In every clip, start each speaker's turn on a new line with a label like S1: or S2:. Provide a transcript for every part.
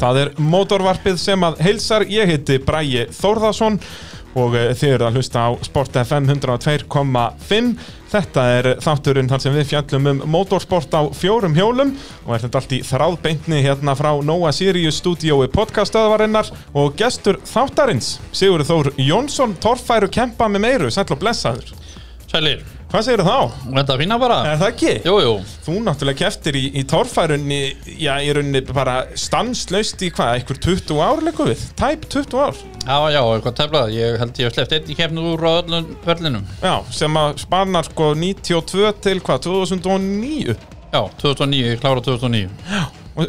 S1: Það er mótorvarpið sem að heilsar, ég heiti Bræi Þórðarsson og eh, þið eru að hlusta á Sport FM 102.5 Þetta er þátturinn þar sem við fjallum um mótorsport á fjórum hjólum og er þetta allt í þráðbeintni hérna frá Nóa Sirius stúdíói podcastöðvarinnar og gestur þáttarins Sigurður Þór Jónsson, torfæru kempa með meiru, sæll og blessaður
S2: Sælir,
S1: Hvað segir þá?
S2: þetta fína bara
S1: Er það ekki?
S2: Jú, jú,
S1: Þú náttúrulega keftir í, í torfærunni, já, í rauninni bara stanslaust í hvað, einhver 20 ár leikum við, tæp 20 ár,
S2: já, já, eitthvað teflað Ég held ég hef sleppt einn í kefnu úr á öllum verðlinum
S1: já, sem að spanar sko 92 til hvað, 2009
S2: Já, 2009, ég klára 2009
S1: og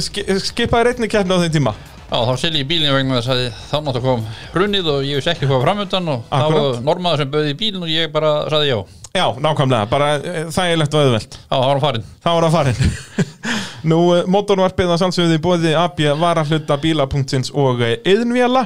S1: sk skipaði reynni keppni á þeim tíma.
S2: Já, þá sel ég í bílinn vegna þess að þá náttúrulega kom hrunið og ég vissi ekki hvað var framöndan og þá
S1: Akkurat.
S2: var normaður sem bauði í bílinn og ég bara saði já Já,
S1: Já, nákvæmlega, bara eh, þægilegt og auðvelt.
S2: þá var hann farinn
S1: Þá er það farin. Nú, eh, mótorvarpið að sannsögðu í bóði AB varahluta bíla.sins og eh, yðnvéla.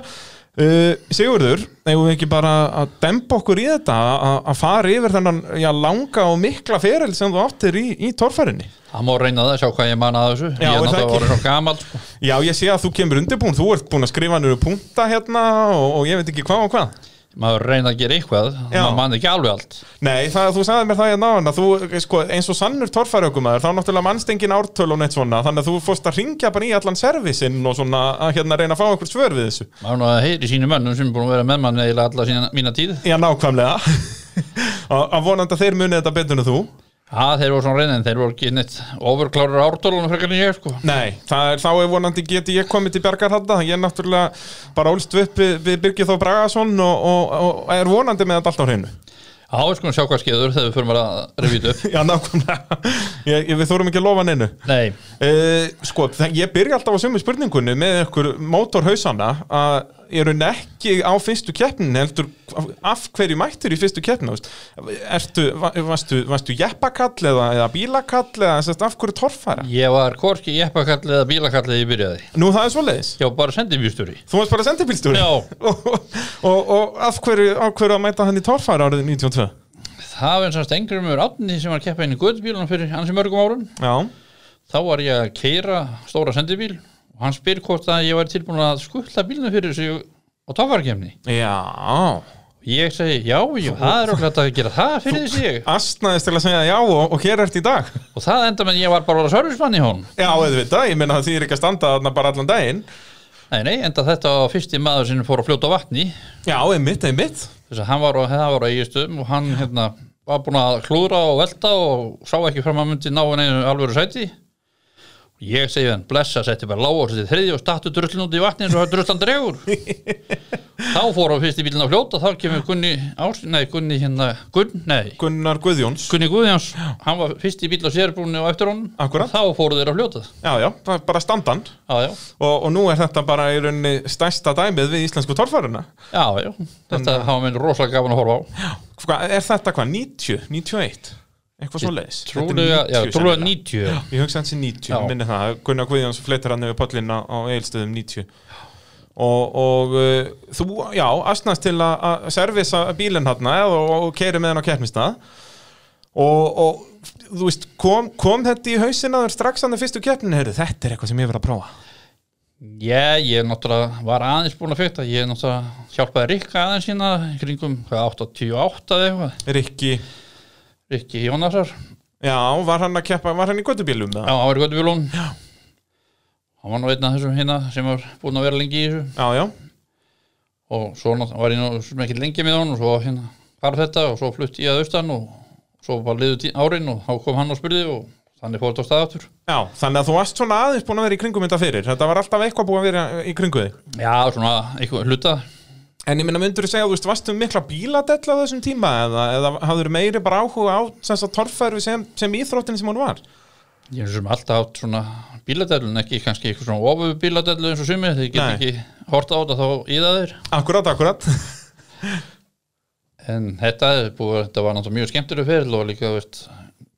S1: Uh, Sigurður, eigum við ekki bara að dempa okkur í þetta, að- að fara yfir þennan já, langa og mikla feril sem þú áttir í, í torfærinni?
S2: Það má reyna það, sjá hvað ég man að þessu
S1: Já,
S2: Ég
S1: er það
S2: er náttúrulega
S1: ekki?
S2: orðinn svo gamall sko.
S1: Já, ég sé að þú kemur undirbúin, þú ert búin að skrifa nýru punta hérna og, og ég veit ekki hvað og hvað.
S2: Maður reyna að gera eitthvað,
S1: Já.
S2: maður man ekki alveg allt
S1: Nei, það, þú sagði mér það hérna á hann að þú, sko, eins og sannur torfæraukumæður, þá náttúrulega mannstengin ártöl og neitt svona, þannig að þú fórst að ringja bara í allan servisinn og svona að hérna reyna að fá einhver svör við þessu.
S2: Maður er nú að heyri sínu mönnum sem er búin að vera með mann eiginlega alla sína, mína tíð
S1: Já, nákvæmlega Að að vonandi að þeir munið þetta betur en þú
S2: Já, þeir voru svona reynið en þeir voru ekki neitt ofurklárar ártólunum frekar en ég sko
S1: Nei, það er, þá er vonandi geti ég komið til bjargar þetta Ég er náttúrulega bara ólst upp við, við Birgir Þó Bragason og, og, og er vonandi með þetta allt á hreinu
S2: Já, við skulum sjá hvað skeður þegar við förum að revið upp
S1: Já, nákvæmlega ég, ég, Við þórum ekki að lofa neinu
S2: Nei,
S1: Uh, sko, það- ég byrja alltaf á sömu spurningunni með ykkur mótorhausana að ég raun ekki á fyrstu keppnin heldur af hverju mættur í fyrstu keppnin þú veist? Ertu, va- varstu, varstu jeppakall eða, eða bílakall eða sest, af hverju torfara?
S2: ég var korki jeppakallið eða bílakallið þegar ég byrjaði
S1: Nú það er svoleiðis,
S2: Já, bara sendibjústuri
S1: þú varst bara sendibílstjóri
S2: Já.
S1: og, og, og af hverju, af hverju að mæta hann í torfara árið 92
S2: Það var eins og stengur mjög átni sem var að keppa inn í guðbílunum fyrir hans mörgum árun
S1: Já,
S2: Þá var ég að keira stóra sendibíl og hann spyr hvort að ég var tilbúin að skutla bílunum fyrir þessu á tófarkemni
S1: já
S2: Ég segi, já, já, það er okkur hægt að gera það fyrir þessi ég
S1: Astnaðist til að segja já og, og hér ert í dag
S2: Og það enda með að ég var bara að vera servicemann í honum
S1: Já, auðvitað, ég meina að því er ekki að standa þarna bara allan daginn
S2: Nei, nei, enda þetta var fyrsti maður sem fór að fljóta á vatni
S1: Já, einmitt, einmitt
S2: þess að hann var á, hann var á eigistum og hann hérna, var búin að klúðra og velta og sá ekki fram að myndi ná einu alvöru sæti og ég segi hann blessa setti bara lág og setti þriði og stattu drullin út í vatni eins og það drullan dregur þá fór á fyrsti bílinn að fljóta þá kemur Gunni Ás, nei Gunni hérna Gunn, nei
S1: Gunnar Guðjóns
S2: Gunni Guðjáns, hann var fyrsti bíl á sérbrúnni og eftir honum
S1: Akkúrat.
S2: og þá fóru þeir að fljóta
S1: Já, já, það er bara standan
S2: já, já,
S1: og, og nú er þetta bara í rauninni stærsta dæmið við íslensku torfaruna
S2: já, já þetta hafa minn rosalega gaman að horfa á
S1: Hva, Er þetta hvað, 90, 91? Eitthvað svo leiðis
S2: trúlega, já, trúlega 90 já.
S1: Ég hugsa hans í 90,
S2: Já.
S1: minni það Gunnar Guðjóns fleitar hann yfir pollin á, á eilstöðum 90 og, og uh, þú, já, astnast til að- að servisa bílinn hann og, og keiri með hann á keppnistað og, og þú veist, kom, kom þetta í hausina þar strax hann að fyrstu keppnin, heyrðu, þetta er eitthvað sem ég verið að prófa
S2: Já, ég náttúrulega var aðeins búin að fyrta Ég náttúrulega hjálpaði Rikka aðeins sína kringum hvað, 88 eða eitthvað
S1: Rikki,
S2: Rikki Jónasar Já,
S1: já, var hann að keppa, var hann í göttubílum með það?
S2: hann var í Götubílun Já Hann var nú einn af þessum hérna sem var búin að vera lengi í þessu
S1: Já, já,
S2: og svo nátt- var ég nú sem ekki lengi með hann og svo hérna var þetta og svo flutti ég að austan og svo bara liðu tí- árin og þá kom hann og spurði og þannig fór þetta á stað aftur
S1: já, þannig að þú varst svona aðeins búin að vera í kringum þetta fyrir, þetta var alltaf eitthvað búin að vera í kringu þig.
S2: Já, svona eitthvað hluta
S1: En ég minna, myndur þú segja, þú veist, varstu mikla bíladell á þessum tíma eða, eða hafður meiri bara áhuga á þess að torfæru sem, sem íþróttin sem hún var?
S2: Ég er sem alltaf átt svona bíladellun, ekki kannski eitthvað svona ofu bíladellu eins og sumi, þeir get
S1: Nei.
S2: ekki horta á þetta þá í það þeir.
S1: Akkurat, akkurat.
S2: En þetta, er búið, þetta var náttúrulega mjög skemmtileg feril og líka, þú veist,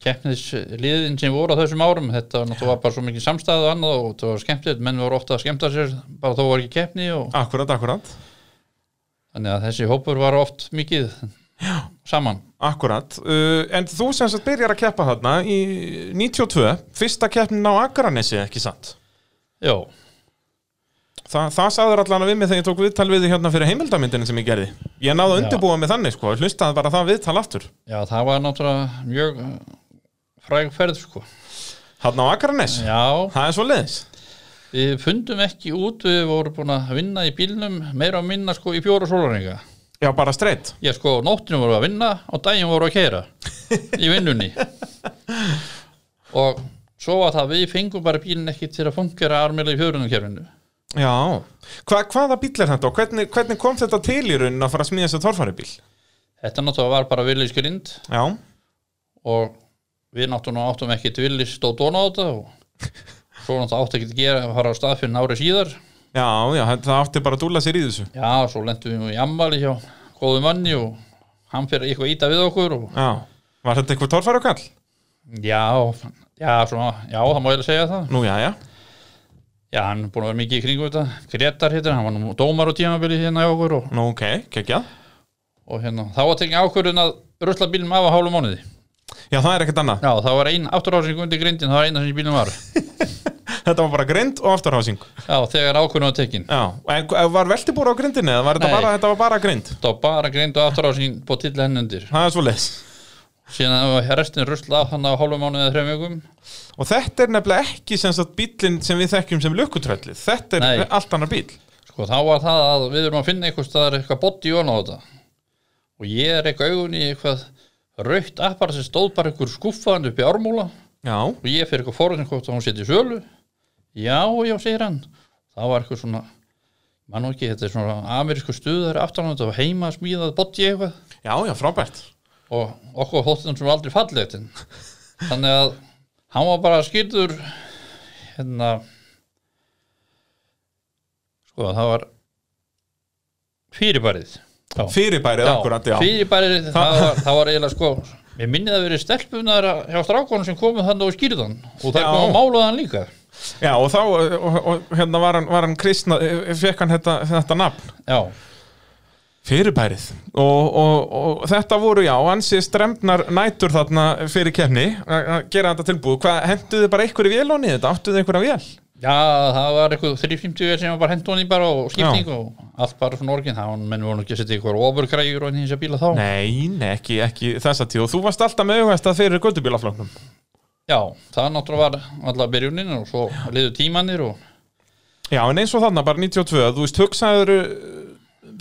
S2: keppnisliðin sem voru á þessum árum, þetta var náttúrulega bara svo mikið samstæð og annað og þetta var skemmtilegt, menn voru ofta að skemmta sér, bara þó var ekki keppni og
S1: Akkurat, akkurat.
S2: þannig að þessi hópur var oft mikið saman.
S1: Akkurat. Uh, en þú sem sagt byrjar að keppa þarna í 92, fyrsta keppnin á Akranesi, ekki satt?
S2: Já,
S1: Þa, það sagður allan að við mig þegar ég tók viðtal við þig hérna fyrir heimildamyndinu sem ég gerði. Ég náði að
S2: Já.
S1: undirbúa mig þannig sko, hlustaði bara það viðtal aftur.
S2: já, það var náttúrulega mjög uh, fræg ferð sko.
S1: Hann á Akranes,
S2: Já,
S1: það er svo leiðis.
S2: við fundum ekki út við vorum búin að vinna í bílnum meira og minna sko í fjóra sólarninga
S1: Já, bara streitt.
S2: Já, sko, á nóttinu vorum við að vinna og daginn vorum við að keira í vinnunni og svo var það að við fengum bara bílinn ekki til að fungera armilega í fjörunum kerfinu
S1: Já. Hva, hvaða bíl er þetta og hvernig, hvernig kom þetta til í raunin að fara að smíða þessi torfaribíl?
S2: Þetta náttúrulega var bara Willis grind
S1: Já.
S2: og við náttúrulega áttum ekki til Willis stóð dóna á þetta og svo náttúrulega átti ekki að gera að fara á stað fyrir nári síðar
S1: Já, já, þetta- það átti bara að dúla sér í þessu.
S2: Já, svo lentum við nú í ammali hjá góðum manni og hann fyrir eitthvað að íta við okkur og
S1: Já. Var þetta eitthvað torfarukall?
S2: já, já, svona, já, það má ég að segja það
S1: Nú, já, já.
S2: Já, hann er búin að vera mikið í kringum þetta Gretar hittir, hann var nú dómar á tímabili hérna hjá okkur og,
S1: Nú, ok, kekjað.
S2: og hérna, þá var tekið ákvörðun að rusla bílum af að hálfu mánuði
S1: Já, það er ekkert annað.
S2: Já, það var ein afturhásing undir grindin, það var eina sem í bílum var Já,
S1: Þetta var bara grind og afturhásing.
S2: þegar ákvörðun var tekin
S1: Já, en hva- var veltibúr á grindinni eða var þetta
S2: Nei.
S1: bara, þetta var bara grind?
S2: Þá bara grind og afturhásing búið til henni undir
S1: Það er svo leiðis.
S2: Síðan var restin rusla af hann á hálfu mánuði eða þrejum vikum
S1: Og þetta er nefnilega ekki sem sagt bílinn sem við þekkjum sem lukkutröllið. Þetta er
S2: Nei.
S1: allt annar bíl.
S2: Sko, þá var það að við erum að finna eitthvað staðar eitthvað boddi jón á þetta og ég er eitthvað augun í eitthvað raukt appar sem stóð bara einhver skuffaðan upp í ármúla
S1: Já,
S2: og ég fyrir eitthvað forðin hvort að hún setja í sölu já, já, segir hann það var eitthvað svona mann og ekki, þetta er svona amerísku stuðar aftan á þetta var heima að smíða botti eitthvað
S1: já, já, frábært.
S2: og okkur þótti hann sem var aldrei fallegt en þannig að hann var bara skýrður hérna sko, það var fyrirbærið já,
S1: Fyrirbærið akkurat, já.
S2: fyrirbærið, það var, það var eiginlega sko Mér minnið að verið stelpunar hjá strákonum sem komið þannig og skýrði hann og það
S1: Já.
S2: kom að málaði hann líka.
S1: Já, og þá, og, og, og hérna var hann, var hann kristna, fekk hann þetta, þetta nafn.
S2: Já,
S1: Fyrirbærið. Og, og, og þetta voru, já, ansi stremnar nætur þarna fyrir kefni að að gera þetta tilbúð. Hvað, henduðu bara einhverju vél á niður þetta? Áttuðu einhverja vél?
S2: já, það var eitthvað 350 vél sem var bara hendun í bara og skipting og allt bara svona orgin, það var menn voru nú ekki að setja eitthvað ofurgræjur og hins að bíla þá.
S1: Nei, nei, ekki, ekki þessa tíu. Og þú varst alltaf með augast að fyrir göttubílafloknum.
S2: Já, það náttúrulega var alltaf byrjunin og svo liðu tímanir og
S1: Já, en eins og þarna, bara 92, þú veist, hugsaður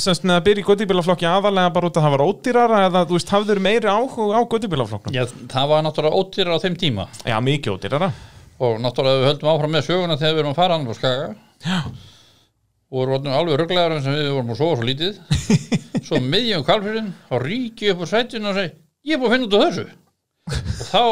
S1: semst með að byrja í göttubílaflokki aðalega bara út að það var ódýrara eða þú veist, hafður meiri áhuga á göttubílaflokknum?
S2: já, það var náttúrulega ódýrar á þeim tíma
S1: Já, mikið ódýrara.
S2: og náttúrulega við höldum áfram með söguna þegar við erum að fara annað á skaga
S1: Já.
S2: og vorum orðnir alveg rugglegar sem við vorum að sofa svo lítið svo um miðjum kalfurinn þá ríki ég upp úr sætinu og segi ég er búin að finna út af þessu og þá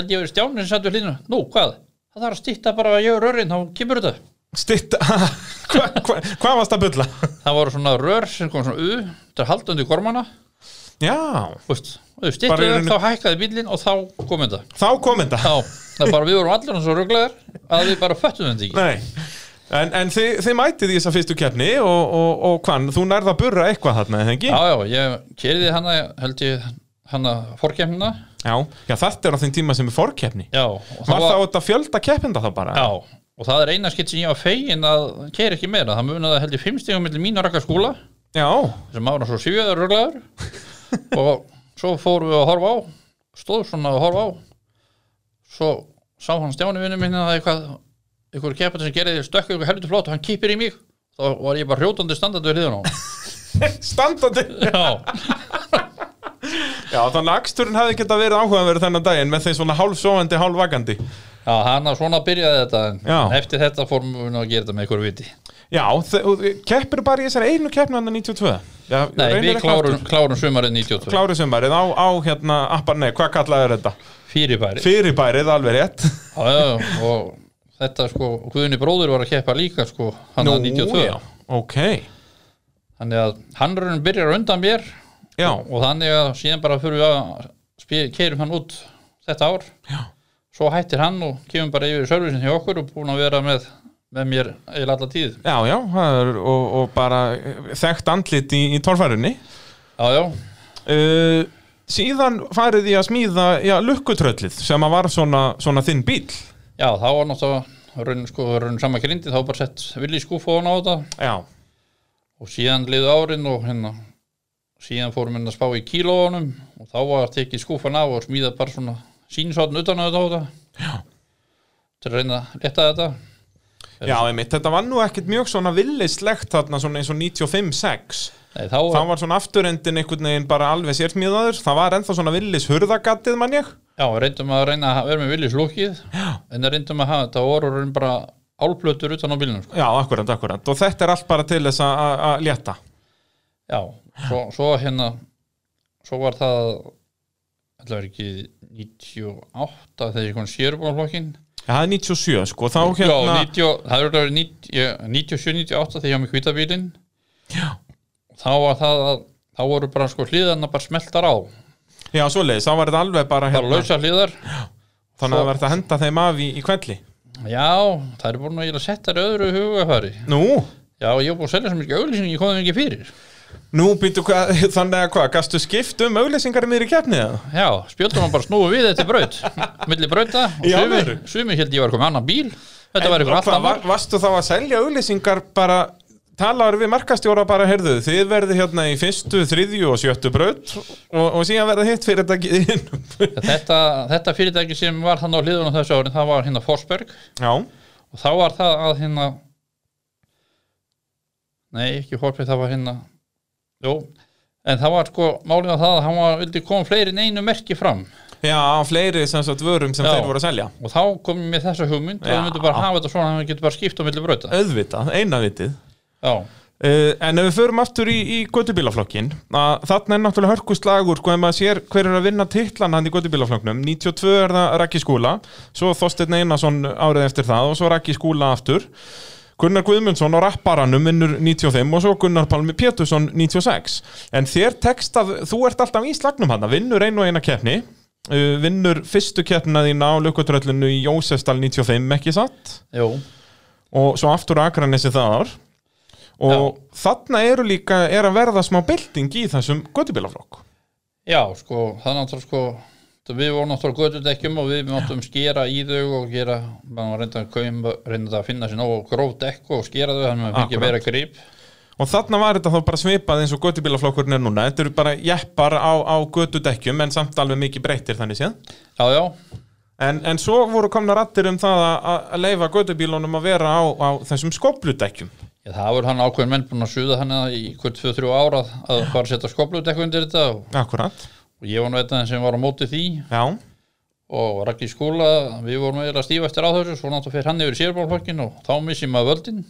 S2: held ég að stjáni sem sattu hlýðinu nú hvað, það þarf að stýtta bara að ég er rörin þá kemur þetta
S1: Stitt, hva, hva, hvað varst að bulla?
S2: það voru svona rör sem kom svona u þetta er haldandi kormana
S1: Já,
S2: veist, og þau
S1: Bara í
S2: stýttu það,
S1: rauninni-
S2: þá hækkaði bílinn og þá kom þetta
S1: þá kom þetta.
S2: þá, það er bara við vorum allir svo rugglegar að við bara föttum þetta ekki
S1: Nei. En, en þið, þið mætið í þessa fyrstu keppni og, og, og hvað, þú nærða að burra eitthvað þarna, eða ekki?
S2: já, já, ég kerði hana held ég hana fórkemna
S1: Já. Já, þetta er á þeim tíma sem er fórkeppni.
S2: já, og
S1: Var það út að fjölda keppinda þá bara?
S2: Já, og það er eina skitt sem ég var fegin að keira ekki meira, það munaði held ég fimm stigum millir mín og rakka skúla,
S1: Já.
S2: sem ára svo sjöður röglegar og svo fórum við að horfa á stóð svona að horfa á svo sá hann stjáni vinnu minni að eitthvað, einhver keppin sem gerði stökku eitthvað helviti flott og hann kýpir í mig þá var ég bara hrjótandi standandi við hliðan á honum.
S1: Standandi.
S2: Já,
S1: Já, þannig að aksturinn hefði geta verið áhugaverð þennan daginn með þeim svona hálfsofandi, hálfvagandi.
S2: já hann að svona byrjaði þetta en
S1: Já.
S2: eftir þetta fórum við að gera þetta með einhverju viti
S1: Já, þe- og keppir bara í þessari einu keppni hann 92. Já,
S2: Nei,
S1: reynir
S2: við
S1: eitthvað
S2: klárum,
S1: aftur.
S2: klárum sumarið 92
S1: Klárið sumarið á, á hérna, appar, nei, hvað kallaður þetta?
S2: Fyrirbæri
S1: Fyrirbærið, alveg rétt.
S2: Já, já, og þetta sko Guðni bróður var að keppa líka sko hann að 92
S1: já, ok
S2: þannig að hann raunum byrjar á undan mér
S1: Já,
S2: og þannig að síðan bara fyrir við að keirum hann út þetta ár
S1: Já.
S2: svo hættir hann og kemur bara yfir í servicin hjá okkur og búin að vera með, með mér eiginlega alla tíð
S1: já, já það er, og, og bara eh, þekkt andlit í, í torfærunni
S2: já, já,
S1: uh, Síðan farið ég að smíða já, lukkutröllið sem að var svona, svona þinn bíl
S2: já, þá var náttúrulega raun, sko, raun sama grindi þá bara sett villi skúfa hann á þetta
S1: já,
S2: og síðan liðu árin og hérna síðan fórum við að spá í kílóunum og þá var tekið skúfan af og smíðað bara svona sínsotn utan á þetta á þetta
S1: Já.
S2: til að reyna að leta þetta
S1: já einmitt, þetta var nú ekkert mjög svona villislegt þarna svona eins og 95-6
S2: Nei, þá,
S1: þá var svona afturendin einhvern veginn bara alveg sérsmíðaður það var ennþá svona villis hurðagattið mann ég
S2: já, reyndum að reyna að vera með villi slúkið en reyndum að hafa þetta voru raun bara álplötur utan á bílunum sko.
S1: já, akkurat, akkurat, og þetta er allt bara til þess að- að að létta
S2: Já, svo, svo hérna svo var það allavega ekki 98 þegar ég kom sérbólflokkin
S1: já, það er 97 sko, þá
S2: Já,
S1: hérna
S2: 90, það er alveg 97-98 þegar ég var með hvítabílinn
S1: Já.
S2: Þá var það að þá voru bara sko hliðarna bara smeltar á
S1: já, svoleiðis, þá var þetta alveg bara
S2: bara
S1: hérna,
S2: lausa hliðar
S1: þannig að það var þetta að henda þeim af í, í kvelli
S2: Já, það er búin að ég að setja þær öðru hugafæri
S1: nú,
S2: Já, ég er búin að selja sem ekki auglýsing ég kom þeim ekki fyrir
S1: nú býttu hvað, þannig að hvað gastu skipt um auglýsingar í miðri keppnið eða?
S2: Já, spjöldum hann bara snúið við þetta braut milli brauta og
S1: Í
S2: sumi,
S1: alvöru?
S2: sumi held ég var komið annan bíl Þetta var ykkur
S1: Og
S2: alltaf
S1: hvað, var, varstu þá að selja auglýsingar bara talaður við markastjóra bara heyrðu þið verði hérna í fyrstu, þriðju og sjöttu braut og, og síðan verði hitt fyrir þetta ekki inn
S2: þetta, þetta fyrirtæki sem var þannig á hliðunum þessu árin það var hérna Forsberg
S1: já,
S2: og þá var það að hérna nei, ekki Horfið, það var hérna jú, en það var sko málið að það að hann var, vildi koma fleiri en einu merki fram
S1: já, fleiri sem sagt vörum sem
S2: Já.
S1: þeir voru að selja
S2: og þá kom ég með þessa hugmynd og
S1: Já.
S2: það myndi bara hafa þetta svona að hann getur bara skipt á milli brauta
S1: auðvitað, eina vitið
S2: já,
S1: Uh, en ef við förum aftur í, í göttubílaflokkin að þarna er náttúrulega hörkuslagur sko ef maður sér hver er að vinna titlan hann í göttubílaflokknum 92 er það Raki Skúla svo Þorsteinn Einarsson árið eftir það og svo Raki Skúla aftur Gunnar Guðmundsson á rapparanum vinnur 95 og svo Gunnar Palmi Pétursson 96 en þér tekst að þú ert alltaf í slagnum hann vinnur einu og eina keppni uh, vinnur fyrstu keppnina þína á lukkutröllinu í Jósefsdal 95 ekki satt
S2: jú,
S1: og svo aftur á Akranesi það ár og þarna eru líka er að verða smá bylting í þessum göttubílaflokk
S2: já, sko það er náttúrulega sko við vorum náttúrulega götudekkjum og við máttum skera í þau og gera, mann var reynda að kaum, reynda að finna sér nógu gróf dekk og skera þau þannig að maður fengi
S1: Akkurat.
S2: meira grip
S1: og þarna var þetta þá bara svipað eins og göttubílaflokkurinn er núna þetta eru bara jeppar á, á göttudekkjum en samt alveg mikið breytir þannig séð
S2: já, já,
S1: en, en svo voru komna rattir um það að- að, að leifa göttubílunum að vera á, á þessum skopludekkjum
S2: Já, það var hann ákveðin menn búin að suða hann í hvert 2-3 ára að- að fara að setja skoplutekku undir þetta og
S1: akkurat,
S2: og ég var nú eitthvað sem var á móti því
S1: já
S2: og rakk í skóla, við vorum eiginlega stífastir á þessu, svo náttúrulega fer hann yfir sérbólflokkin og þá missi maður völdin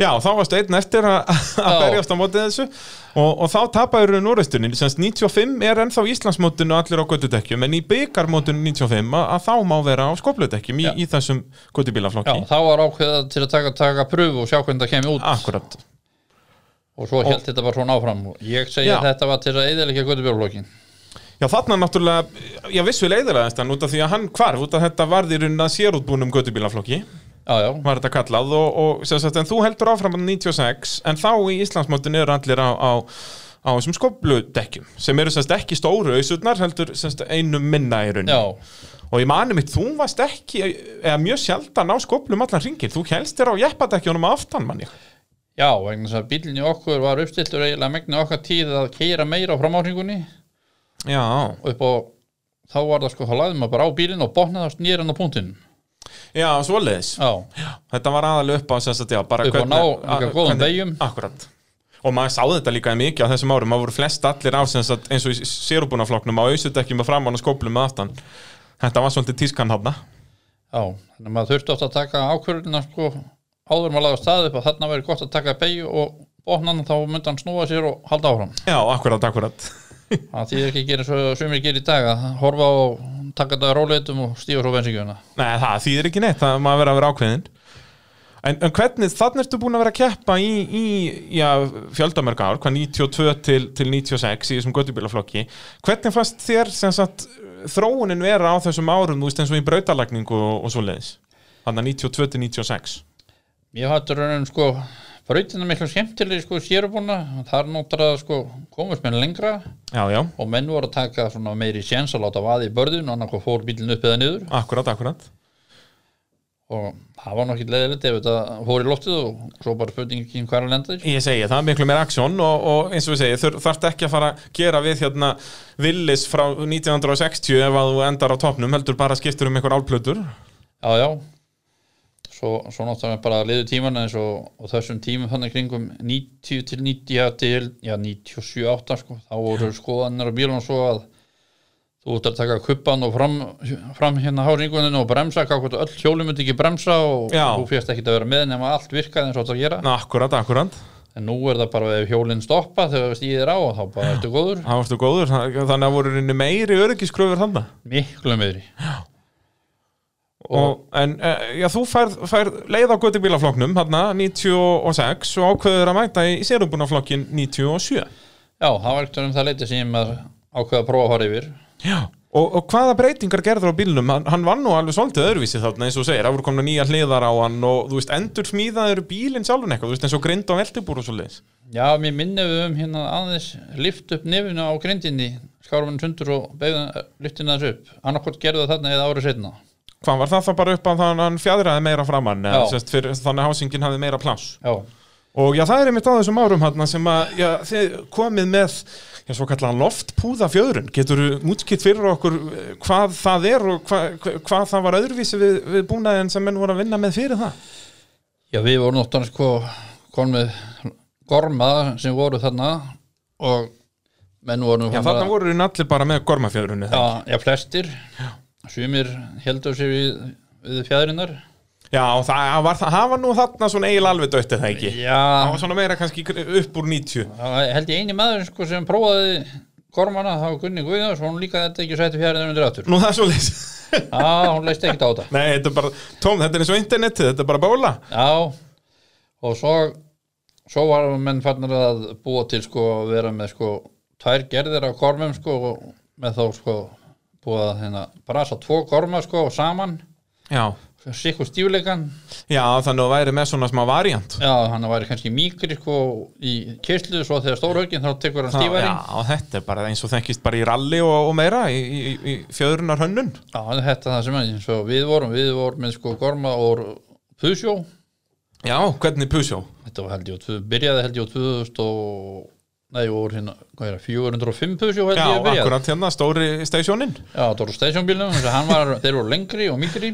S1: Já, þá varstu einn eftir að að
S2: Já.
S1: berjast á mótið þessu og, og þá tapaður við núreistunni, semst 95 er ennþá Íslandsmótinu allir á göttudekkjum en í byggarmótinu 95 að, að þá má vera á skopludekkjum í,
S2: Já.
S1: í þessum
S2: Já,
S1: göttubílaflokki
S2: þá var ákveða til að taka, taka pröfu og sjá hvernig það kemur út
S1: Akkurat,
S2: og svo held þetta bara svona áfram og ég segi
S1: Já.
S2: að þetta var til að eiginlega göttubjörflokkin
S1: já þarna náttúrulega ég vissu leiðilegast hann út af því að hann hvarf út af þetta varði runna sérútbúnum göttubílaflokki,
S2: Já, já,
S1: var þetta kallað og, og sem sagt, en þú heldur áfram að 96 en þá í Íslandsmótinu eru allir á, á á þessum skopludekkjum sem eru semst ekki stóru auðsutnar heldur semst einum minna í rauninni
S2: já,
S1: Og ég mani mitt, þú varst ekki, eða mjög sjaldan á skoplum allan ringin, þú helst þér á jeppadekkjónum að aftan manni.
S2: já, vegna þess að bílinni okkur var uppstiltur eiginlega megni okkar tíð að keira meira á framáhringunni
S1: Já.
S2: upp á, þá var það sko, þá laðið maður bara á bílinn og botnaði það nýran á punktinum
S1: Já, svoleiðis.
S2: Já,
S1: Þetta var aðalega upp á þess að, já, bara
S2: Upp á ná
S1: að-
S2: líka góðum
S1: hvernig-
S2: vegjum.
S1: Akkurat. Og maður sáði þetta líka mikið á þessum árum, maður voru flest allir á sem sagt, eins og í sérubunafloknum á auðsudekkjum að framan og skoplum að aftan. Þetta var svolítið tískan hafna.
S2: Já, þannig að maður þurfti oft að taka ákvörðina sko áður en maður laga stað upp að þarna verið gott að taka beigju og botnan þá myndi hann snúa sér og halda áfram.
S1: Já, akkurat, akkurat.
S2: Það þýðir ekki að gera svo sumir gerir í dag að horfa og taka þetta róleitum og stífa svo bensinkjöfuna.
S1: Nei, það þýðir ekki neitt, það maður verið að vera ákveðin En, en hvernig, þannig ertu búin að vera að keppa í, í já, fjöldamörg ár, hvað 92 til, til 96 í þessum göttubílaflokki Hvernig fannst þér sem sagt þróunin vera á þessum árum, þú veist eins og í brautalagningu og, og svoleiðis Þannig að 92 til 96
S2: Ég hattu raunum sko brautina miklu skemmtileg sko sérubúna, þar nótraði sko komast menn lengra
S1: Já, já,
S2: og menn voru að taka svona meiri séns að láta vaði í börðin og annarko fór bílinn upp eða niður
S1: akkurat, akkurat
S2: og það var nokkið leðilegt ef þetta fór í loftið og svo bara spurningi hvað er að lenda því
S1: Ég segi, það er miklu meira aksjón og, og eins og við segi, þur, þarft ekki að fara að gera við hérna villis frá 1960 ef að þú endar á topnum, heldur bara skiptur um einhver álplötur.
S2: já já svo, svo náttúrulega bara liðu tíman eins og, og þessum tímum þannig kringum 90 til 90 já, til, já 97, 8 sko þá voru skoðanir á bílunum svo að þú ert að taka kuppan og fram, fram hérna háringuninu og bremsa hvað öll hjólum myndi ekki bremsa og
S1: Já.
S2: þú fyrst ekki að vera með nema allt virkaði eins og þetta að gera
S1: Na, akkurat, akkurat.
S2: en nú er það bara ef hjólinn stoppa þegar stíðið er á og þá bara ertu góður
S1: Það varstu góður, þa- þannig að voru reyni meiri öryggiskröfur þannig.
S2: miklu meðri
S1: Og, en eh, já, þú færð fær leið á göttibílaflokknum, hérna 96 og ákveður að mæta í sérubunaflokkin 97.
S2: já, það var ekkert um það leiti sem að ákveða að prófa að fara yfir
S1: Já. Og, og hvaða breytingar gerður á bílnum? Hann, hann var nú alveg svolítið öðruvísi þarna eins og þú segir, það voru komna nýja hliðar á hann og þú veist, endur smíðaður bílinn sjálfur eitthvað, þú veist, eins og grind og veltibúr og svo leiðis.
S2: já, mér minnum við um hérna aðeins lift upp nefinu á grindinni skármann sundur og beigðan lyftina þessu upp annarkot gerðu það þarna eða árið setna
S1: Hvað var það þá bara upp að hann, hann fjadraði meira framann, eða,
S2: Já.
S1: sest, fyrir, þannig að hásingin hafði meira pláss?
S2: já,
S1: Og já, það er einmitt á þessum árum hann sem að, já, þið komið með já, svo kallan loftpúða fjöðrun getur útskipt fyrir okkur eh, hvað það er og hva, hva, hvað það var öðruvísi við, við búnaðin sem menn voru að vinna með fyrir það
S2: já, við vorum náttúrulega sko konum með gorma sem voru þarna og menn voru
S1: Já, þarna voru þið allir bara með gormafjöðrunni Já,
S2: já, já, flestir sumir heldur sér við, við fjæðrinnar
S1: já og það var, það hafa nú þarna svona eiginlega alveg döttið það ekki
S2: já,
S1: Það var svona meira kannski upp úr 90
S2: Það held ég eini maður sko, sem prófaði kormana, það var Gunni Guðjóns hún líka þetta ekki sætti fjærið undir aftur
S1: Nú það er svo leys
S2: Já, hún leist ekkert á þetta
S1: Nei, þetta er bara tóm, þetta er eins og internetið, þetta er bara bóla
S2: Já, og svo svo var menn farnar að búa til sko að vera með sko tvær gerðir af kormum sko og með þá sko búa að hérna brasa tvo korma sko saman
S1: Já,
S2: sikkur stífleikan
S1: já þannig að þú væri með svona smá variant
S2: Já, hann væri kannski mýkri sko í kyslu svo þegar stórhaugin þá tekur
S1: Já,
S2: hann stífærin
S1: já, þetta er bara eins og þekkist bara í rally og, og meira í, í, í fjöðrunar hönnun
S2: Já, en þetta er það sem er eins og við vorum, við vorum með sko Gorma og Pusjó,
S1: Já, hvernig pusjó?
S2: þetta var held ég á tvö, byrjaði held ég á 2000 og, nei, voru hérna, hvað er það, 405 Pusjó held
S1: Já,
S2: ég að byrjaði.
S1: akkurat hérna, stóri stasjónin
S2: Já, það voru stæsjónbílum, þannig að hann var, þeir voru lengri og mikri.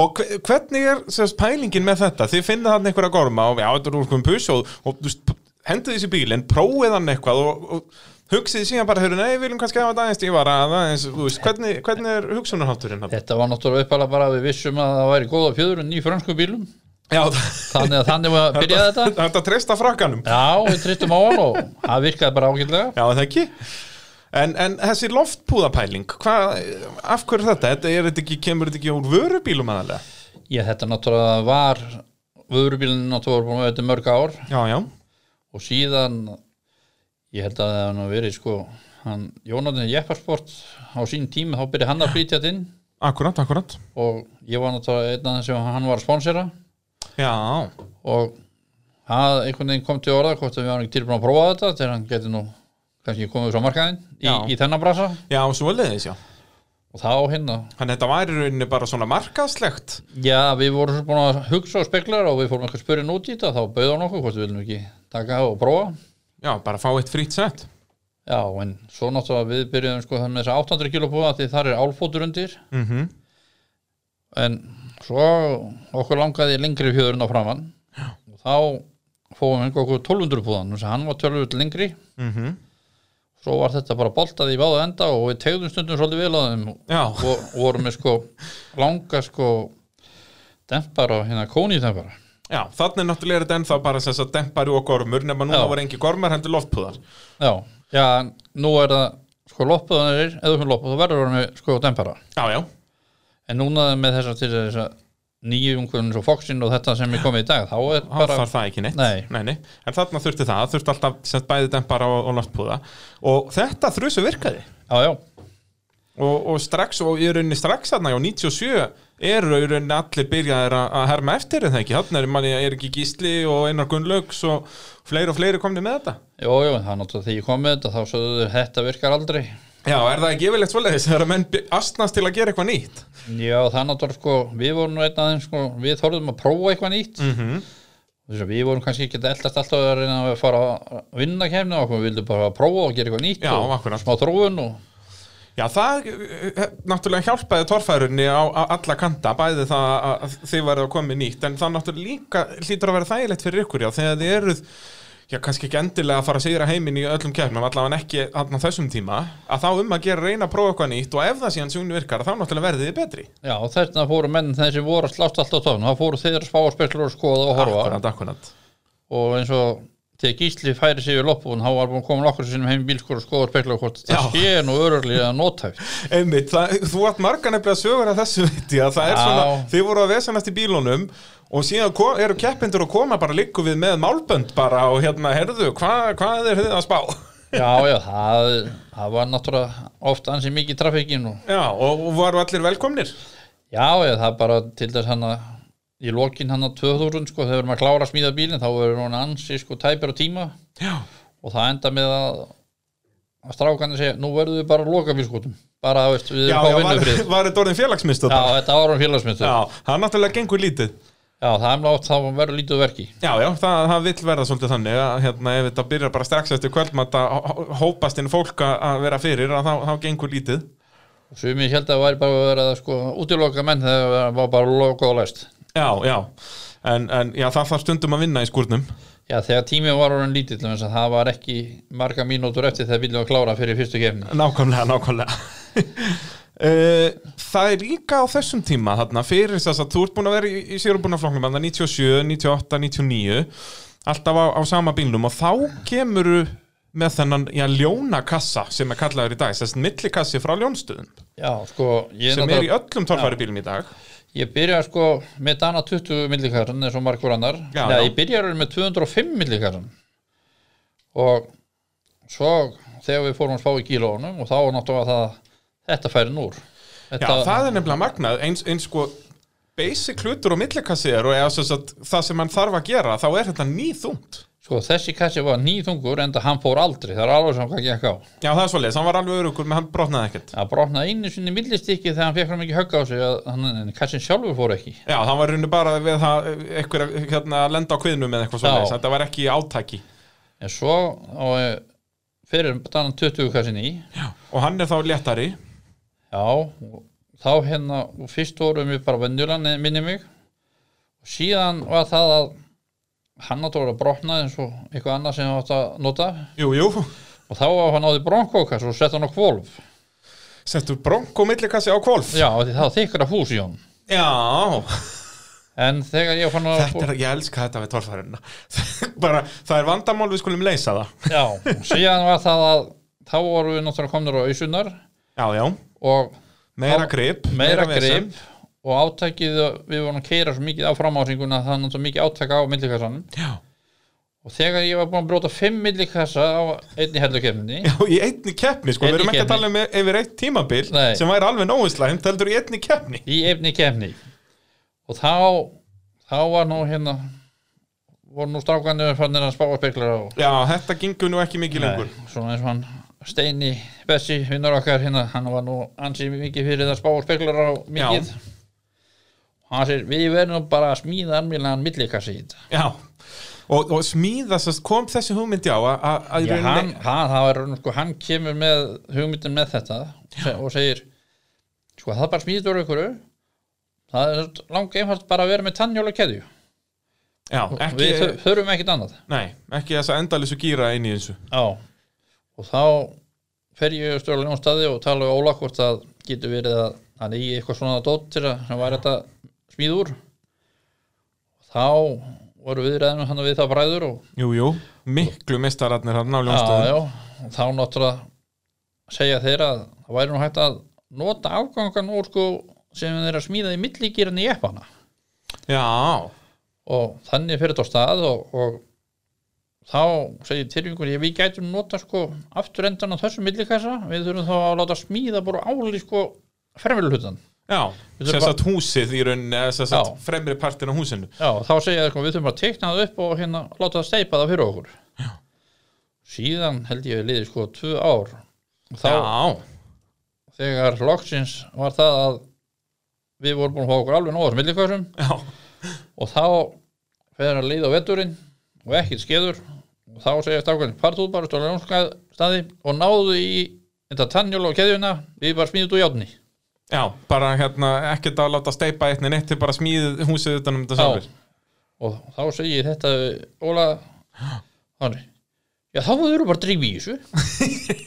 S1: Og hve- hvernig er sérst, pælingin með þetta? Þið finnið þarna einhverja gorma og já, þetta er úrkum pusjó og þú veist, p- hendið þessi bílinn, prófið hann eitthvað og, og hugsið síðan bara, hörru, nei, við viljum kannski hafa þetta aðeins stífara aðeins, þú veist, hvernig, hvernig er hugsunarhátturinn? þarna?
S2: Þetta var náttúrulega uppalega bara að við vissum að það væri góða fjöður en ný frönsku bílum,
S1: Já,
S2: þannig að þannig var að byrjaði þetta.
S1: þetta að treysta frakkanum
S2: Já, við tristum á hann og það virkaði bara ágætlega.
S1: Já, það ekki En, en þessi loftpúðapæling, hvað, af hverju er þetta? þetta er þetta ekki, kemur þetta ekki úr vörubílum aðalega?
S2: Ég þetta náttúrulega var, vörubílinn náttúrulega voru búin með þetta í mörg ár
S1: Já, já,
S2: og síðan ég held að það hann verið sko hann, Jónatinn Jepparsport á sín tíma þá byrja hann að flytja þetta inn
S1: akkurat, akkurat
S2: og ég var náttúrulega einn af þeim sem hann var að sponsera
S1: Já,
S2: og það einhvern veginn kom til orða hvort að við varum ekki tilbúin að prófa þetta þegar hann geti nú kannski komið svo markaðinn í,
S1: Já.
S2: í þennan brasa
S1: já, svo leðis, já
S2: og þá hérna
S1: Þannig þetta var í rauninni bara svona markaðslegt
S2: já við vorum svo búin að hugsa og speklar og við fórum eitthvað spurinn út í þetta þá bauði hann okkur hvort við viljum ekki taka og prófa
S1: Já, bara fá eitt frýtt sett
S2: já en svo náttúrulega við byrjuðum sko það með þessa 800 kilo búa því þar er álfótur undir
S1: mm
S2: en svo okkur langaði lengri fjöðurinn á framann og þá fóðum við okkur 1200 púðan þannig að hann var 1200 lengri svo var þetta bara boltað í báða enda og við tegðum stundum svolítið vel á þeim
S1: Já,
S2: og vorum við sko langa sko dempara og hérna kóni dempara
S1: já, þannig náttúrulega er þetta ennþá bara þess að dempari og gormur nema núna
S2: Já.
S1: voru engi gormar hendur loftpúðar
S2: já, já, en nú er það sko loppuðanir, eða fyrir loppuð þá verður við með sko dempara
S1: Já, já,
S2: en núna með þess að til þess að nýjungun og Foxin og þetta sem er komið í dag þá er
S1: bara,
S2: bara
S1: þarf það ekki neitt
S2: Nei.
S1: Nei, nei. En þarna þurfti það, þurfti alltaf sett bæði dempara og, og loftpúða Og þetta þrjusu virkaði
S2: já, já,
S1: og, og strax, og í rauninni strax þarna á 97 eru í rauninni allir byrjaðir að að herma eftir en það ekki, þarna er manni er ekki gísli og Einar Gunnlaugs og fleiri og fleiri komni með þetta
S2: Jó, jó, en það er náttúrulega þegar ég kom með þetta þá sögðu þau þetta virkar aldrei
S1: Já, er það ekki yfirlegt svoleiðis þegar að menn by- astnast til að gera eitthvað nýtt?
S2: Já, það er náttúrulega sko, við vorum nú einn aðeins sko, við þorðum að prófa eitthvað nýtt mm
S1: Mhm.
S2: -hmm. við vorum kannski ekki að eldast alltaf að reyna að fara að vinna kemni og við vildum bara að prófa og gera eitthvað nýtt
S1: Já,
S2: og
S1: akkurat.
S2: smá þróun og
S1: Já, það eh, náttúrulega hjálpaði torfærunni á, á alla kanta, bæði það að- að þið verið að koma með nýtt, en það náttúrulega líka hlýtur að vera þægilegt fyrir ykkur, já, þegar þið eruð, já, kannski ekki endilega að fara að sigra heiminn í öllum kefnum, allavega ekki þarna á þessum tíma, að þá um að gera reyna að prófa eitthvað nýtt og ef það síðan sjónu virkar, þá náttúrulega verðið þið betri.
S2: já, þessna fóru menn þeir sem voru að slást alltaf tónu, það fóru þeir að spá að speklur og skoða og horfa
S1: Akkurat, akkurat.
S2: og eins og þegar Gísli færi sig við loppun, þá var búin að koma nokkur sinnum heim í bílskur og skoða og spekla hvort það
S1: Já.
S2: sé nú öruglega nothæft
S1: Einmitt, það, þú átt margar nefnilega sögur að þessu veit ég að það er
S2: Já.
S1: svona, þið voru að vesanast í bílunum og síðan ko- eru keppindur að koma bara líku við með málbönd bara og hérna, herðu, hva, hvað er þið að spá?
S2: já, já, það, það var náttúrulega oft ansi mikið í trafikkin og
S1: Já, og, og varu allir velkomnir?
S2: Já, ég, það er bara til þess hann að í lokin hann að 2000 sko, þegar við erum að klára að smíða bílinn þá verður hún ansi sko tæpir á tíma
S1: Já.
S2: og það enda með að, að strákanir segja, nú verðum við bara að loka bílskotum, bara að veist, við
S1: Já, já,
S2: erum að fá
S1: var,
S2: vinnufrið
S1: var þetta orðin félagsmyndst
S2: Já,
S1: þetta?
S2: þetta var hann félagsmyndu Já,
S1: Já, það náttúrulega gengur lítið.
S2: það er mjög oft þá verður lítið úr verki
S1: Já, já, það, það vill verða svolítið þannig að hérna, ef þetta byrjar bara strax eftir kvöldmatt að hó- hópast inn fólk að- að vera fyrir að þá, þá gengur lítið.
S2: Sumi held að það væri bara að vera að sko útiloka menn þegar það var bara lokað og læst
S1: Já, já, en, en já, það þarf stundum að vinna í skúrnum.
S2: Já, þegar tímið var orðin lítið til þess að það var ekki marga mínútur eftir þegar bílum var klára fyrir fyrstu kefni
S1: Nákvæmlega, nákvæmlega Eh, Það er líka á þessum tíma þarna, fyrir þess að þú ert búin að vera í, í sérumbúnaflokknum þarna 97, 98, 99 alltaf á, á sama bílnum og þá kemur með þennan já, ljónakassa sem er kallaður í dag þessi millikassi frá ljónstöðum
S2: Já, sko, ég
S1: sem
S2: náttúrulega-
S1: er í öllum torfæri bílum í dag
S2: Ég byrjaði sko með dana 20 millikarn eins og margur annar
S1: Já,
S2: Nei,
S1: já.
S2: ég byrjaði alveg með 205 millikarn og svo þegar við fórum að spá í kílónum og þá var náttúrulega það þetta færi núr
S1: Já,
S2: þetta,
S1: það er nefnilega magnað eins, eins sko basic hlutur og millikassi er og eða, sem sagt, það sem hann þarf að gera þá er þetta nýþungt
S2: Sko þessi kassi var nýþungur en það hann fór aldrei, það er alveg sem hvað gekk á
S1: Já, það er svoleiðis, hann var alveg örugur menn hann brotnaði ekkert
S2: Það brotnaði einu sinni millistykki þegar hann fekk hann ekki högg á sig að hann, en kassin sjálfur fór ekki
S1: Já, það var rauninu bara við það eitthvað hérna, að lenda á kviðnum eða eitthvað
S2: Já.
S1: svona þetta var ekki í átaki
S2: En svo og, eh, fyrir dana 20 kassin í
S1: og hann er þá léttari
S2: Já, og þá hérna, og fyrst vorum við bara venjulan minni mig og síðan var það að hann náttúrulega að brotna eins og eitthvað annað sem hann átt að nota
S1: Jú, jú,
S2: og þá var hann áði bronkókas og sett hann á kvolf
S1: settur bronk og millikassi á kvolf
S2: Já, af því það var þykra hús í hann
S1: Já,
S2: en þegar ég fann að
S1: þetta er, ég elska þetta við torfærunna bara, það er vandamál við skulum leysa það
S2: Já, og síðan var það að þá vorum við náttúrulega komnir á ausunar
S1: Já, já,
S2: og
S1: meira
S2: Á-
S1: grip
S2: meira
S1: vesen.
S2: grip og átækið, við vorum að keira svo mikið á framásinguna að það er náttúrulega mikið átæk á millikassanum
S1: Já,
S2: og þegar ég var búin að brota fimm millikassa á einni hellukefni
S1: Já, í einni keppni, sko, við
S2: Einni
S1: erum ekki að
S2: keppni.
S1: tala um yfir eitt tímabil
S2: Nei.
S1: sem væri alveg nógu slæmt, heldur í einni keppni
S2: í einni kefni og þá þá var nú hérna voru nú strákandi fannir að spá að spekla á
S1: Já, þetta gengur nú ekki mikið lengur
S2: svona eins og hann Steini Bessi, vinnur okkar hérna hann var nú ansið mikið fyrir það spá að spekla á mikið
S1: Já.
S2: og hann sér, við verðum nú bara að smíða anmjölan millikassi í þetta
S1: Já, og, og smíða sest, kom þessi hugmyndi á að- að að í
S2: Já, hann,
S1: rauninni-
S2: hann, það er, sko, hann kemur með hugmyndin með þetta se- og segir sko það er bara smíðið úr ykkur það er langt einfalt bara að vera með tannjóla keðju
S1: Já, ekki,
S2: við þur- þurfum ekkit annað
S1: nei, ekki þess að endalísu gýra inn í þessu
S2: Já. og þá fer ég stjórlega um staði og tala við Óla hvort það getur verið að hann eigi eitthvað svona dótt til að hann væri þetta smíð úr þá voru viðræðinu hann við það bræður og
S1: Jú, jú, miklu mistararnir hann á
S2: já,
S1: ljónstöðum
S2: já, og þá náttúrulega segja þeir að það væri nú hægt að nota afgangan úr sko sem þeir eru að smíða í milligýran í eppana
S1: Já,
S2: og þannig fyrir þetta á stað og, og þá segir Tyrfingur ég við gætum nota sko aftur endan á þessu millikassa við þurfum þá að láta smíða bara áli sko fremjulhutan
S1: já, sem
S2: Við þurfum
S1: sagt húsið í rauninni, eða sem sagt
S2: Já.
S1: fremri partin á húsinu
S2: Já, þá segja þeir sko, við þurfum að tekna það upp og hérna láta það steipa það fyrir okkur. Já. Síðan held ég að liði sko tvö ár. Og Þá,
S1: Já,
S2: þegar loksins var það að við vorum búin að fá okkur alveg nóg á smillikössum
S1: Já,
S2: og þá fer að leiða á vetturinn og ekkert skeður og þá segja strákan partúð bara stóla staði og náðu í þetta tannjól og keðjuna við bara smíðut úr játni
S1: já, bara hérna ekkert að láta steipa eitt en eitt er bara smíðið húsið utan um þetta sjálfur
S2: og þá segi ég þetta við Óla þannig já þá voru bara að drífa í þessu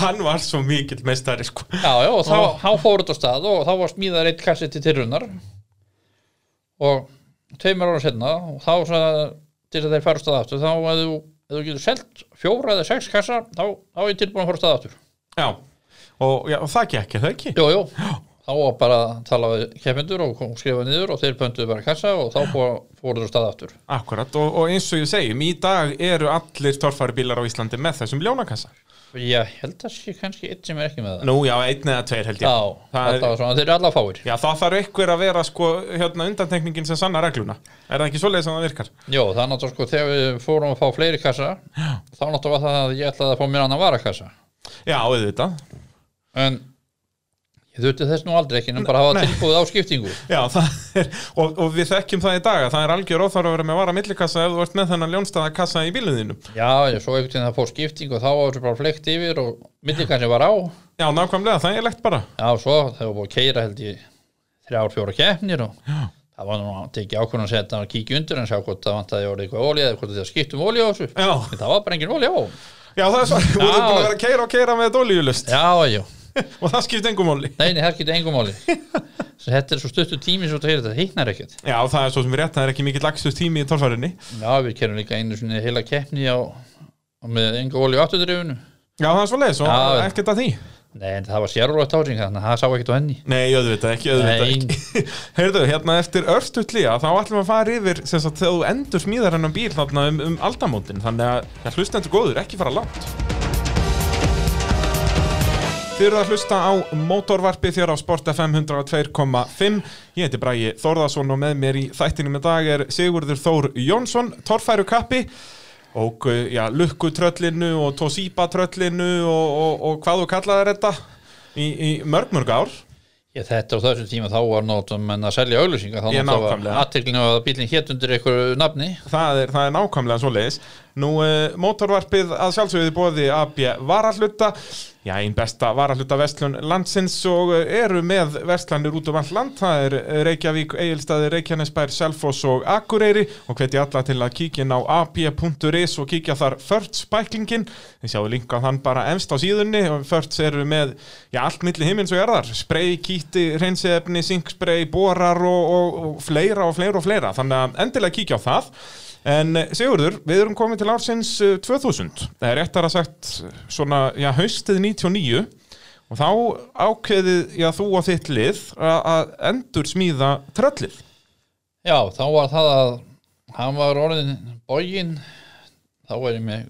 S1: Hann var svo mikill meistari sko
S2: já já og þá, þá fór þetta af stað og þá var smíðar eitt kassi til tilrunar og tveimur ára setna og þá sagði til að þeir fara af stað aftur þá að þú, ef þú getur selt fjóra eða sex kassa þá, þá er ég tilbúin að fara af stað aftur
S1: Já, og, já, og það gekk, er það ekki?
S2: Jú, jú, þá var bara að tala við keppendur og kom- skrifa niður og þeir pöntuðu bara kassa og þá fór- fóru þú stað aftur.
S1: Akkurat, og, og eins og ég segjum, í dag eru allir torfaribílar á Íslandi með þessum ljónakassa
S2: Ég held að sé kannski einn sem er ekki með það.
S1: Nú, já, einn eða tveir held
S2: Já,
S1: ég það
S2: þetta
S1: er,
S2: var svona, þeir eru alla fáir.
S1: Já, það þarf einhver að vera sko hérna undantekningin sem sanna regluna Er það ekki svoleiðis sem það virkar?
S2: Jó, það er náttúrulega sko, þegar við fórum að fá fleiri kassa, þá náttúrulega var það að ég ætlaði að fá mér annan varakassa.
S1: Já, auðvitað
S2: En ég þurfti þess nú aldrei ekki, en bara hafa tilbúið á skiptingu.
S1: Já, það er, og, og við þekkjum það í dag að það er algjör óþarf að vera með vara millikassa ef þú ert með þennan ljónstæða kassa í bílum þínum
S2: Já, ég svo einhvern veginn það fór skiptingu og þá var þessu bara flekt yfir og millikassi var á.
S1: Já, nákvæmlega, það er legt bara
S2: Já, svo þegar búið að keira held ég þrjár, fjóra keppnir og Já. það var nú að tekja ákvörðan að setja að kíkja undir en sjá hvort það vantaði orðið eitthvað ólíu eða hvort það skiptum ólíu á þessu
S1: Já,
S2: en það var bara engin ólíu á
S1: já það er svo, þú ert
S2: Já.
S1: búin að vera að keira og keira með þetta olíulust
S2: Já, já,
S1: og það skipt engum óli
S2: nei, nei, það skipti engum óli Svo þetta er svo stuttu tími svo þetta heyrði, þetta hittnar ekkert
S1: Já, það er svo sem við rétt, það er ekki mikill lagsust tími í torfærinni
S2: Já, við kerum líka einu sinni heila keppni á, á með enga ólíu afturdrifinu
S1: Já, það er svoleiðis og
S2: Já.
S1: ekkert að því
S2: Nei, en það var sérrólægt ásing þannig að það sá ekkert á henni
S1: Nei, auðvitað ekki, auðvitað
S2: Nei.
S1: ekki Heyrðu, hérna eftir örstutlega þá ætlum við að fara yfir sem sagt þegar þú endur smíðar hennan bíl þarna um, um aldamótin þannig að ja, hlustendur góður, ekki fara langt Þið eru að hlusta á mótorvarpi þér á Sport FM 102.5 Ég heiti Bragi Þórðarsson og með mér í þættinum í dag er Sigurður Þór Jónsson, torfæru kappi og uh, já, lukkutröllinu og tosípatröllinu og, og, og hvað þú kallaðir þetta í, í mörg mörg ár
S2: Ég, þetta á þessum tíma þá var náttúrulega menn að selja auðlýsingar, þá
S1: Ég,
S2: náttúrulega
S1: nákvæmlega.
S2: aðteklinu að bílinn hétt undir einhverju nafni
S1: það er, það er nákvæmlega svoleiðis Nú, uh, mótorvarpið að sjálfsögðu bóði AB varahluta Já, einn besta varahluta verslun landsins og eh, eru með verslanir út um allt land Það er eh, Reykjavík, Egilstaði, Reykjanesbær, Selfoss og Akureyri og hveti alla til að kíkja inn á ab.is og kíkja þar Förts bæklingin Þið sjáu linkað hann bara emst á síðunni og Förts eru með já, allt milli himins og jarðar Spray, kíti, reynsefni, syngspray, borar og, og, og fleira og fleira og fleira Þannig að endilega kíkja á það En eh, Sigurður, við erum komin til ársins eh, 2000, það er réttar að sagt eh, svona, já, haustið 99 og þá ákveðið, já, þú og þitt lið að að endur smíða tröllið.
S2: Já, þá var það að hann var orðin bógin þá var ég með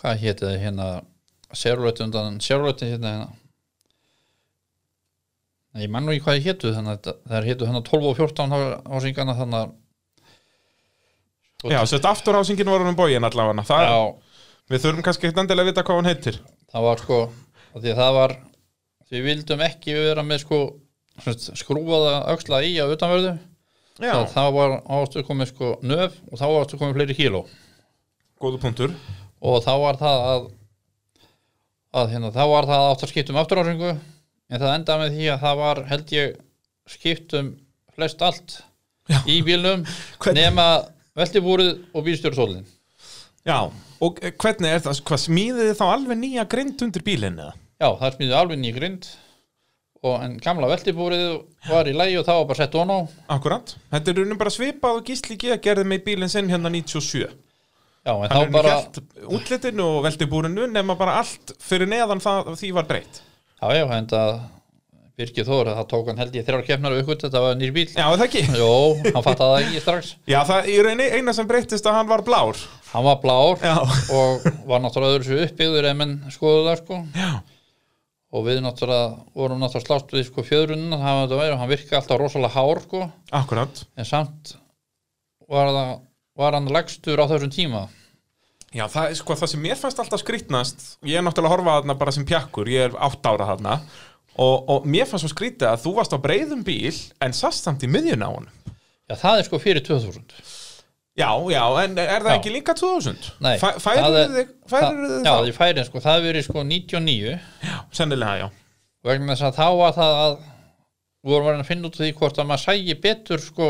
S2: hvað héti það hérna sérlötu undan sérlötu hérna, hérna. Nei, ég man nú ekki hvað ég hétu þannig að þetta- þær hétu hérna 12 og 14 á- ásingana þannig að Þú-
S1: Já, sett afturhásingin var um bógin allavega, það,
S2: já,
S1: við þurfum kannski ekkert endilega að vita hvað hann heitir.
S2: það var sko af því að það var við vildum ekki vera með sko sem sagt, skrúfaða öxla í á utanverðu
S1: Já,
S2: þá þá var ástu komið sko nöf og þá ástu komið fleiri kíló
S1: góðu punktur.
S2: og þá var það að, að hérna, þá var það átt að skipta um afturásingu en það endaði með því að það var held ég skipt um flest allt
S1: Já.
S2: í bílnum
S1: Hvernig-
S2: nema veltibúrið og bílstjórnsólin
S1: Já, og eh, hvernig er það, hvað smíðið þið þá alveg nýja grind undir bílinni eða?
S2: já, það smíði alveg ný grind og en gamla veltibúrið var í lægi og það var bara sett on á
S1: Akkurat, þetta er runum bara svipað og gísli G gerði með bílinn sinn hérna 97.
S2: já, en
S1: Hann
S2: þá
S1: er
S2: bara
S1: bara... held útlitinu og veldibúrinu nema bara allt fyrir neðan það því var breytt.
S2: já, já, en það Birgir Þór, það tók hann held ég þrjár keppnar og ykkur, þetta var nýr bíl
S1: Já, er það ekki.
S2: Jó, hann fattaði það ekki strax
S1: Já, það er eini, eina sem breyttist að hann var blár.
S2: Hann var blár
S1: Já.
S2: og var náttúrulega öðru svo uppbyggður en menn skoðu það sko
S1: Já.
S2: og við náttúrulega vorum náttúrulega slást við sko fjöðrunina það var þetta væri og hann virkaði alltaf rosalega hár sko
S1: Akkurat.
S2: en samt var, það, var hann lagstur á þessum tíma
S1: Já, það er sko það sem mér fannst alltaf skrítnast Ég er náttúrulega að horfa þarna bara sem pjakkur Ég er átt ára þarna og, og mér fannst svo skrítið að þú varst á breiðum bíl En sast samt í miðjun á honum
S2: Já, það er sko fyrir 2000
S1: Já, já, en er það
S2: Já.
S1: ekki líka 2000?
S2: Nei,
S1: Fæ-
S2: það
S1: Færir
S2: er-
S1: þig, færir
S2: það-
S1: þig
S2: Já,
S1: þá?
S2: ég færi sko, það hefur verið sko 99
S1: Sennilega, já
S2: vegna þess að þá var það að við vorum varin að finna út úr því hvort að maður sægi betur sko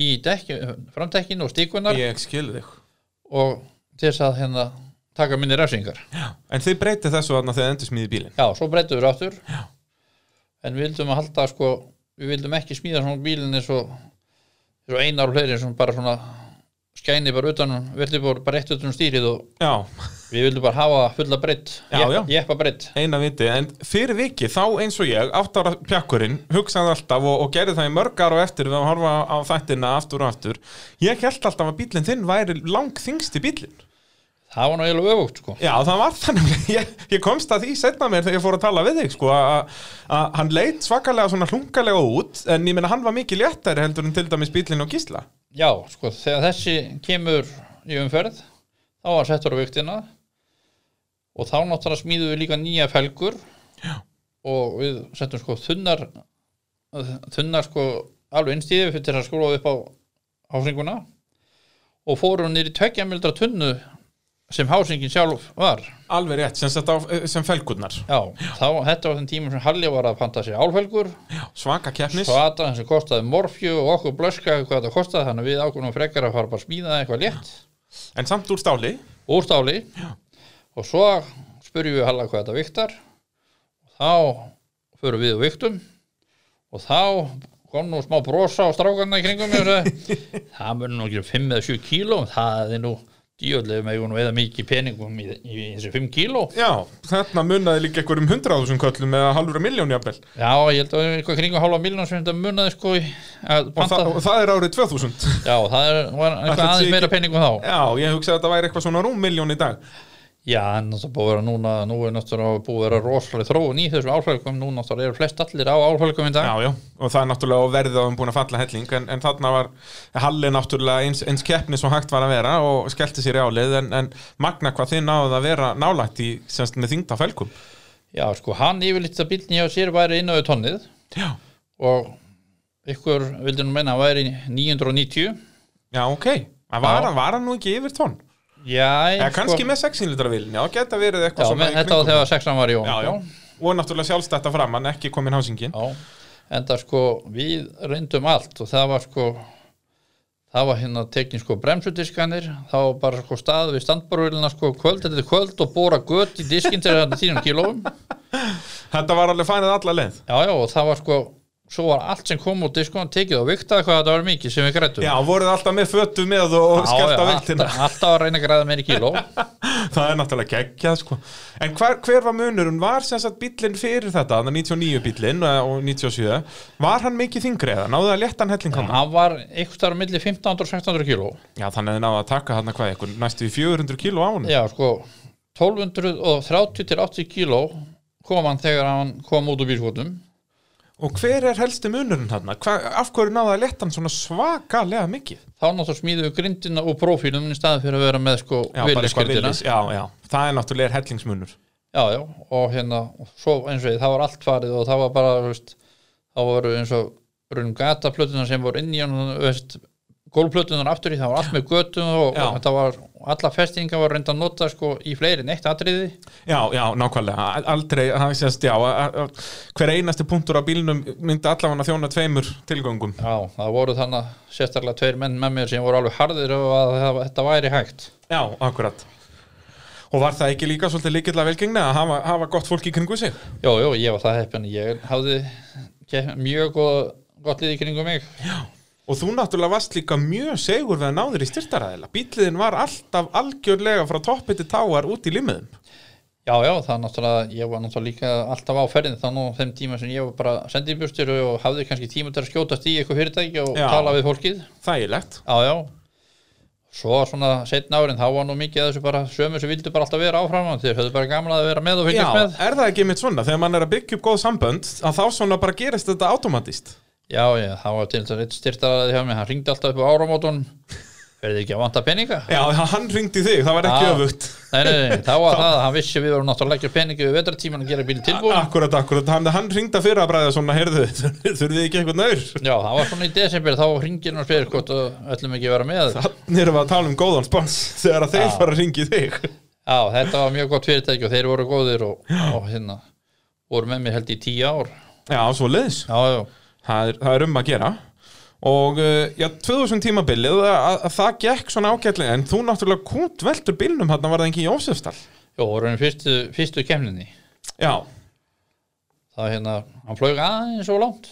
S2: í dekki, framdekkinu og stíkunar
S1: Ég skil þig
S2: og til þess að hérna taka minni refsingar
S1: En þið breytið þessu þarna þegar þið endur smíði bílinn
S2: Já, svo breyttum við ráttur Já. en við vildum að halda sko við vildum ekki smíða svona bílinn eins og eins og einar og fleiri sem bara svona skæni bara utanum, við vildum bara breytt utanum stýrið og
S1: Já,
S2: við vildum bara hafa fulla breytt,
S1: Já, já.
S2: jeppa breytt
S1: eina viti En fyrir viki, þá eins og ég, átt ára pjakkurinn Hugsaði alltaf og, og gerði það í mörg ára á eftir Við að horfa á þættina aftur og aftur Ég held alltaf að bílinn þinn væri langþingsti bílinn
S2: það var nú eiginlega öfugt sko
S1: Já, það var þannig, ég, ég komst að því setna mér þegar ég fór að tala við þig, sko, að að hann leit svakalega svona hlungalega út, en ég meina hann var mikið léttari heldur en til dæmis bílinn og gísla.
S2: Já, sko, þegar þessi kemur í umferð, þá var settur á viktina og þá náttúrulega smíðum við líka nýja felgur Já. og við settum sko þunnar þunnar sko alveg innstíði fyrir til að skrúfa upp á hásinguna og fórum niður í tveggja mildra tunnu sem hásingin sjálf var
S1: Alveg rétt, sem, sagt á, eh, sem felgurnar.
S2: Já, þá, þetta var þenn tíma sem Halli var að panta sér álfelgur
S1: Svaka keppnis.
S2: svo aðan sem kostaði morfju og okkur blöska hvað þetta kostaði þannig að við ákveðum frekar að fara bara að smíða eitthvað létt
S1: En samt úr stáli,
S2: úr stáli og svo spurjum við Halla hvað þetta viktar og þá förum við og viktum og þá kom nú smá brosa á strákarna í kringum mér og sagði, það mun nú ekki 5 eða 7 kíló það er nú djöðlega með nú eða mikið peningum í, í, í þessi 5 kíló
S1: já, þarna munnaði líka einhverjum hundraðúsund köllum eða halvura miljón jafnvel.
S2: já, ég held að við eitthvað kringum hálfa miljón sem þetta munnaði sko í að
S1: Og,
S2: panta
S1: það- og það er árið 2000.
S2: já, það er, var
S1: Ætli
S2: eitthvað
S1: sé
S2: aðeins
S1: ekki-
S2: meira peningum þá
S1: Já, ég hugsaði að þetta væri eitthvað svona rúm miljón í dag.
S2: Já, en náttúrulega búið að vera núna, nú er náttúrulega búið að vera rosalega þróun í þessum álfælgum, nú náttúrulega eru flest allir á álfælgum í dag.
S1: Já, já, og það er náttúrulega á verðið að hann búin að falla helling en, en þarna var Halli náttúrulega eins, eins keppni sem hægt var að vera og skellti sér í álið en, en magna hvað þið náðuð að vera nálægt í semst með þingda felgum
S2: Já, sko, hann yfirleitt að bílni hjá sér væri inn á tonnið
S1: Já,
S2: og ykkur vildi nú menna að væri 990.
S1: já ok, en var,
S2: Já.
S1: hann- var hann nú ekki yfir tonn?
S2: Já, en sko,
S1: Eða kannski með 6 litra vilin, já, geta verið
S2: já,
S1: eitthvað svona
S2: menn,
S1: í
S2: þetta var
S1: kringum.
S2: þegar sexan var í ón.
S1: Já, já, og náttúrulega sjálfstætta fram, hann ekki komin hásingin
S2: já. En það sko, við reyndum allt og það var sko, það var hérna tekin sko bremsudiskanir, það var bara sko stað við standbarvélina sko kvöld, þetta er kvöld og bóra gött í diskinn til þetta þínum kílóum.
S1: Þetta var alveg fænið alla leið
S2: Já, já, og það var sko svo var allt sem kom út diskon tekið og viktaði hvað þetta var mikið sem við grættum
S1: Já, voruð alltaf með fötu með og skellt á viltina
S2: alltaf, alltaf að reyna að græða meiri kíló
S1: Það er náttúrulega geggjað sko En hver, hver var munurinn? Var sem sagt bíllinn fyrir þetta, þannig 99 bíllinn eh, og 97, var hann mikið þingri eða náðu að létta hann helling hann?
S2: hann var einhverstaðar á milli 1500 og 1600 kíló
S1: Já, þannig að þið náðu að taka hann hvað, eitthvað næstu í 400 kíló á hann
S2: já sko 1230 til 80 kíló kom hann þegar hann kom út úr bílskotum
S1: Og hver er helsti munurinn hann? Af hverju náðu að létta hann svona svakalega mikið?
S2: þá náttúrulega smíðu grindina og prófílum í staði fyrir að vera með sko
S1: Já, bara eitthvað
S2: villiskrindina.
S1: villis, já, já Það er náttúrulega hellingsmunur
S2: já, já, og hérna og svo eins og ég, það var allt farið og það var bara þú veist, það voru eins og runum gataplötunar sem voru inn í hann þú veist, gólplötunar aftur í það var allt með götum og,
S1: Já.
S2: og þetta var alla festinga var reynda að nota sko í fleiri en eitt atriði
S1: Já, já, nákvæmlega, Al- aldrei, það sést, já, að- að- hver einasti punktur á bílnum myndi allavega þjóna tveimur tilgöngum.
S2: já, það voru þannig að sérstaklega tveir menn með mér sem voru alveg harðir og að það, þetta væri hægt
S1: Já, akkurat Og var það ekki líka svolítið líkilega velgengni að hafa, hafa gott fólk í kringu sig?
S2: já, já, ég var það heppin ég hafði ke- mjög góð, gott lið í kringum mig
S1: Og þú náttúrulega varst líka mjög segur við að náður í styrtaræðila. Bíliðin var alltaf algjörlega frá toppi til táar út í limmiðum.
S2: Já, já, það er náttúrulega, ég var náttúrulega líka alltaf á ferðin þannig á þeim tíma sem ég var bara sendibjúrstur og hafði kannski tíma til að skjótast í eitthvað fyrirtæki og
S1: Já.
S2: tala við fólkið.
S1: Þægilegt.
S2: Já, já. Svo svona setna árin, þá var nú mikið af þessu bara sömu sem vildu bara alltaf vera áfram og þeir höfðu bara gamla að vera með og
S1: Já,
S2: fylgjast með.
S1: er það ekki mitt svona? Þegar mann er að byggja upp góð sambönd, að þá svona bara gerist þetta automatist.
S2: Já, já, það var til þess að eitt styrtaraði hjá mig, hann ringdi alltaf upp á áramótun verðið ekki að vanta peninga
S1: Já, hann ringdi þig, það var ekki
S2: Já.
S1: öfugt
S2: nei, nei, nei, þá var það að hann vissi að við vorum náttúrulega ekki peningi við vetratíman að gera bíl tilbúin
S1: Akkurat, akkurat, hann, hann ringdi að fyrra bræða svona, heyrðu, þurfið ekki eitthvað nær
S2: já, það var svona í desember, þá ringir hann og spyrir hvort að ætlum ekki að vera með já,
S1: Þannig erum við að tala um góðan spans þegar að þeir
S2: Já.
S1: fara að ringi þig
S2: þetta var mjög gott fyrirtæki og þeir voru góðir og, og hérna, voru með mér held í tíu ár
S1: Já, svo leiðis
S2: já, já,
S1: það er, það er um að gera og uh, já, 2000 tímabilið að, að, að það gekk svona ágætlega en þú náttúrulega kúnt veldur bílnum hann var það ekki í Jósefsdal
S2: já, voru hann fyrstu, fyrstu kemninni
S1: já,
S2: það hérna, hann flög aðeins og langt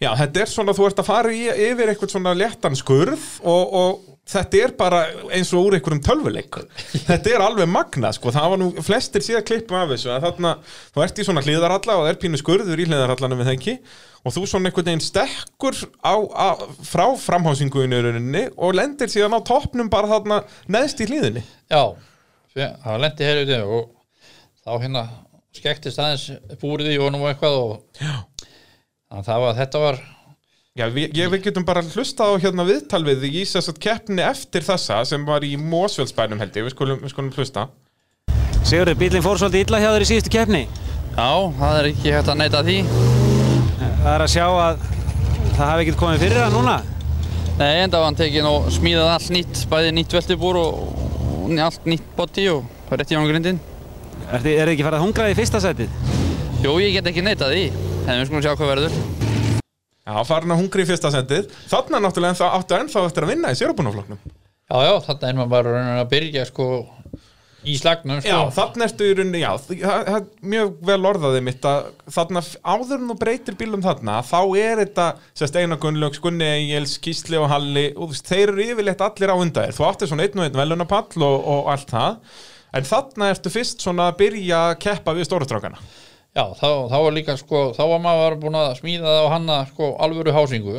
S1: já, þetta er svona þú ert að fara í, yfir eitthvað svona léttan skurð og, og þetta er bara eins og úr einhverjum tölvuleik þetta er alveg magna sko, það var nú flestir síðan klippum af þessu að þarna, þú ert í svona hliðaralla og það er pínu skurður í hliðarallanum við þengi og þú svona einhvern veginn stekkur á, á, frá framhásinguinu í rauninni og lendir síðan á toppnum bara þarna neðst í hliðinni
S2: Já, fyrir- það lendi hér út og þá hérna skektist aðeins búrið í honum og eitthvað og
S1: Já.
S2: Þannig að það var, þetta var
S1: Já, við, ég, við getum bara hlustað á hérna viðtal við þig í þess að keppni eftir þessa sem var í Mósfjöldsbænum held ég, við skulum, við skulum hlusta.
S3: Sigurður, bílinn fór svolítið illa hjá þér í síðustu keppni.
S2: Já, það er ekki hægt að neita því
S3: Það er að sjá að það hafi ekkert komið fyrir það núna.
S2: Nei, enda var hann tekin og smíðað allt nýtt bæði nýtt veltibúr og, og allt nýtt body og það rétt í hann grindin
S3: Er þið er þið ekki farið að hungra í fyrsta sætið?
S2: Jó, ég get ekki neitað því en við skulum sjá hvað verður
S1: Já, farin að hungri í fyrsta sendið. Þarna náttúrulega ennþá, áttu ennþá eftir að vinna í sérubunafloknum.
S2: Já, já, þarna er maður bara raunin að byrja sko í slagnum sko
S1: Já, þarna ertu í rauninni, já, þ- það það er mjög vel orðaðið mitt að þarna f- áður en þú breytir bílum þarna, þá er þetta, sérst Einar Gunnlaugs, Gunni Egils, Kísli og Halli, og þú veist, þeir eru yfirleitt allir á undan þér, þú áttir svona einn og einn velunapall og, og allt það, en þarna ertu fyrst svona að byrja að keppa við stórastrákana.
S2: Já, þá, þá var líka sko, þá var maður búin að smíða það og hanna sko alvöru hásingu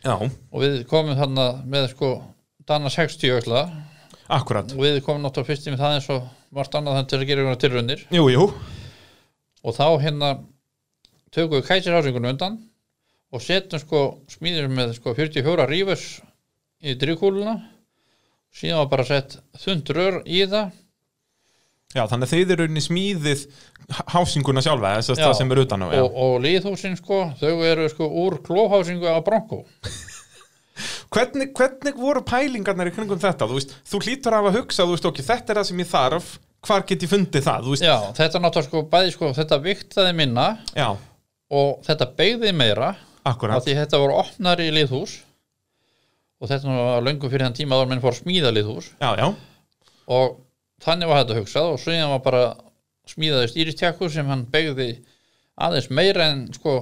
S1: Já,
S2: og við komum þarna með sko Dana 60 ökla
S1: akkurat.
S2: og við komum náttúrulega fyrst í með það eins og margt annað þannig til að gera einhverja tilraunir
S1: Jú, jú,
S2: og þá hérna tökum við kæsirhásingunum undan og setjum sko smíðum með sko 44 rífus í drivkúluna síðan var bara sett þund rör í það
S1: já, þannig að þeir eru inn í smíðið h- hásinguna sjálfa, þess að
S2: Já.
S1: það sem er utan á, já.
S2: og, og liðhúsin sko þau eru sko úr klóhásingu á bronko
S1: hvernig, hvernig voru pælingarnar í kringum þetta þú, veist, þú hlýtur af að hugsa, þú veist okki, þetta er það sem ég þarf hvar get ég fundið það, þú veist
S2: já þetta náttúrulega sko bæði sko þetta viktaði minna
S1: já,
S2: og þetta beigði meira af
S1: akkurat,
S2: því þetta voru opnar í liðhús og þetta var löngu fyrir þann tíma að menn fór að smíða liðhús
S1: já, já
S2: og þannig var þetta hugsað og síðan var bara smíðaði stýristjakku sem hann beigði aðeins meira en sko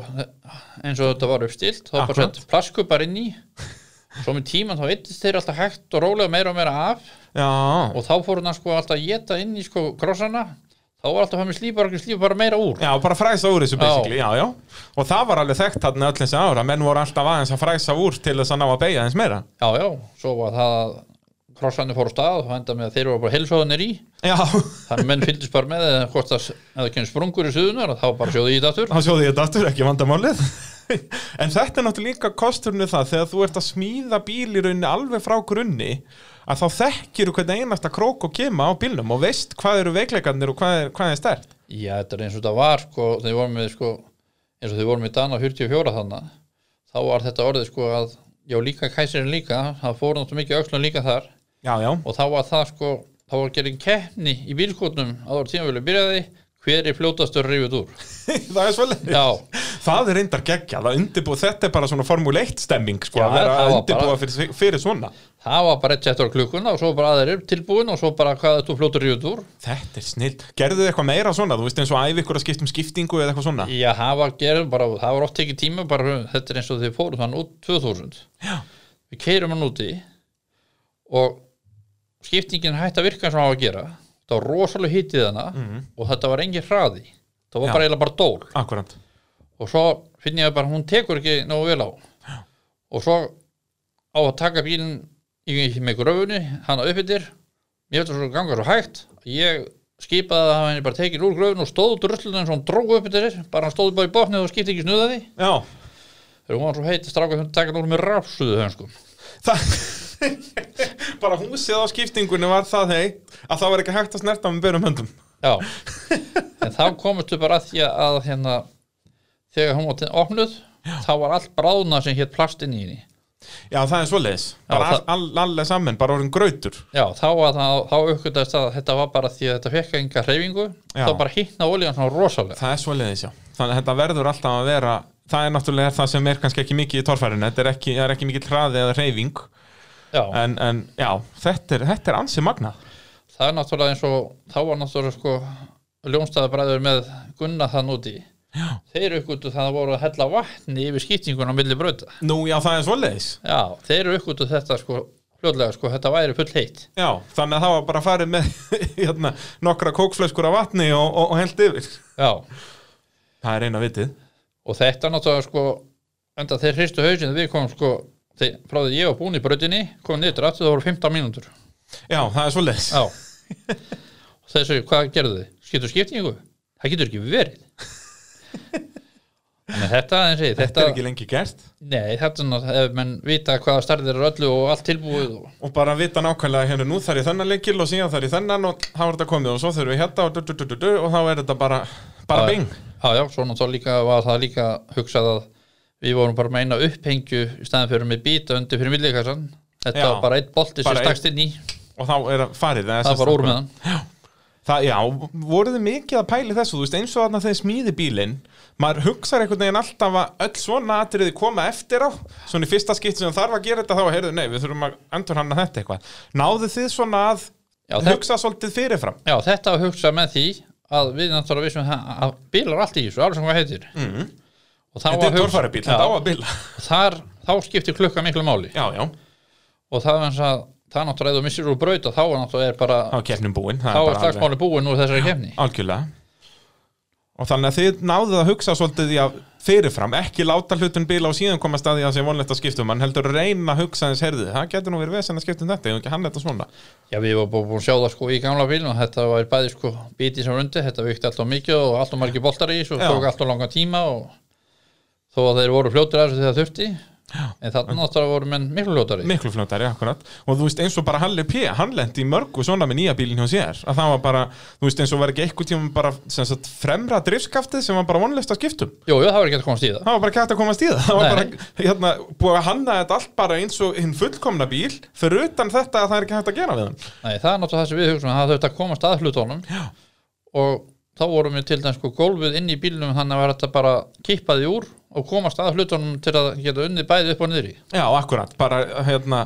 S2: eins og þetta var uppstilt þá bara
S1: Akkurat.
S2: sett plaskupar inn í svo með tíman þá eittist þeir alltaf hægt og rólega meira og meira af
S1: já,
S2: og þá fór hann sko alltaf að geta inn í sko krossana þá var alltaf hann með slípar og slípar bara meira úr
S1: já, bara fræsa úr þessu basically, já, já og það var alveg þekkt þarna öll þessi ára menn voru alltaf aðeins að fræsa úr til þess að ná að beigja eins meira
S2: já já, svo var það að krossani fór á stað og það enda með að þeir voru bara helsóðanir í
S1: já, þá
S2: þannig að menn fylgist bara með eða hvort það, ef það kemur sprungur í suðunar þá bara sjóðu í þetta aftur
S1: sjóði ég þetta aftur ekki vandamálið en þetta er náttúrulega líka kosturinn við það þegar þú ert að smíða bíl í rauninni alveg frá grunni að þá þekkir þú hvernig einasta krók og kema á bílnum og veist hvað eru veikleikarnir og hvað er, hvað er stert
S2: já, þetta er eins og þetta var sko, þegar við vorum með sko, eins og þegar við vorum með Dana 44 þannig þá var þetta orðið sko að já, líka kæsirinn líka, það fór náttúrulega mikið öxlun líka þar
S1: já, já,
S2: og þá var það sko þá var gerðin keppni í bílskotnum að það var tímafélug byrjaði hver er fljótastur rífið úr
S1: það er svolítið
S2: já,
S1: Það er reyndar geggja, það undirbúið, þetta er bara svona formule 1 stemming sko,
S2: Já,
S1: að vera
S2: það
S1: að
S2: var
S1: undirbúa
S2: bara-
S1: fyrir, fyrir svona
S2: það var bara eitt settur á klukkuna og svo bara aðeir upp tilbúin og svo bara hvað er þú fljótur rífið úr
S1: Þetta er snill, gerðu þið eitthvað meira svona, þú veist eins og æfi ykkur að skipta um skiptingu eða eitthvað svona
S2: Já, það var gerðum bara, það var oft ekki tíma bara, þetta er eins og þið fórum þann út 2000
S1: Já.
S2: Við keirum hann úti og skiptingin hætti að virka sem hann var að gera Það var rosalega hitið hana og þetta var engin hraði Það var
S1: Já.
S2: bara eiginlega bara dól
S1: Akkurant,
S2: og svo finn ég bara, hún tekur ekki nógu vel á Já. og svo á að taka bílinn í, með gröfunni, hana uppbyttir mér veitum svo ganga svo hægt ég skipaði að hann bara tekin úr gröfun og stóð drullun eins og hann drógu upp yfir sér bara hann stóð bara í botnið og skipti ekki snuðaði
S1: já
S2: sko. þegar hún var svo heit stráka þannig að taka hann úr með rafsuðu hönskum
S1: Það, bara húsið á skiptingunni var það hei að það var ekki hægt að snerta með börum höndum
S2: Já, en þá komist við bara að því að hérna, þegar hún var opnuð, þá var allt bráðna sem hétt plast inn í henni.
S1: já það er svoleiðis, bara
S2: það-
S1: all, all, allir saman bara orðin grautur
S2: Já, þá, var það- þá aukvitaðist að þetta var bara því að þetta fekk enga hreyfingu,
S1: Já.
S2: þá bara hittna olíðan svona rosalega.
S1: það er svoleiðis já, þannig að þetta verður alltaf að vera það er náttúrulega það sem er kannski ekki mikið í torfærinu, þetta er ekki, það er ekki mikið hraði eða reyfing,
S2: Já,
S1: en, en já þetta er, þetta er ansi magna
S2: það er náttúrulega eins og, þá var náttúrulega sko ljónstæðabræður með Gunna þann úti. Já. Þeir aukvitað það voru að hella vatni yfir skýtinguna á milli brauta.
S1: nú já það er svoleiðis
S2: Já, þeir aukvitað þetta sko, hljóðlega sko, þetta væri full heitt.
S1: já, þannig að það var bara farið með hérna, nokkra kókflöskur af vatni og, og, og held yfir
S2: Já.
S1: það er eina vitið
S2: og þetta náttúrulega sko enda þeir hristu hausinu við komum sko þeir, frá því ég var búin í brautinni komum niður aftur það voru 15 mínútur
S1: já, það er svoleiðis
S2: já og þessu, hvað gerðu þið? skiptu um skiptingu? það getur ekki verið en þetta, eins og ég,
S1: þetta
S2: þetta,
S1: er ekki lengi gert
S2: nei, þetta er náttúrulega ef menn vita hvaða starðir eru öllu og allt tilbúið og,
S1: og bara vita nákvæmlega hérna nú þar í þennan leikil og síðan þar í þennan og þá er þetta komið og svo þurfum við hérna og, du, du, du, du, du, og þá er þetta bara, bara Ah, bing
S2: já, já, svo náttúrulega líka var það líka hugsað að við vorum bara með eina upphengju í staðan fyrir með býta undir fyrir millikassan þetta
S1: Já.
S2: var bara eitt bolti sem
S1: Bara einn-
S2: stakst inn í
S1: og þá er það farið eða
S2: það
S1: sem
S2: var
S1: sagt-
S2: úr með hann
S1: það, Já, voruð þið mikið að pæli þessu þú veist eins og þarna þeir smíði bílinn maður hugsar einhvern veginn alltaf að öll svona atriði koma eftir á svona í fyrsta skipti sem þarf að gera þetta þá að heyrðu nei við þurfum að endur hanna þetta eitthvað náðu þið svona að
S2: Já, það-
S1: hugsa svolítið fyrirfram
S2: Já, þetta var hugsað með því að við náttúrulega vissum það að bílar allt í þessu, alveg sem hvað heitir mm. og þá
S1: Mhm. þetta er
S2: var hugsað-
S1: torfæribíl, þetta á að
S2: já,
S1: bíla
S2: þar, þá skipti klukka miklu máli
S1: já, já,
S2: og það var eins að það náttúrulega eða þú missir úr braut og þá var náttúrulega er bara
S1: þá er keppnum búin
S2: þá er slagsmáli búin úr þessari kefni
S1: Algjörlega Og þannig að þið náðuð að hugsa svolítið í að fyrirfram, ekki láta hlutun bíla og síðan koma staði að sé vonlegt að skipta um hann heldur að reyna að hugsa eins herðið, það getur nú verið vesen að skipta um þetta, ég ekki hann þetta svona
S2: Já, við varum búin að sjá það sko í gamla bílum og þetta var bæði sko bítið sem rundi þetta vikti alltaf mikið og alltaf margir boltar í þessu og
S1: Já.
S2: tók alltaf langan tíma og þó að þeir voru fljótur að þessu þegar þurfti en þannig náttúrulega voru menn miklu fljótari
S1: miklu fljótari, akkurat, og þú veist eins og bara Halli P, hann lendi í mörgu svona með nýja bílinn hjá sér, að það var bara þú veist eins og var ekki eitthvað tíma bara sem sagt, fremra drifskaftið sem var bara vonlegt að skiptum
S2: Jú, jú, það var ekki að komast í það
S1: það var bara kætt að komast í það það var
S2: Nei.
S1: bara, hérna, búið að hanna þetta allt bara eins og hinn fullkomna bíl fyrir utan þetta að það er ekki hægt að gera við hann
S2: Nei, það er náttúrulega það sem við hugsaum að það þurfti að komast að hlutunum Já. og þá vorum við til dæmis sko gólfið inn í bílnum þannig að var þetta bara kippa því úr og komast að hlutunum til að geta unnið bæði upp og niður í
S1: Já, akkurat, bara, hérna,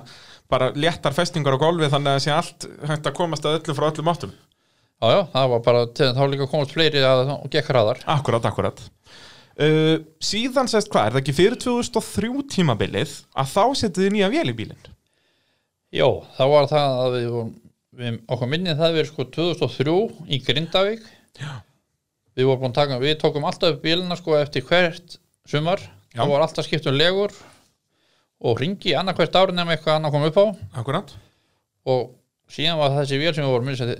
S1: bara léttar festingar á gólfi þannig að það sé allt hægt að komast að öllu frá öllum áttum
S2: Já, já, það var bara til þá líka komast fleiri að og gekk hraðar
S1: Akkurat, akkurat uh, Síðan sést hvað, er það ekki fyrir 2003 tímabilið að þá setið þið nýja vél í bílinn
S2: Jó, þá var það að við, vorum- við okkur minnið það verið sko 2003 í Grindavík Já. Við vorum búin að taka, við tókum alltaf upp bílina sko eftir hvert sumar
S1: Já.
S2: þá var alltaf skipt um legur og ringi annað hvert ári nema eitthvað annað kom upp á
S1: Akkurat
S2: og síðan var þessi vél sem við vorum með þessi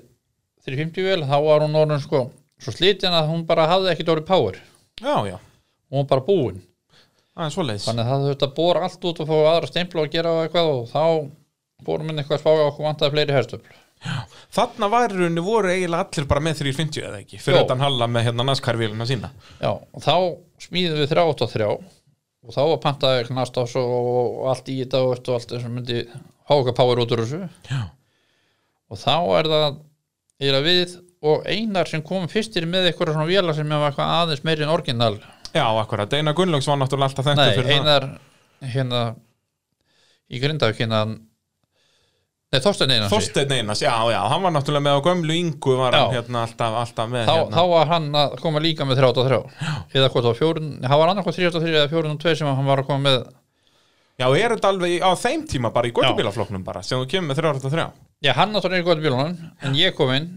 S2: 350 vél, þá var hún orðin sko svo slitin að hún bara hafði ekkit orðið power
S1: Já, já,
S2: hún var bara búin,
S1: það er svoleiðis
S2: þannig að það þurfti að bóra allt út og fá aðra stempla og gera og eitthvað og þá bórum minn eitthvað að spája okkur vantaði fleiri herstöfl
S1: Þarna varurunni voru eiginlega allir bara með 350 eða ekki fyrir
S2: Jó.
S1: utan halla með hérna naskarvélina sína
S2: já, og þá smíðum við 383 og þá var pantaði knastás og, og allt í þetta og, veist, og allt þess að myndi fá okkur power út úr þessu
S1: Já.
S2: og þá er það er að við og einar sem kom fyrstir með eitthvað svona véla sem var eitthvað aðeins meiri en orginal
S1: Já, akkurat, Einar Gunnlaugs var náttúrulega alltaf þetta
S2: Nei,
S1: fyrir
S2: Einar hérna í Grindavík hérna Nei, Þorstein Einar
S1: það
S2: segi ég.
S1: Þorstein Einars, já, já, hann var náttúrulega með á gömlu yngu var hann
S2: Já.
S1: hérna alltaf, alltaf með
S2: þá,
S1: hérna.
S2: þá var hann að koma líka með 33 eða hvort það var fjórun hann var annarkoð 33 eða 42 sem hann var að koma með
S1: Já, er þetta alveg í- á þeim tíma bara í göttubílafloknum bara, sem þú kemur með 383
S2: já, hann náttúrulega er í Götubílunum en ég kom inn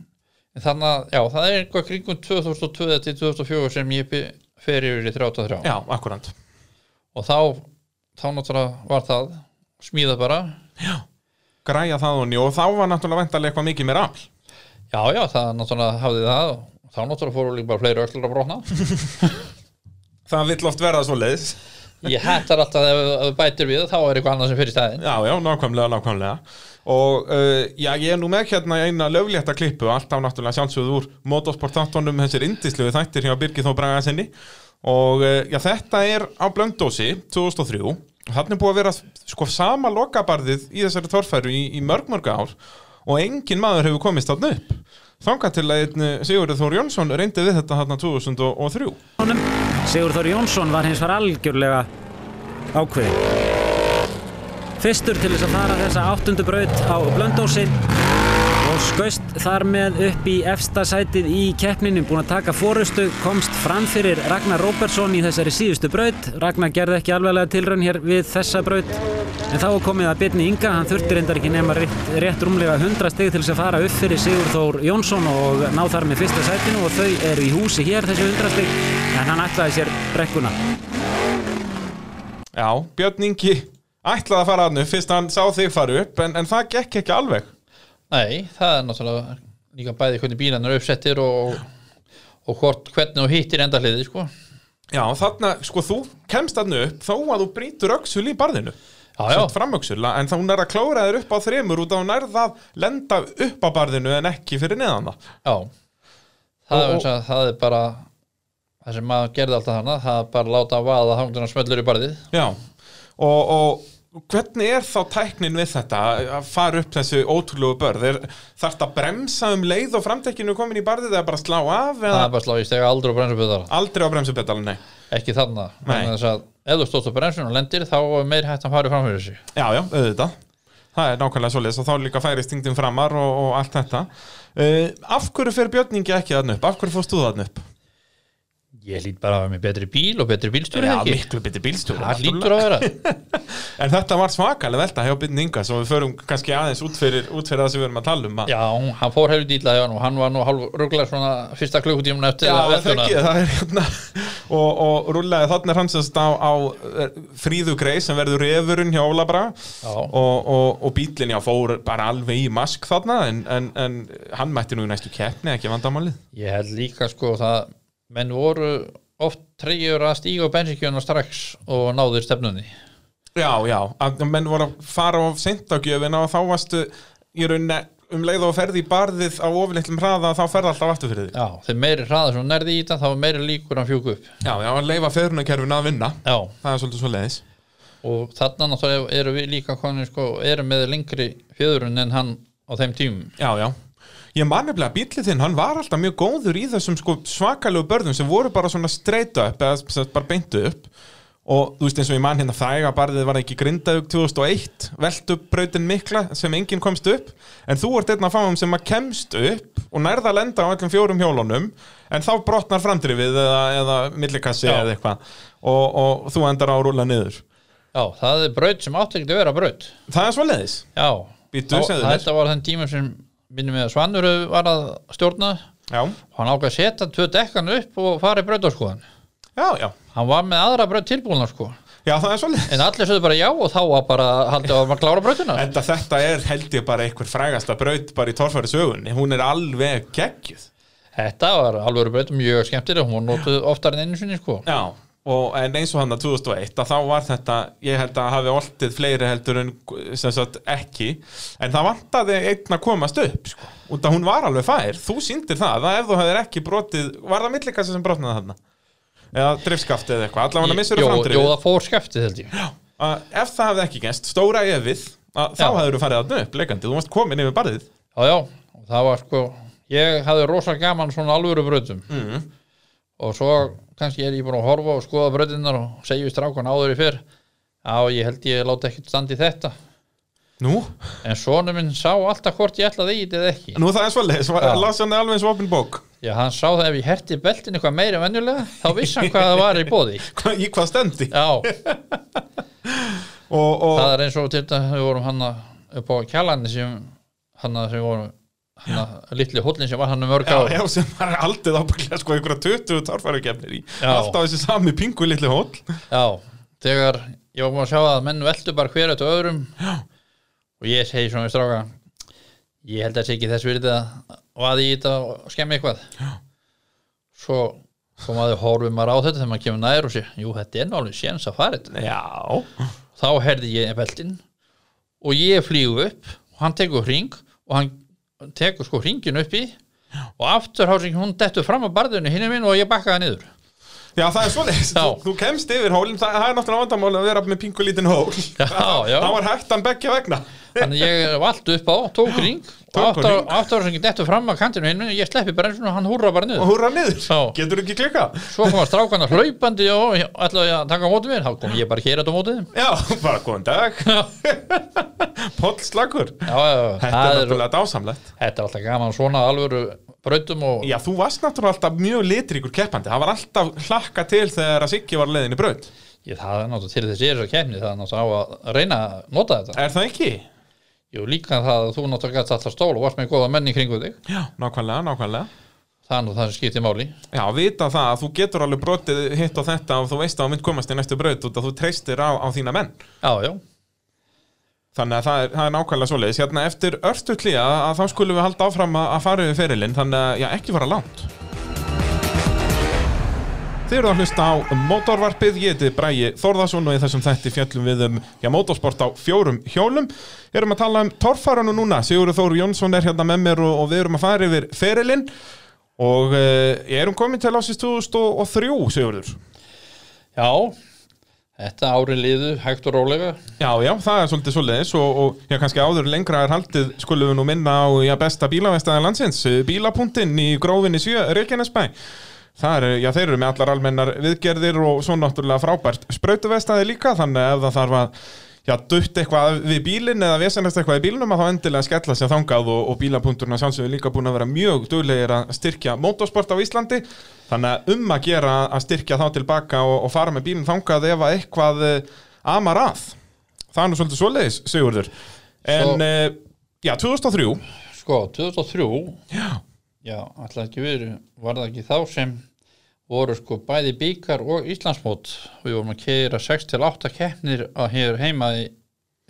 S2: en þannig að, já, það er eitthvað kringum 2002 til 2004 sem ég by- fer yfir í 33
S1: Já, akkurant
S2: og þá, þá náttúrulega var það smíðað bara
S1: Græja það honni og þá var náttúrulega væntalega eitthvað mikið meira afl
S2: já, já, það náttúrulega hafði það og þá náttúrulega fóru líka bara fleiri öllur að brotna
S1: Það vill oft verða svo leiðis
S2: ég hættar alltaf ef ef þú bætir við þá er eitthvað annað sem fyrir stæðin
S1: Já, já, nákvæmlega, nákvæmlega Og uh, já, ég er nú með hérna eina löflétta klippu Alltaf náttúrulega sjálfsögð úr Motorsport 18 um þessir indislegu þættir hjá Birgir Þó Braga sinni Og uh, já, þetta er á Blöndósi 2003 Og Þarna er búið að vera sko sama lokabarðið í þessari torfæru í, í mörg mörg ár Og engin maður hefur komist þarna upp Þangað til að einn eh, Sigurður Þór Jónsson reyndi við þetta þarna 2003
S3: honum. Sigur Þór Jónsson var hins var algjörlega ákveðin. Fyrstur til þess að fara þessa áttundu braut á Blöndósi og skaust þar með upp í efsta sætið í keppninu, búinn að taka fórustu, komst fram fyrir Ragnar Róbersson í þessari síðustu braut. Ragnar gerði ekki alveglega tilraun hér við þessa braut, en þá er komið að byrni Inga, hann þurfti reyndar ekki nema rétt, rétt rúmlega 100 stig til þess að fara upp fyrir Sigur Þór Jónsson og ná þar með fyrsta sætinu og þau eru í húsi hér þessi 100 stig, en hann ætlaði sér brekkuna.
S1: Já, Björn Ingi ætlaði að fara hann upp Fyrst hann sá þig fara upp En, en það gekk ekki alveg
S2: nei, það er náttúrulega líka bæði hvernig bílarnir eru uppsettir og, og hvort, hvernig þú hittir endahliði sko.
S1: Já, þarna, sko, þú kemst þarna upp þó að þú brýtur öxul í barðinu
S2: já, já,
S1: Sett framöxul, en þá hún er að klóra þér upp á þremur út af hún er það lenda upp á barðinu en ekki fyrir neðan það
S2: já. Það,
S1: Og-
S2: og, og, það er bara það sem maður gerði alltaf hana það er bara að láta að vaða hangdina smöllur í barðið
S1: Já, og, og hvernig er þá tæknin við þetta að fara upp þessu ótrúlegu börð er þarft að bremsa um leið og framtekkinu komin í barðið eða bara slá af
S2: það
S1: eða
S2: er bara slá í stega aldrei og bremsuböðar
S1: aldrei á bremsupedalu, nei
S2: ekki þarna
S1: Nei.
S2: Vegna þess að ef þú stóðst á bremsun og lendir þá er meir hægt að fara fram fyrir sig
S1: Já, já, auðvitað Það er nákvæmlega svoleiðis og þá líka færi stingdum framar og, og allt þetta uh, Af hverju fer Björningi ekki þarna upp? Af hverju fórst þú þarna upp?
S2: ég lít bara að vera með betri bíl og betri bílstjóri
S1: Já,
S2: ekki
S1: miklu betri bílstjóri
S2: það
S1: náttúrulega.
S2: lítur að vera
S1: En þetta var svakalega velta hjá Byrni Inga Svo við förum kannski aðeins út fyrir, út fyrir það sem við erum að tala um að-
S2: já, hann fór helviti illa hjá hann og hann var nú hálf rugglar svona fyrsta klukkutímun eftir
S1: Já,
S2: að
S1: það
S2: veltuna.
S1: ekki, það er hérna og, og rúlega þannig er hann sem stá á eh, fríðu grei sem verður refurinn hjá Óla bara
S2: Já.
S1: og, og, og bílinn já fór bara alveg í mask þarna en, en, en hann mætti nú í næstu keppni ekki vandamálið
S2: ég held líka sko það menn voru oft treyjur að stíga á bensinkjöna strax og náður stefnunni
S1: Já, já, að menn voru að fara á seintagjöfina og þá varstu í rauninni um leið og ferði í barðið á oflitlum hraða þá ferði alltaf aftur fyrir þig
S2: já, þeir meiri hraða sem hún nærði í þetta þá er meiri líkur að fjúku upp
S1: Já, já, að leifa feðrunakerfin að vinna
S2: já,
S1: Það er svolítið svo leiðis
S2: og þarna náttúrulega eru við líka konir sko, eru með lengri fjöðrun en hann á þeim tímum
S1: Já, já Ég man nefnilega að bíllið þinn, hann var alltaf mjög góður í þessum sko svakalegu börðum sem voru bara svona straight up eða sem sagt bara beintu upp og þú veist eins og ég man hérna þæga barðið var ekki grindaug 2001 velt upp brautin mikla sem enginn komst upp en þú ert einn af fáum sem að kemst upp og nærða að lenda á öllum fjórum hjólunum en þá brotnar framdrifið eða, eða millikassi
S2: Já.
S1: eða eitthvað og, og þú endar á að rúla niður
S2: já, það er braut sem átti ekki að vera braut
S1: Það er svo leiðis
S2: já,
S1: Bíddu,
S2: Þá-
S1: segðu mér.
S2: þetta var þenn tíma sem minnum við að Svanur var að stjórna
S1: Já,
S2: og hann ákvað að setja tvö dekkan upp og fara í brautarskoðan
S1: já, já,
S2: hann var með aðra braut tilbúna sko
S1: já það er svo leiðis
S2: en allir sögðu bara já og þá var bara haldið að maður klára brautina
S1: Enda þetta er held ég bara einhver frægasta braut bara í torfæri sögunni, hún er alveg geggjuð.
S2: þetta var alveg braut mjög skemmtileg hún var notuð oftar en einu sinni sko
S1: Já, og en eins og hann að 2001 að þá var þetta, ég held að hafi oltið fleiri heldur en sem sagt ekki, en það vantaði einn að komast upp, sko, út að hún var alveg fær, þú sýndir það, að ef þú hefðir ekki brotið, var það millikassi sem brotnaði þarna? Eða driftskaftið eða eitthvað, allavega missur
S2: Jó,
S1: þú
S2: jó,
S1: framdrifið.
S2: það fór skemmtið held ég
S1: Að Ef það hefði ekki genst, stóra efið, að þá
S2: Já.
S1: hefur þú farið þarna upp, leikandi, þú varst komin yfir barðið.
S2: já, já, og það var sko ég hafði rosa gaman svona alvöru brautum
S1: Mm.
S2: og svo kannski er ég búin að horfa og skoða brautinnar og segja við strákan áður í fyrr já, ég held ég láti ekkert standi þetta
S1: Nú?
S2: en sonu minn sá alltaf hvort ég ætlaði í þetta eða ekki
S1: Nú það er svolítið,
S2: Já.
S1: las hann alveg eins og opin bók
S2: já, hann sá það ef ég herti beltin eitthvað meira en venjulega þá vissi hann hvað það var í bóði
S1: Hva, í hvað stendi
S2: já,
S1: og, og,
S2: það er eins og til þetta við vorum hann upp á kjallani sem hann sem við vorum hann litli hóllin sem var hann um örg
S1: já,
S2: ára
S1: já, sem var aldrei ábygglega sko einhverja 20 tárfærukefnir í
S2: Já.
S1: alltaf þessi sami pingu litli hól
S2: Já, þegar ég var búin að sjá að menn veldu bara hver eftir öðrum Já. og ég segi svona við stráka ég held að það sé ekki þess virði að vaði í þetta og skemmi eitthvað Já. svo svo maður horfum maður á þetta þegar maður kemur nær og sé, jú, þetta er nú alveg séns að fara þetta
S1: Já.
S2: þá herði ég beltin og ég flýgu upp og hann tekur hring og hann tekur sko hringin uppi og afturhásing hún dettur fram á barðinu hinn minn og ég bakka það niður
S1: Já, það er svoleiðis.
S2: Já.
S1: Þú, þú kemst yfir hólinn, það, það er náttúrulega vandamál að vera með pingu lítinn hól.
S2: já, já.
S1: Það var hægt hann beggja vegna.
S2: þannig að ég vald upp á, tók hring og
S1: Tók á
S2: aftur-
S1: hring.
S2: afturhásingin dettur fram á kantinu hinn minn og ég sleppi bara eins og hann húrra bara
S1: Og
S2: niður
S1: húrra niður.
S2: Já.
S1: Getur ekki klika.
S2: svo kom að strákan að hlaupandi og ætlaði að taka á móti mér, þá kom ég bara hér á móti þeim
S1: Já, bara góðan dag. Póll slagur.
S2: já, já, já,
S1: Þetta
S2: það
S1: er
S2: er,
S1: náttúrulega dásamlegt.
S2: þetta er alltaf gaman svona alvöru brautum og
S1: Já, þú varst náttúrulega alltaf mjög litrikur keppandi. Það var alltaf hlakka til þegar að Siggi var leiðin í braut.
S2: Ég, það er náttúrulega til þess að ég er svo kemni það er náttúrulega á að reyna að nota þetta
S1: Er það ekki?
S2: Jú, líka það að þú náttúrulega gætt alltaf stól og varst með góða menn í kringu þig
S1: Já. Nákvæmlega, nákvæmlega.
S2: það er nú það sem skiptir máli
S1: Já, vita það að þú getur alveg brotið hitt og þetta og þú veist að þú mynd komast í næstu braut út að þú treystir á, á þína menn.
S2: Já, já,
S1: Þannig að það er, það er nákvæmlega svoleiðis. Hérna eftir örstu klíða að þá skulum við halda áfram að, að fara yfir ferilinn, þannig að já, ekki fara langt. Þið eru að hlusta á mótorvarpið, ég heiti Bræi Þórðarsson og í þessum þætti fjallum við um já, mótorsport á fjórum hjólum. Erum að tala um torfaranu núna, Sigurður Þóru Jónsson er hérna með mér og, og við erum að fara yfir ferilinn og uh, erum komin til ásins 2003, Sigurður.
S2: já Þetta ári liðu, hægt og rólega
S1: Já, já, það er svolítið svoleiðis og, og já, kannski áður lengra er haldið skulum við nú minna á já, besta bílavestæðan landsins, eh, bílapunktinn í grófinni 7, Reykjanesbæ. Það er, eh, já, þeir eru með allar almennar viðgerðir og svo náttúrulega frábært sprautuvestæði líka, þannig að ef það þarf að já, dutt eitthvað við bílinn eða vesanast eitthvað í bílinnum að þá endilega skella sér þangað og, og bílapunkturna sjálfsögur líka búin að vera mjög duglegir að styrkja motorsport á Íslandi, þannig að um að gera að styrkja þá tilbaka og, og fara með bílinn þangað ef að eitthvað eh, amar að það er nú svolítið svoleiðis, Sigurður en,
S2: Svo-
S1: eh, já, 2003
S2: Sko, 2003
S1: já,
S2: Já, alltaf ekki verið, var það ekki þá sem voru sko bæði bíkar og Íslandsmót við vorum að keira 6-8 keppnir að hér heima í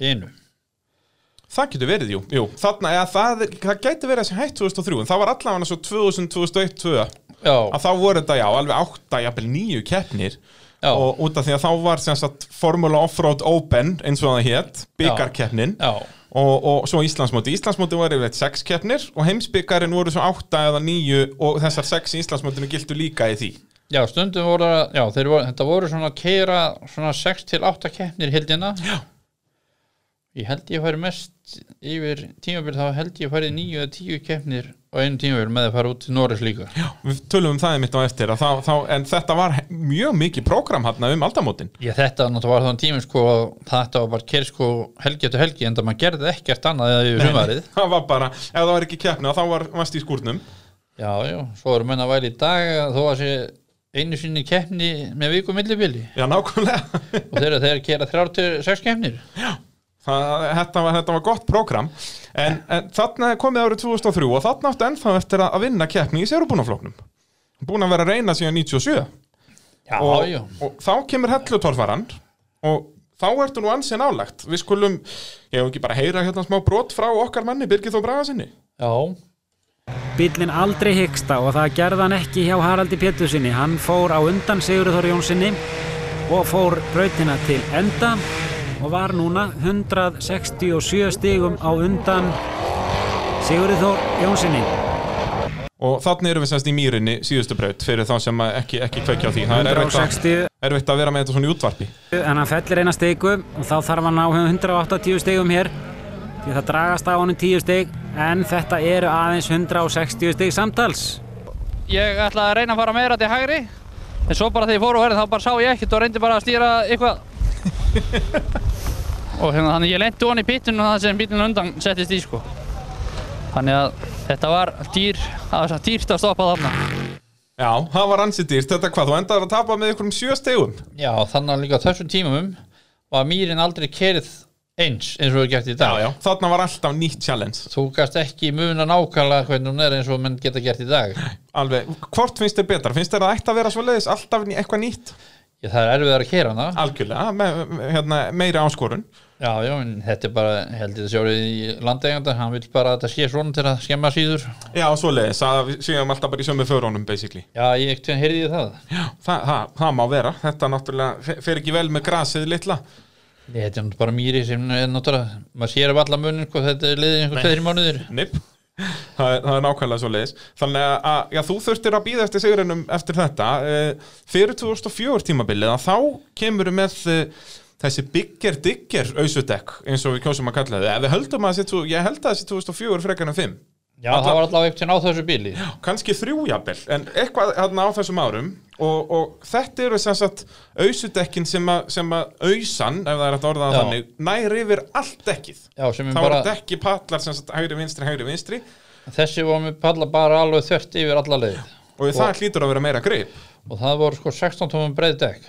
S2: einu
S1: það getur verið, jú, jú. þarna, ja, það, það gæti verið þessi hætt 2003, en það var allavega svo 2000, 2001, 2002
S2: Já,
S1: að þá voru þetta, já, alveg átta, jafnvel nýju keppnir
S2: Já.
S1: og út af því að þá var sem sagt Formula Offroad Open eins og það hétt, byggarkeppnin
S2: já,
S1: og, og svo Íslandsmóti, Íslandsmóti voru yfirleitt sex keppnir og heimsbyggarinn voru svo átta eða nýju og þessar sex í Íslandsmótinu gildu líka í því
S2: Já, stundum voru, að- já, þeir voru, þetta voru svona að keira svona 6 til 8 keppnir hildina. Já. Ég held ég færi mest yfir tímabil þá held ég færi 9 eða 10 keppnir á einu tímabil með að fara út til Norris líka.
S1: Já, við tölum um það mitt á eftir að þá, þá, en þetta var he- mjög mikið prógram hérna um aldamótin
S2: Ég þetta náttúrulega var þann tímum sko að þetta var bara keir sko helgi eftir helgi en það maður gerði ekkert annað eða yfir humarið.
S1: það var bara, ef það var ekki keppna þá var vast í skúrnum
S2: Já, já, svo eru menn að væli í dag að þó að sé einu sinni keppni með viku millibili
S1: já nákvæmlega
S2: og þeir eru þeir að keira 36 keppnir.
S1: það, þetta, var, þetta var gott prógram en, en þarna er komið árið 2003 og þarna áttu ennþá eftir að að vinna keppni í sérubúnaflóknum búin að vera að reyna síðan 97
S2: Já,
S1: og,
S2: já.
S1: og þá kemur hellutorfaran og þá ertu nú ansið nálagt við skulum, ég hef ekki bara heyra hérna smá brot frá okkar manni Birgir Þó Braga sinni
S2: Já,
S3: Bíllinn aldrei hyggsta og það gerði hann ekki hjá Haraldi Pétursinni. Hann fór á undan Sigurður Jónssoni og fór brautina til enda og var núna 167 stigum á undan Sigurður Jónssoni.
S1: Og þannig erum við semst í mýrinni síðustu braut fyrir þá sem að ekki, ekki kveikja á því. Það er erfitt að,
S3: 160
S1: erfitt að vera með þetta svona í útvarpi.
S3: en hann fellir eina stigu og þá þarf hann á 180 stigum hér því það dragast á honum 10 stig en þetta eru aðeins 160 stig samtals
S4: ég ætlaði að reyna að fara meira til hægri en svo bara þegar ég fór og verði þá bara sá ég ekkert og reyndi bara að stýra eitthvað og hérna þannig ég lendi ofan í pittinu það sem bílinn undan settist í sko þannig að þetta var dýr það var svo dýrt að stoppa þarna
S1: Já, það var ansið dýrt. Þetta hvað, þú endar að tapa með ykkur um sjö stegum?
S2: Já, þannig að líka á þessum tímum var mýrin aldrei kerið eins eins og við gert í dag
S1: Þarna var alltaf nýtt challenge.
S2: Þú gast ekki muna nákvæmlega hvernig hún er eins og menn geta gert í dag
S1: Alveg, hvort finnst þér betra? Finnst þér að það ætti að vera svoleiðis alltaf ný- eitthvað nýtt? Ah,
S2: Ég, Það er erfiðar að kera hana
S1: Algjörlega, me, me- hérna, meiri áskorun.
S2: Já, já, en þetta er bara, ég held ég þetta sjórið í landeiganda, hann vil bara að þetta sé svona til að skemma síður.
S1: Já, svoleiðis, að við séum alltaf bara í sömu förunum basically.
S2: Já, ég ekkert hvernig heyrði ég það.
S1: Já, það, það, það má vera, þetta náttúrulega fer- fer ekki vel með grasið litla.
S2: Ég, þetta er nú bara mýri sem er náttúrulega, maður sér af alla munin, hvað þetta er liðið einhver tveðri mánuðir.
S1: Nip, það, er- það er nákvæmlega svoleiðis. Þannig að- að já, þú þurftir að býða eftir sigurinum eftir þetta. Eh, Fyrir 2004 tímabilið, að þá kemur með eh, þessi bygger digger ausudekk, eins og við kjósum að kalla þið. Ef við höldum að þessi, ég held að þessi 2004 frekar en 5.
S2: Já, það var allavega einhvern veginn á þessu bíli.
S1: kannski þrjú jafnvel, en eitthvað þarna á þessum árum og, og þetta eru sem sagt ausudekkin sem að, sem að ausan, ef það er hægt að orða það
S2: Já.
S1: þannig, nær yfir allt dekkið.
S2: Já, sem er
S1: Það voru
S2: bara,
S1: dekki patlar sem sagt hægri vinstri, hægri vinstri
S2: þessi var með palla bara alveg þvert yfir alla leið.
S1: og, það hlýtur að vera meira grip.
S2: Og það voru sko 16 tómum breið dekk.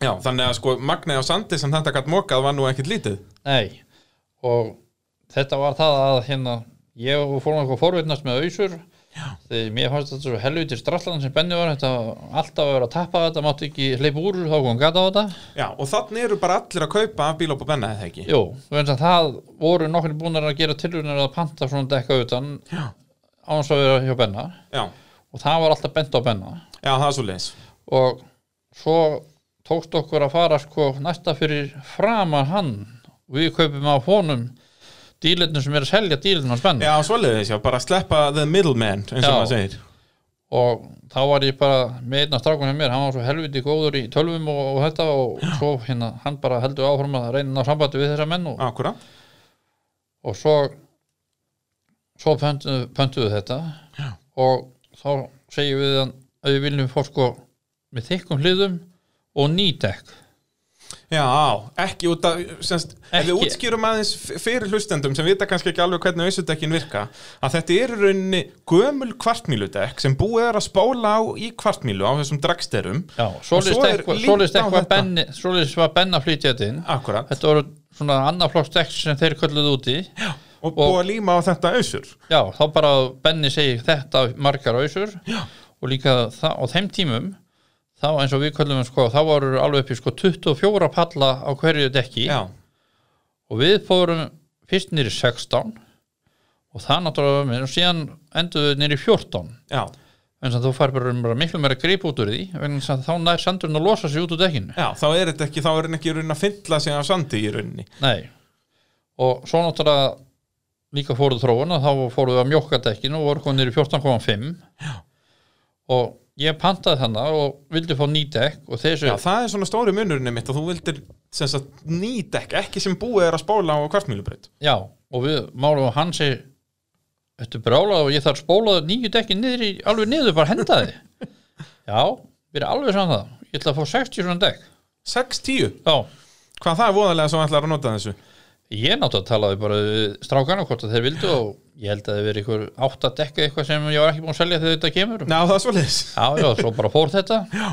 S1: Já, þannig að sko magnið á sandi sem þetta gætt mokað var nú ekkit lítið.
S2: Nei, og þetta var það að hérna ég og fór eitthvað forvitnast með ausur því mér fannst þetta svo helvitir strallan sem Benni var, þetta alltaf að vera að tappa þetta, mátti ekki hleypa úr þá kom hann gata á þetta
S1: Já, og þannig eru bara allir að kaupa af bíl og benna eða ekki.
S2: Jú, þannig að það voru nokkur búinir að gera tilhörnir að panta svona dekka utan
S1: Já.
S2: áns að vera hjá Benna
S1: Já,
S2: og það var alltaf bent á Benna
S1: já það er svo leis.
S2: og svo tókst okkur að fara sko næsta fyrir framar hann og við kaupum á honum dílirnum sem er að selja dílirnum hans Benna
S1: Já, svo leis, já, bara sleppa the middleman, eins og
S2: Já.
S1: maður segir.
S2: og þá var ég bara með einn af strákunum hjá mér, hann var svo helviti góður í tölvum og, og þetta og svo hérna, hann bara heldur áfram að reyna að ná sambandi við þessa menn og,
S1: Akkurat.
S2: og svo svo pöntu, pöntuðu þetta Já. og þá segjum við hann að við viljum fá sko með þykkum hliðum og nýdekk
S1: Já, á, ekki út af semst, ef við
S2: Ekki.
S1: útskýrum aðeins f- fyrir hlustendum sem vita kannski ekki alveg hvernig ausudekkin virka að þetta er í rauninni gömul kvartmýludekk sem búið er að spóla á í kvartmýlu á þessum dragsterum
S2: Já,
S1: svo er líkt á
S2: svoleiðist eitthvað
S1: þetta.
S2: benni, svoleiðist var benn að flytja þetta inn
S1: Akkurat,
S2: þetta voru svona annar flokks dekk sem þeir kölluðu úti Já.
S1: og búið að líma á þetta ausur
S2: Já, þá bara Benni segir þetta margar ausur Já. og líka það, á þeim tímum þá eins og við kallum sko, þá voru alveg upp í sko 24 palla á hverju dekki
S1: Já,
S2: og við fórum fyrst nýri 16 og það náttúrulega var mér og síðan enduðu nýri 14
S1: já,
S2: en þú fær bara, bara miklu meira grip út úr því vegna þess að þá nær sandurinn að losa sig út úr dekkinu
S1: já, þá er þetta ekki þá er þetta ekki í rauninni að fyndla sig á sandi í rauninni
S2: Nei og svo náttúrulega líka fóruð þróun og þá fóruð við að mjókka dekkinu og voru konir í 14,5 og ég pantaði þannig og vildi fá ný dekk og þessu
S1: Já, það er svona stóri munurinn mitt að þú vildir sem sagt nýdekk, ekki sem búið er að spóla á kvartmýlubreyt
S2: já, og við málum og hann segir Þetta er brálað og ég þarf spólaði nýju dekkin niður í, alveg niður, bara henda þið Já, við erum alveg saman það Ég ætla að fá 60 svona dekk
S1: 6-10,
S2: Já,
S1: hvað það er voðalega sem ætlar að nota þessu
S2: Ég náttúrulega talaði bara við strákana hvort að þeir vildu og ég held að þeir verið ykkur átt að dekka eitthvað sem ég var ekki búin að selja þegar þetta kemur
S1: Já, það er svoleiðis
S2: Já, já, svo bara fór þetta já.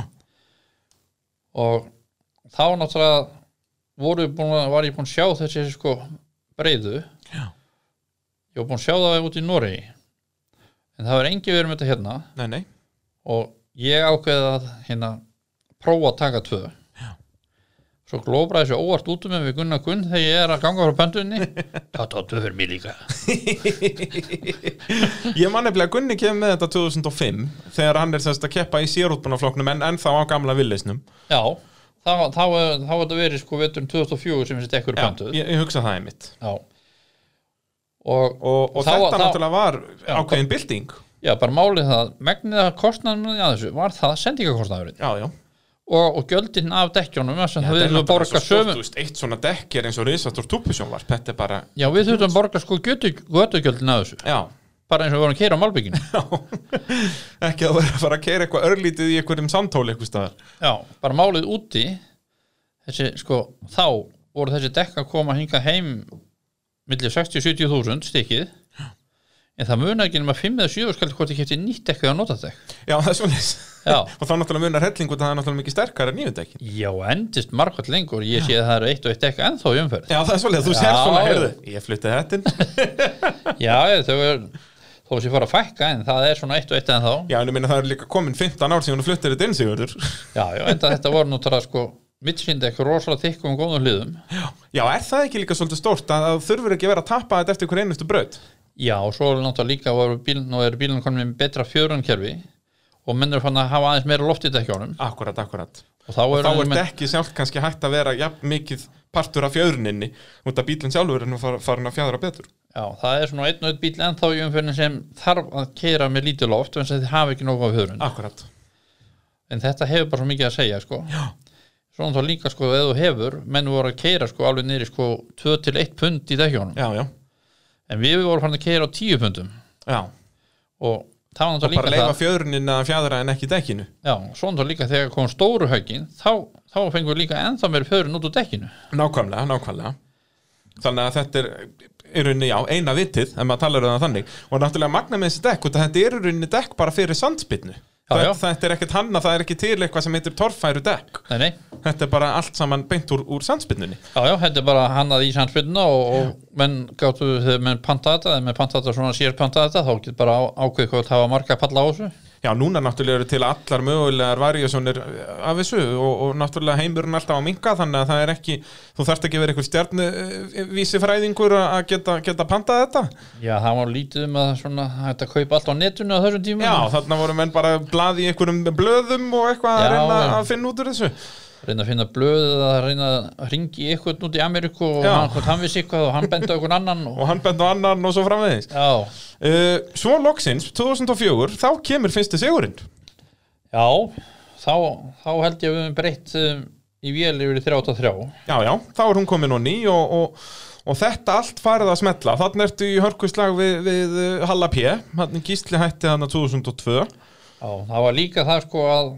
S2: og þá náttúrulega voru við búin að, var ég búin að sjá þessi sko breiðu já. ég var búin að sjá það út í Noregi en það var engi verið með þetta hérna
S1: Nei, nei,
S2: og ég ákveði að hérna prófa að taka tvö já. svo glóbra þessu óvart út um mig við Gunnar Gunn þegar ég er að ganga frá pöndunni þá tóttu tvö fyrir mig líka
S1: Ég man nefnilega að Gunni kemur með þetta 2005 þegar hann er semst að keppa í sérútbunafloknum en ennþá á gamla villisnum
S2: já, þá þá- þá er- þá var þetta verið sko veturinn 2004 sem þessi dekkur er
S1: Já,
S2: pöntuð
S1: ég, ég hugsa það einmitt
S2: Já Og,
S1: Og, og
S2: þá-
S1: þetta
S2: þá-
S1: náttúrulega var ákveðin bilding
S2: Já, bara málið það, megnið að kostnaðurinn að þessu var það sendingakostnaðurinn
S1: Já, já
S2: og, og gjöldin af dekkjónum sem það
S1: Þetta er
S2: við þurfum
S1: náttúrulega
S2: borga
S1: svo stórt,
S2: sömu
S1: þú veist, Eitt svona dekk er eins og risastór túpusjón var Þetta er bara,
S2: Já, við þurfum borga sko göttugjöldin að þessu
S1: já
S2: bara eins og við vorum að keira á Malbygginu
S1: Ekki að vera að fara að keira eitthvað örlítið í einhverjum samtóli eitthvað staðar
S2: Já, bara málið úti þessi sko, þá voru þessi dekk að koma hinga heim millir 60-70 þúsund stikkið en það munar ekki nema 5 eða 7 skall hvort ég kefti nýtt dekk eða nota dekk
S1: Já, það er svona
S2: Já,
S1: Og þá náttúrulega munar hellingu það er náttúrulega mikið sterkara en nýju dekkin
S2: Já, endist margvært lengur, ég sé að það eru eitt og eitt dekk ennþá í umferð.
S1: Já, það er svona, þú
S2: Já.
S1: sér svona, heyrðu Ég flutti þetta inn
S2: Já, þau er, þó sé fara að fækka en það er svona eitt og eitt ennþá.
S1: Já, en ég minna það er líka komin 15 ár síðan þú fluttir þetta inn, Sigurður
S2: Já, já, enda þetta voru náttúrulega sko mittsindek rosalega þykkum og góðum hliðum
S1: Já, er það ekki líka svolítið stórt að það þurfur ekki að vera að tappa þetta eftir hver einustu braut?
S2: já og svo er náttúrulega líka og bíl, nú er bílinn komin með betra fjörunkerfi og menn er fann að hafa aðeins meira loft í dekkjónum
S1: Akkurat, akkurat.
S2: og þá er,
S1: Þá er þetta ekki sjálf kannski hægt að vera jafn mikið partur af fjöðruninni út af bílinn sjálfur en far, farin að fjöðra betur.
S2: já, það er svona einn og einn bíl ennþá í umferðin sem þarf að keira með lítið loft en þið hafa ekki nógu á fjörun
S1: Akkurat.
S2: en þetta hefur bara svo mikið að segja sko. svona þá líka sko ef þú hefur menn voru að keira sko alveg nýri sko 2-1 pund í dekkjónum
S1: Já, já.
S2: en við vorum farin að keira á 10 pundum
S1: Já.
S2: og það var
S1: Bara
S2: náttúrulega líka
S1: leifa
S2: það
S1: fjöðrunin að fjöðra en ekki dekkinu.
S2: já, svona þá líka þegar kom stóru högin þá, þá fengum við líka ennþá meiri fjörun út úr dekkinu
S1: Nákvæmlega, nákvæmlega. Þannig að þetta er í rauninni, já, eina vitið, ef maður talar um það þannig. Og náttúrulega magna með þessi dekk, út að þetta er í rauninni dekk bara fyrir sandspinnu.
S2: Já, já.
S1: Þetta, þetta er ekkert hanna, það er ekki til eitthvað sem heitir torfæru dekk.
S2: nei, nei,
S1: Þetta er bara allt saman beint úr, úr sandspinnunni.
S2: já, já, þetta er bara hannað í sannsbyrna og, og menn gáttu þegar menn pantaði þetta, þegar menn pantaði þetta svona sér pantaði þetta, þá getur bara á- ákveðið hvað það var marga palla á þessu
S1: Já, núna náttúrulega eru til allar mögulegar varjósónir af þessu og, og náttúrulega heimurinn alltaf á minka þannig að það er ekki, þú þarft ekki að vera eitthvað stjarnvísifræðingur að geta, geta pantað þetta.
S2: já, það var lítið um að svona þetta kaupa allt á netinu á þessum tíma
S1: Já, þarna voru menn bara blað í einhverjum blöðum og eitthvað
S2: Já,
S1: að reyna
S2: já.
S1: að finna út úr þessu.
S2: reyna að finna blöð eða reyna að ringi eitthvað út í Ameríku og
S1: Já.
S2: hann, hvort hann vissi eitthvað og hann benda eitthvað annan og,
S1: og hann bent á annan og svo framvegis
S2: já,
S1: uh, Svo loksins, 2004 þá kemur fyrsti sigurinn
S2: já þá, þá held ég að við höfum breytt um, í vél yfir í 33
S1: Já, já, þá er hún komin og ný og, og, og þetta allt farið að smetla þannig ertu í hörkuslag við, við uh, Halla P hann gísli hætti hann 2002
S2: já, það var líka það sko að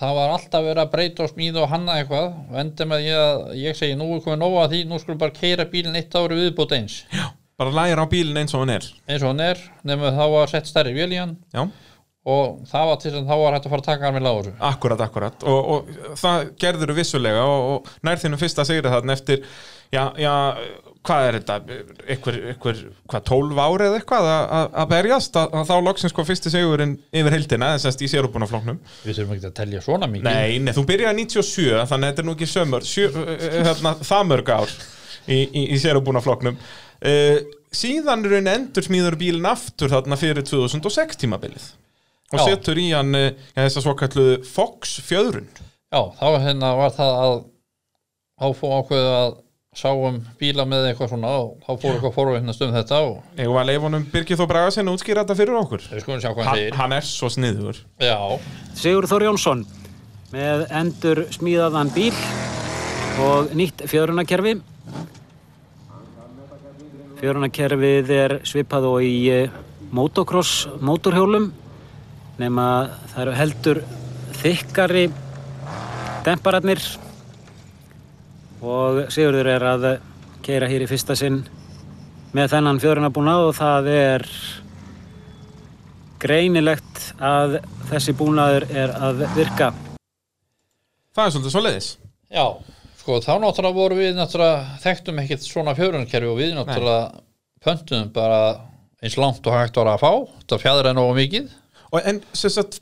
S2: það var alltaf verið að breyta og smíða og hanna eitthvað og enda með ég að ég segi nú er komið nóga því, nú skulum bara keira bílinn eitt ári viðbútt eins,
S1: bara læra á bílinn eins og hann er
S2: eins og hann er nema þá var sett stærri vél í hann
S1: Já,
S2: og það var til þess að þá var hægt að fara að taka hann með lágur
S1: akkurat, akkurat og, og það gerður vissulega og, og nær þínum fyrsta sigrið þarna eftir já, já, hvað er þetta einhver, einhver, hvað, 12 ári eða eitthvað að- að að berjast að, að þá loksins sko fyrsti sigurinn yfir heildina eða semst í sérubunaflóknum
S2: við þurfum ekki að telja svona mikið
S1: Nei, nei, þú byrjar 97 þannig að þetta er nú ekki sömur sjö, ö, ö, hérna, það mörg ár í, í, í sérubúnafloknum uh, síðan er einn endur smíður bílinn aftur þarna fyrir 2006 tímabilið og
S2: Já.
S1: setur í hann uh, þess að svo kalluðu Fox fjöðrun
S2: Já, þá hérna var það að þá fór ákveðið að sáum bíla með eitthvað svona og þá fór eitthvað forveitnast um þetta og
S1: Ég var leifunum Birgir Þó Braga sinni útskýra þetta fyrir okkur
S2: við skulum sjá hvað hann
S1: hann,
S2: segir.
S1: hann er svo sniður
S2: Já,
S3: Sigur Þór Jónsson með endur smíðaðan bíl og nýtt fjörunarkerfi. Fjörunarkerfið er svipað og í eh, motocross mótorhjólum nema það eru heldur þykkari dempararnir og Sigurður er að keira hér í fyrsta sinn með þennan fjörunarbúnað og það er greinilegt að þessi búnaður er að virka.
S1: Það er svolítið svo leiðis
S2: já, sko þá náttúrulega vorum við náttúrulega þekktum ekkert svona fjörunkerfi og við náttúrulega pöntum bara eins langt og hægt var að fá, þetta fjæður er nógu mikið.
S1: og, En sem sagt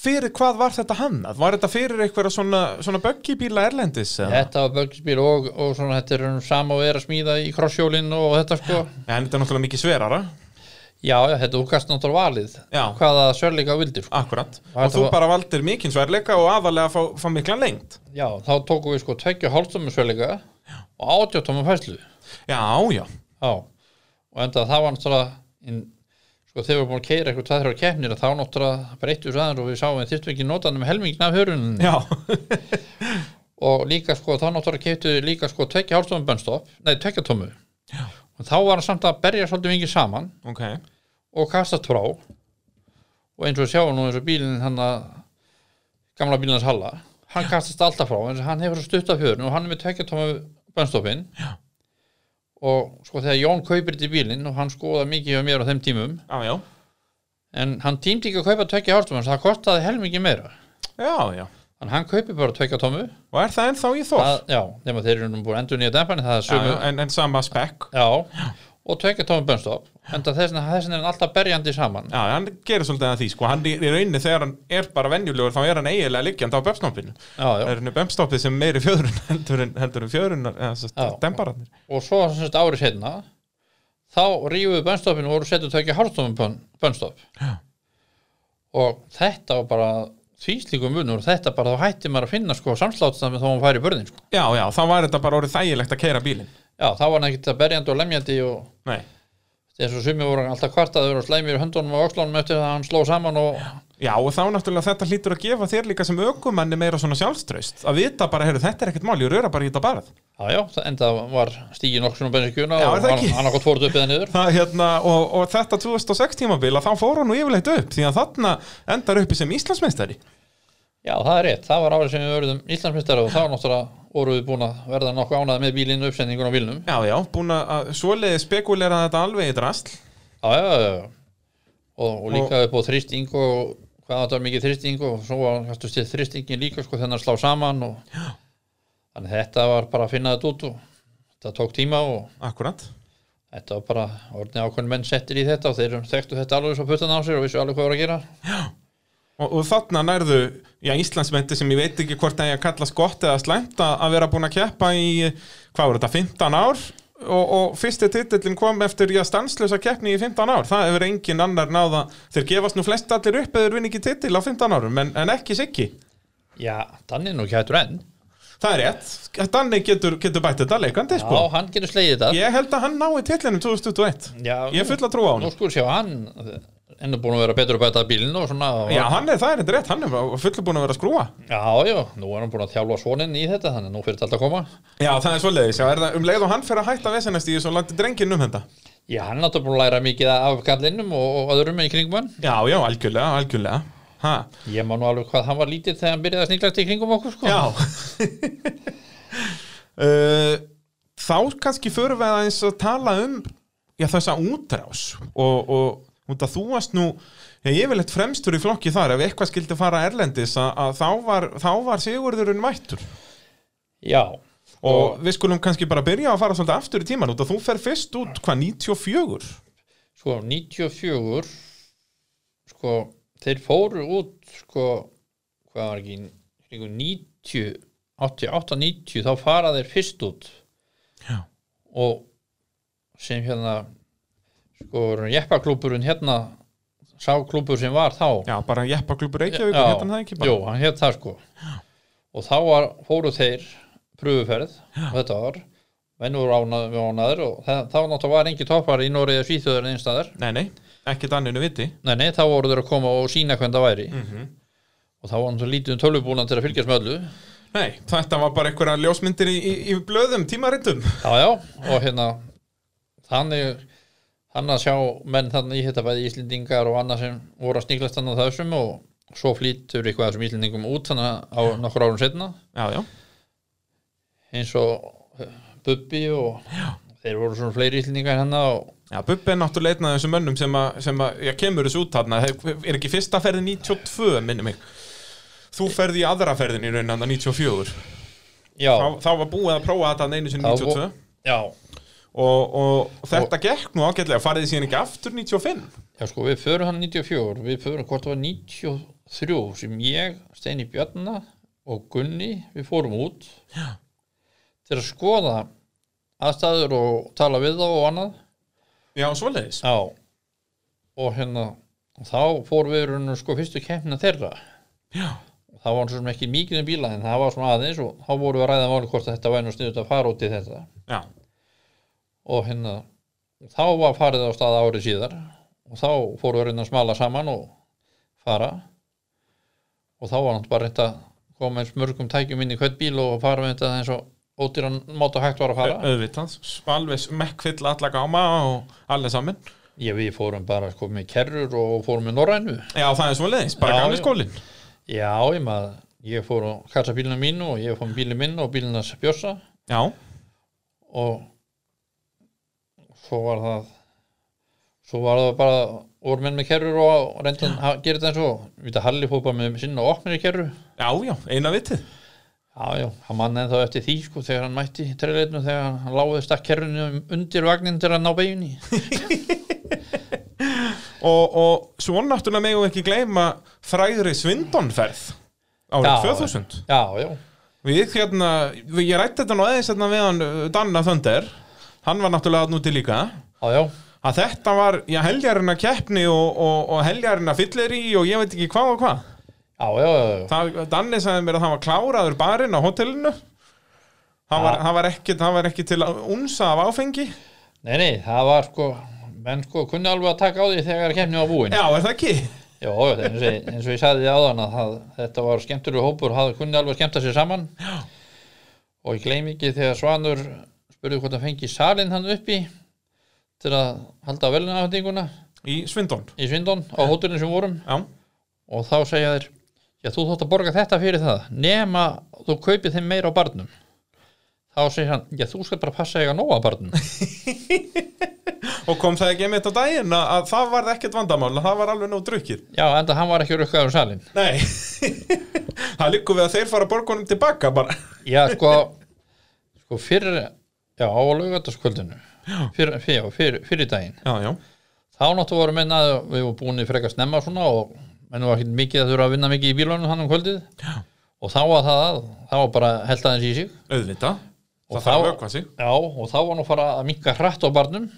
S1: fyrir hvað var þetta hannað? Var þetta fyrir einhverja svona, svona böggibíla erlendis? eða?
S2: Þetta var böggisbíl og, og svona þetta er um sama og er að smíða í krossjólinn og þetta sko.
S1: En þetta er náttúrulega mikið sverara
S2: Já, já, þetta úkast náttúrulega valið
S1: Já.
S2: hvaða sörleika vildir sko.
S1: Akkurat,
S2: Og
S1: og
S2: þetta
S1: þú
S2: var-
S1: bara valdir mikinn sverleika og aðalega að fá, fá mikla lengt
S2: Já, þá tókum við sko tveggja hálftömmu sverleika og átjóttömmu fæslu.
S1: Já, já,
S2: Já, og enda það var náttúrulega inn, sko þegar við vorum búin að keira eitthvað tæðra á keppnir þá náttúrulega breyttu við aðeins og við sáum við þyrftum ekki notanum helmingin af höruninni
S1: já
S2: og líka sko þá náttúrulega keiptu við líka sko tvekja hálfstóðum bönnstopp, nei tvekja tómu og þá var hann samt að berja svolítið mingi saman
S1: Ok,
S2: og kastast frá og eins og við sjáum nú eins og bílinn hann að gamla bílinn hans Halla hann kastast alltaf frá, en hann hefur svo stutt af hjörn og hann er með tvekja tóma bönnstoppin og sko þegar Jón kaupir þetta í bílinn og hann skoða mikið hjá mér á þeim tímum
S1: já, já
S2: en hann tímdi ekki að kaupa tvekja hálfstóma það kostaði helmingi meira
S1: Já, já,
S2: en hann kaupi bara tvekja tómu
S1: og er það ennþá í þorf?
S2: já, nema þeir eru nú búin endur nýja dempan það er
S1: Já,
S2: sömu,
S1: já, en, en sama spekk
S2: já, og tvekja tómi bönstopp en þess vegna þess vegna er hann alltaf berjandi saman
S1: Já, hann gerir svolítið að því, sko, hann í í rauninni þegar hann er bara venjulegur, þá er hann eiginlega liggjandi á bömsnoppinu.
S2: Já, já.
S1: Það er henni bömsnoppið sem er meiri fjöðrun heldur en, heldur en fjöðrun, eða svo
S2: Já.
S1: dembararnir.
S2: og svo sem sagt, árið setna þá rífuðu bönstoppinu og voru setju tvekja hálftómi bönstopp og þetta var bara því slíkum munur, þetta bara þá hætti maður að finna sko samsláttan með þá hann færi í börðin sko.
S1: Já, já, þá var þetta bara orðið þægilegt að keira bílinn.
S2: já, þá var hann ekkert að berjandi og lemjandi og
S1: Nei.
S2: eins og sumi voru alltaf kvartaður og slæmir í höndunum og öxlunum eftir það að hann sló saman og
S1: Já, og þá náttúrulega þetta hlýtur að gefa þér líka sem ökumanni meira svona sjálfströst. Að vita bara, heyrðu, þetta er ekkert mál, ég röra bara í þetta barð.
S2: já, já, það- enda var stígin okkur og bensinkjuna
S1: Já, er
S2: og
S1: það
S2: hann,
S1: ekki?
S2: hann okkur fóruð upp eða niður
S1: Það, hérna, og, og þetta 2006 tímabil að þá fór hann nú yfirleitt upp því að þarna endar uppi sem Íslandsmeistari
S2: já, það er rétt, það var árið sem við verðum Íslandsmyndstæra og þá náttúrulega voru við búin að verða nokkuð ánæði með bílinn og uppsendingun á bílnum
S1: Já, já, búin að svoleiði spekulera þetta alveg í drasl
S2: já, já, já, já. Og, og líka upp á þrýsting og hvað þetta var mikið þrýsting og svo var kannski til þrýstingin líka sko þennan slá saman og þannig þetta var bara að finna þetta út og þetta tók tíma og
S1: Akkurat
S2: Þetta var bara orðni ákveðin menn settir í þetta og þeir þekktu þetta alveg svo puttan á sér og vissu alveg hvað var að gera.
S1: Og, og þarna nærðu, já, Íslandsmeinti sem ég veit ekki hvort það er að kallast gott eða slæmt að, að vera búin að keppa í, hvað voru þetta, 15 ár? Og, og fyrsti titillin kom eftir, já, stanslösa keppni í 15 ár. Það hefur engin annar náða, þeir gefast nú flest allir upp eða þeir vinni ekki titill á 15 árum, en, en ekki Siggi.
S2: Já, þannig er nú ekki hættur enn.
S1: Það er rétt, Danni getur, getur bætt þetta leikandi,
S2: Já,
S1: sko.
S2: hann getur slegið þetta.
S1: Ég held að hann nái titlinum 2021.
S2: Já,
S1: Ég er full að trúa á hann.
S2: Nú skur sjá, hann enn er búin að vera betur upp að þetta bílinn og svona. og-
S1: Já, hann er, það er þetta rétt, hann er fullur búin að vera að skrúa.
S2: Já, já, nú er hann búin að þjálfa svoninn í þetta, þannig að nú fyrir þetta alltaf að koma.
S1: Já, það er svoleiðis, já, er það um leið og hann fer að hætta vesenast í þessu og landi drengin um þetta.
S2: Já, hann er náttúrulega búin að læra mikið af gallinum og, og öðrum í kringum hann.
S1: Já, já, algjörlega, algjörlega. Ha.
S2: Ég man nú alveg hvað hann var lítill þegar hann byrjaði að sniglast í kringum okkur, sko.
S1: Já. uh, þá kannski förum við aðeins að tala um já, þessa útrás og, og út að þú varst nú já, ég vil eitt fremstur í flokki þar ef eitthvað skildi fara erlendis að, að þá, var, þá var Sigurðurinn mættur
S2: Já,
S1: og við skulum kannski bara byrja að fara svolítið aftur í tíman út að þú fer fyrst út hvað 94
S2: sko 94 sko þeir fóru út sko hvað var ekki kringum 90 88, 90 þá fara þeir fyrst út
S1: Já.
S2: og sem hérna sko jeppaklúburinn hérna sá klúbur sem var þá
S1: já, bara jeppaklubur Reykjavík
S2: Já,
S1: hérna það ekki bara
S2: Jú, hann hétt það sko og þá var, fóru þeir pröfuferð þetta var menn voru ánað, ánaður og það, þá náttúrulega var engin toppar í Noregi að Svíþjóður einstæðar
S1: nei, nei, ekki danninu viti
S2: Nei, nei, þá voru þeir að koma og sína hvernig það væri
S1: Mhm.
S2: og þá var hann svo lítið um tölvubúna til að fylgjast með öllu
S1: nei, þetta var bara einhverja ljósmyndir í, í, í blöðum, tímaritum
S2: Já, já, og hérna þannig þannig að sjá menn þannig í þetta bæði Íslendingar og annað sem voru að sníklast þannig að þessum og svo flýtur eitthvað af þessum Íslendingum út þannig að á nokkur árum setna
S1: já, já,
S2: eins og eh, Bubbi og já. þeir voru svona fleiri Íslendingar hérna og
S1: Já, Bubbi er náttúrulega einn af þessum mönnum sem, að, sem að, já, kemur þessu út þarna Þeir- er ekki fyrsta ferði 92, minni mig Þú ferði í aðra ferðin í rauninna 94
S2: já,
S1: þá, þá var búið að prófa þetta einu sinni
S2: Þá
S1: 92
S2: vo- já,
S1: og, og þetta gekk nú ágætlega farið þið síðan ekki aftur 95
S2: Já sko við förum hann 94 við förum hvort það var 93 sem ég, Steini Bjarna og Gunni, við fórum út Já. til að skoða aðstæður og tala við þá og annað
S1: Já, svoleiðis
S2: Já. og hérna þá fórum við raunum sko fyrstu kemna þeirra
S1: Já.
S2: það var svona ekki mikið um bíla en það var svona aðeins og þá vorum við að ræða máli hvort að þetta væri nú sniðut að fara út í þetta
S1: Já,
S2: og hérna þá var farið á stað árið síðar og þá fóru við að reyna að smala saman og fara og þá var hann bara reynt að koma eins mörgum tækjum inn í hvert bíl og fara með þetta eins og ódýran mátu hægt var
S1: Ö-
S2: að fara
S1: auðvitað Alveg mekkfyll alla gáma og allir saman
S2: ég við fórum bara sko með kerrur og fórum með norrænu
S1: Já, það er svoleiðis, bara
S2: Já,
S1: gamli
S2: já.
S1: skólinn
S2: já ég maður ég fór að kassa bílina mínu og ég fór með bílinn minn og bílina bjössa
S1: Já,
S2: og svo var það svo var það bara voru menn með kerrur og reyndi að gera þetta eins og við þetta Halli fór bara með sinna og opnir í kerru
S1: já, já, eina vitið
S2: Já, já, hann mann ennþá eftir því sko þegar hann mætti treyleitinu þegar hann láði stakkerfinu undir vagnin til að ná beginni
S1: og, og svo náttúrulega megum við ekki gleyma þræðri svindonferð árið 2000
S2: Já, já,
S1: við hérna, við, ég rætti þetta nú aðeins hérna við hann uh, Danna Þönder hann var náttúrulega hann úti líka
S2: já, já,
S1: að þetta var, já, heljarina keppni og, og, og heljarina fyllir í og ég veit ekki hvað og hvað
S2: já, já, já, já.
S1: Það, Danni sagði mér að hann var kláraður barinn á hótelinu hann var, hann var, ekki, hann var ekki til að unsa af áfengi já,
S2: Nei, nei, það var sko menn sko kunni alveg að taka á því þegar kemni var búin
S1: er það ekki?
S2: Já, þetta er eins og, eins og ég sagði því áðan að það, þetta var skemmtur hópur, hafði kunni alveg að skemmta sér saman Já. og ég gleymi ekki þegar Svanur spurði hvort hann fengi salin hann uppi til að halda velunahöndinguna
S1: í Svindón
S2: í Svindon á hótelinu sem við vorum
S1: já,
S2: og þá segja þeir já þú þótt að borga þetta fyrir það nema þú kaupir þeim meira á barnum þá segir hann, já þú skal bara passa eiga nóg á barnum
S1: og kom það ekki einmitt á daginn að, að það var ekkert vandamál, það var alveg nóg drukkið
S2: já enda hann var ekki rukkaður um salin
S1: nei það liggur við að þeir fara borgunum tilbaka bara
S2: já sko, sko fyrir já á laugardaskvöldinu fyrir, fyrir, fyrir, fyrir daginn
S1: já, já,
S2: þá náttúrulega voru menn að við vorum búin í frekar snemma svona og menn var ekkert mikið að þurfa að vinna mikið í bílunum hann um kvöldið já. og þá var það að, þá var bara held aðeins í sig
S1: auðvita það
S2: Og
S1: þarf að
S2: þá-
S1: vökva sig
S2: Já, og þá var nú fara að minka hratt á barnum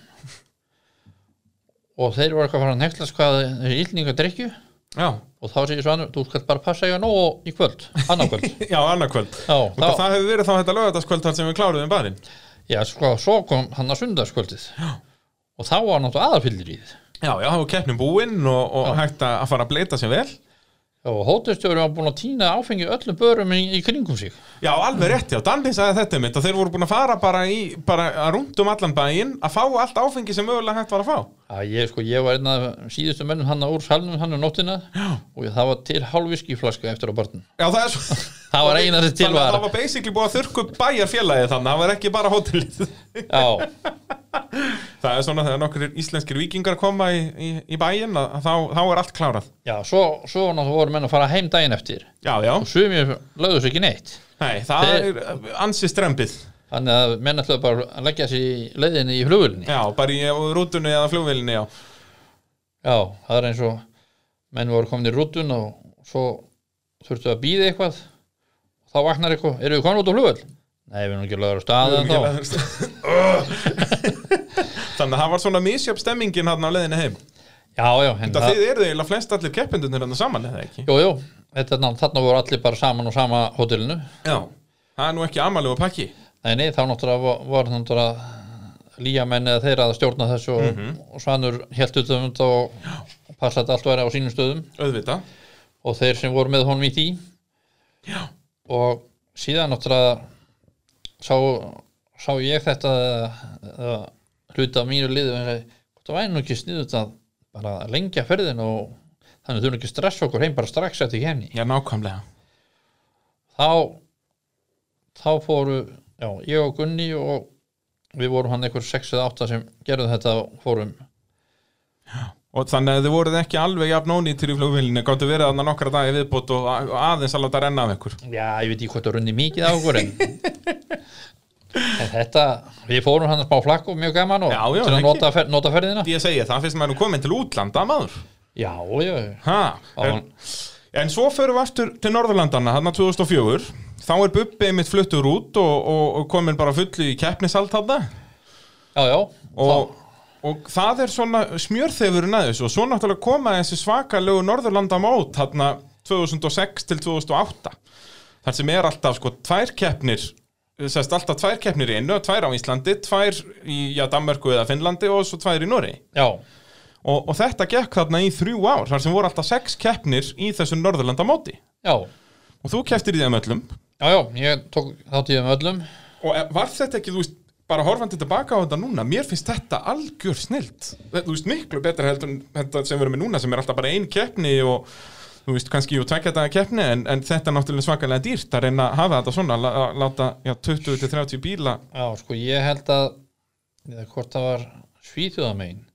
S2: og þeir voru eitthvað að fara að neklast hvað þessi illninga drikju
S1: já,
S2: og þá segir Svanur, þú skalt bara passa eiga nóg í kvöld, annað kvöld
S1: já annarkvöld
S2: Já,
S1: Þá...
S2: þá,
S1: Það hefur verið þá þetta lögataskvöld þar sem við kláruðum barinn
S2: já, sko, svo kom hann að sundarskvöldið já. og þá var náttúrulega aðarfyllir í þið
S1: Já, já, og keppnum búinn og, og hægt að að fara að bleita sér vel
S2: og hótelstjóri var búin að týna áfengi öllum börum í, í kringum sig
S1: Já, alveg rétt, já, Danni sagði þetta mitt og þeir voru búin að fara bara, í, bara að rúndum allan bæinn að fá allt áfengi sem mögulega hægt var að fá
S2: Já, ég, sko, ég var einn af síðustu mennum hann úr salnum hann um nóttina já. og það var til hálfviskiflaska eftir á barnum
S1: Já, það er svo
S2: Það var eina sem til
S1: Þannig að
S2: var
S1: það var basically búið að þurrku upp bæjarfélagið þannig það var ekki bara hótelið
S2: Já,
S1: Það er svona þegar nokkur íslenskir vikingar koma í, í, í bæinn að, að þá, þá er allt klárað.
S2: Já, svo, svo náttúrulega voru menn að fara heim daginn eftir
S1: Já, já.
S2: og sumir lögðu sér ekki neitt
S1: Nei, það
S2: Þeir-
S1: er ansi strempið.
S2: þannig að menn ætlaðu bara að leggja sér í leiðinni í flugulni
S1: Já, bara í rútunni eða flugvélinni, já.
S2: Já, það er eins og menn voru komin í rútun og svo þurftu að býða eitthvað þá vaknar eitthvað, eru við komin út á flugul? Nei, við erum ekki lögur á staði en þá
S1: Þannig að það var svona misjöp stemmingin hann á leiðinni heim.
S2: Já, já, en
S1: Það
S2: það
S1: þið eru eiginlega flest allir keppendunir hann saman, eða ekki?
S2: Jú, jú, þetta, er ná- þarna voru allir bara saman og sama hótelinu
S1: Já. Það er nú ekki amalegu pakki.
S2: Nei, nei, þá náttúrulega var, var náttúrulega líjamenn eða þeirra að stjórna þessu og, og Svanur helt út um þetta og og passa að allt væri á sínum stöðum
S1: Auðvita.
S2: og þeir sem voru með honum í því Já. og síðan náttúrulega sá, sá ég þetta eða hluta á mínu liðu en sagði, hvort það væri nú ekki sniðut að bara lengja ferðin og þannig þurfum ekki að stressa okkur heim bara strax eftir kemni
S1: Já, nákvæmlega.
S2: þá þá fóru, já, ég og Gunni og við vorum hann einhver 6 eða 8 sem gerðu þetta og fórum
S1: Og þannig að þið voruð ekki alveg jafn ónýttir í flugvélinni, gáttu verið þarna nokkra dagi viðbútt og a- og aðeins að láta renna af ykkur.
S2: Já, ég veit ekki hvort það runni mikið á okkur en, en þetta við fórum hann að smá flakk og mjög gaman og
S1: Já, já,
S2: til að
S1: ekki.
S2: nota, fer, nota ferðina
S1: Ég segi það, fyrst maður er nú komin til útlanda, maður.
S2: Já, já,
S1: Ha,
S2: Já.
S1: en, en svo förum við aftur til Norðurlandana hann 2004 þá er Bubbi mitt fluttur út og, og, og komin bara fullu í keppnisalt hann
S2: já, já
S1: og, og það er svona smjörþefurinn að þessu og svo náttúrulega koma þessi svakalegu Norðurlandamót hann 2006 til 2008 þar sem er alltaf sko tvær keppnir sest alltaf tvær keppnir í einu tvær á Íslandi, tvær í já, Danmörku eða Finnlandi og svo tvær í Noregi
S2: Já,
S1: og, og þetta gekk þarna í þrjú ár þar sem voru alltaf sex keppnir í þessu Norðurlandamóti
S2: já,
S1: og þú keftir í þeim öllum
S2: já, já ég tók þátt í þeim öllum
S1: og eh, var þetta ekki, þú veist, bara horfandi tilbaka á þetta núna, mér finnst þetta algjör snilt þú veist, miklu betra heldur en þetta sem við erum með núna sem er alltaf bara ein keppni og þú veist, kannski og tvekja daga keppni en, en þetta er náttúrulega svakalega dýrt að reyna að hafa þetta svona, lá- að láta já, 20-30 bíla
S2: Já, sko, ég held að eða hvort það var svíþjóðamein hérna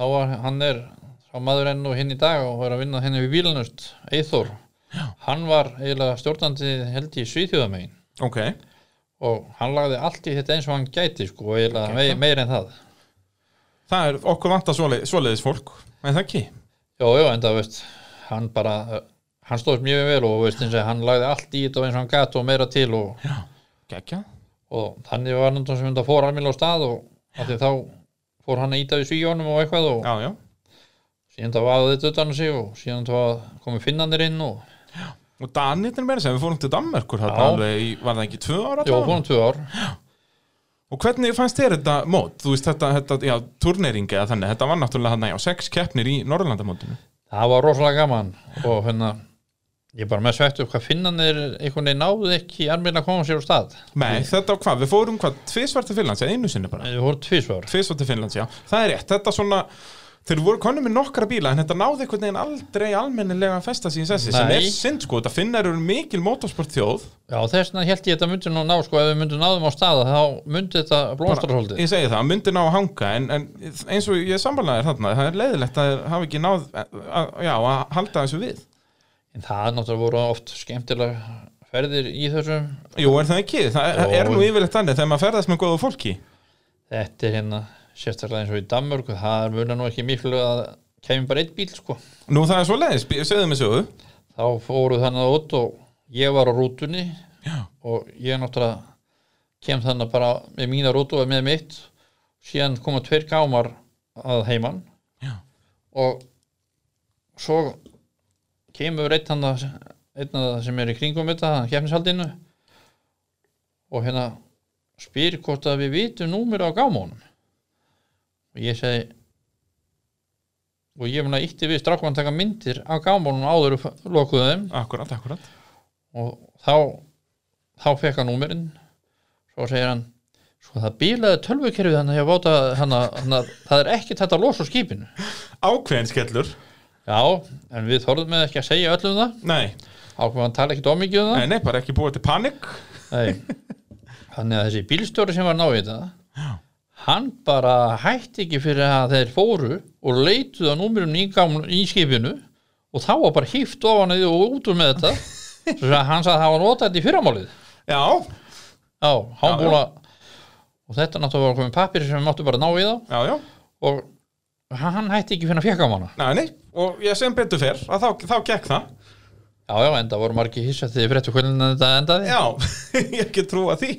S2: þá var hann er sá maður enn og hinn í dag og er að vinna henni við bílanust Eithor hann var eiginlega stjórnandi held í Svíþjóðamegin
S1: Ok,
S2: og hann lagði allt í þetta eins og hann gæti sko, og eiginlega okay. meir en það
S1: það er okkur vantar svoleiðis, svoleiðis fólk en það ekki
S2: Jó, jó, en það veist, hann bara uh, hann stóðst mjög vel og veist eins og hann lagði allt í þetta og eins og hann gæti og meira til og,
S1: Gekja
S2: og þannig var hann sem þetta fór almíl á stað og af því þá fór hann að íta við svíjónum og eitthvað og
S1: Já, já,
S2: síðan það vaði þetta utan á sig og síðan það komið finnanir inn og
S1: og Danirnir meira sem við fórum til Danmerkur þarna
S2: Já.
S1: alveg í, var það ekki tvö ára
S2: jó, fórum tvö ár
S1: Og hvernig fannst þér þetta mót? Þú veist þetta, þetta já, turneringi eða þannig, þetta var náttúrulega þarna, já, sex keppnir í Norrlandamótinu.
S2: það var rosalega gaman og hérna ég er bara með svegt upp hvað finnanir einhvern veginn náðu ekki almíl að koma sér á stað
S1: Nei, þetta var hvað, við fórum hvað, tvisvar til Finnlands, eða einu sinni bara.
S2: við fórum tvísvar
S1: Tvisvar til Finnlands, já. Það er rétt, þetta svona, þeir voru konum með nokkra bíla, en þetta náði einhvern veginn aldrei almennilega að festa sín sessi, sem
S2: Nei.
S1: er synd, sko, þetta finnar eru mikil motorsport þjóð.
S2: já, þess vegna held ég þetta myndi nú ná sko, ef við myndum náðum á stað þá myndi þetta blómstra svolítið
S1: Ég segi það, myndi ná að hanga, en, en eins og ég sambannaði þarna, það er leiðilegt að þeir hafa ekki náð, eh, að, já, að halda þessu við.
S2: en það náttúrulega voru oft skemmtilega ferðir í þessum
S1: Jú, er það ekki? Það er,
S2: Jó.
S1: er nú yfirleitt þannig þegar maður ferðast með góðu fólki.
S2: þetta er hérna sérstaklega eins og í Danmörku það er munar nú ekki miklu að kemur bara einn bíl sko
S1: Nú það er svo leiðis, segðu mig sögu.
S2: þá fóru þannig út og ég var á rútunni Já. og ég náttúrulega kem þannig bara með mína rútu og með mitt síðan koma tveir gámar að heiman
S1: Já.
S2: og svo kemur einn hann einn að sem er í kringum þetta kefnishaldinu og hérna spyr hvort að við vitum númur á gámónum og ég segi og ég mun að ítti við strákum að taka myndir af gámónum áður og lokuðu þeim
S1: Akkurat, akkurat.
S2: og þá þá fekk hann númerinn svo segir hann sko það bílaði tölvukerfið hann að ég váta hann að það er ekki þetta los á skipinu
S1: Ákveðin skellur.
S2: já, en við þorðum með ekki að segja öllum það
S1: Nei,
S2: ákveðan hann tala ekkit ómikið um það
S1: nei, nei, bara ekki búið til panik.
S2: Nei. þannig að þessi bílstjóri sem var að ná í þetta hann bara hætti ekki fyrir að þeir fóru og leituðu að númurum í, gám- í skipinu og þá var bara hýft ofan í og út úr með þetta svo að hann sagði að það var notað þetta í fyrramálið
S1: Já,
S2: Já,
S1: Já,
S2: hann búin að og þetta náttúrulega var komið pappir sem við máttum bara ná í þá
S1: já, já.
S2: og hann- hann hætti ekki finna fjekka á hana
S1: Nei, nei, og ég sem betur fer að þá, þá gekk það.
S2: Já, já, enda voru margir hissa þegar fréttu hvernig þetta endaði
S1: Já, ég ekki trúa því.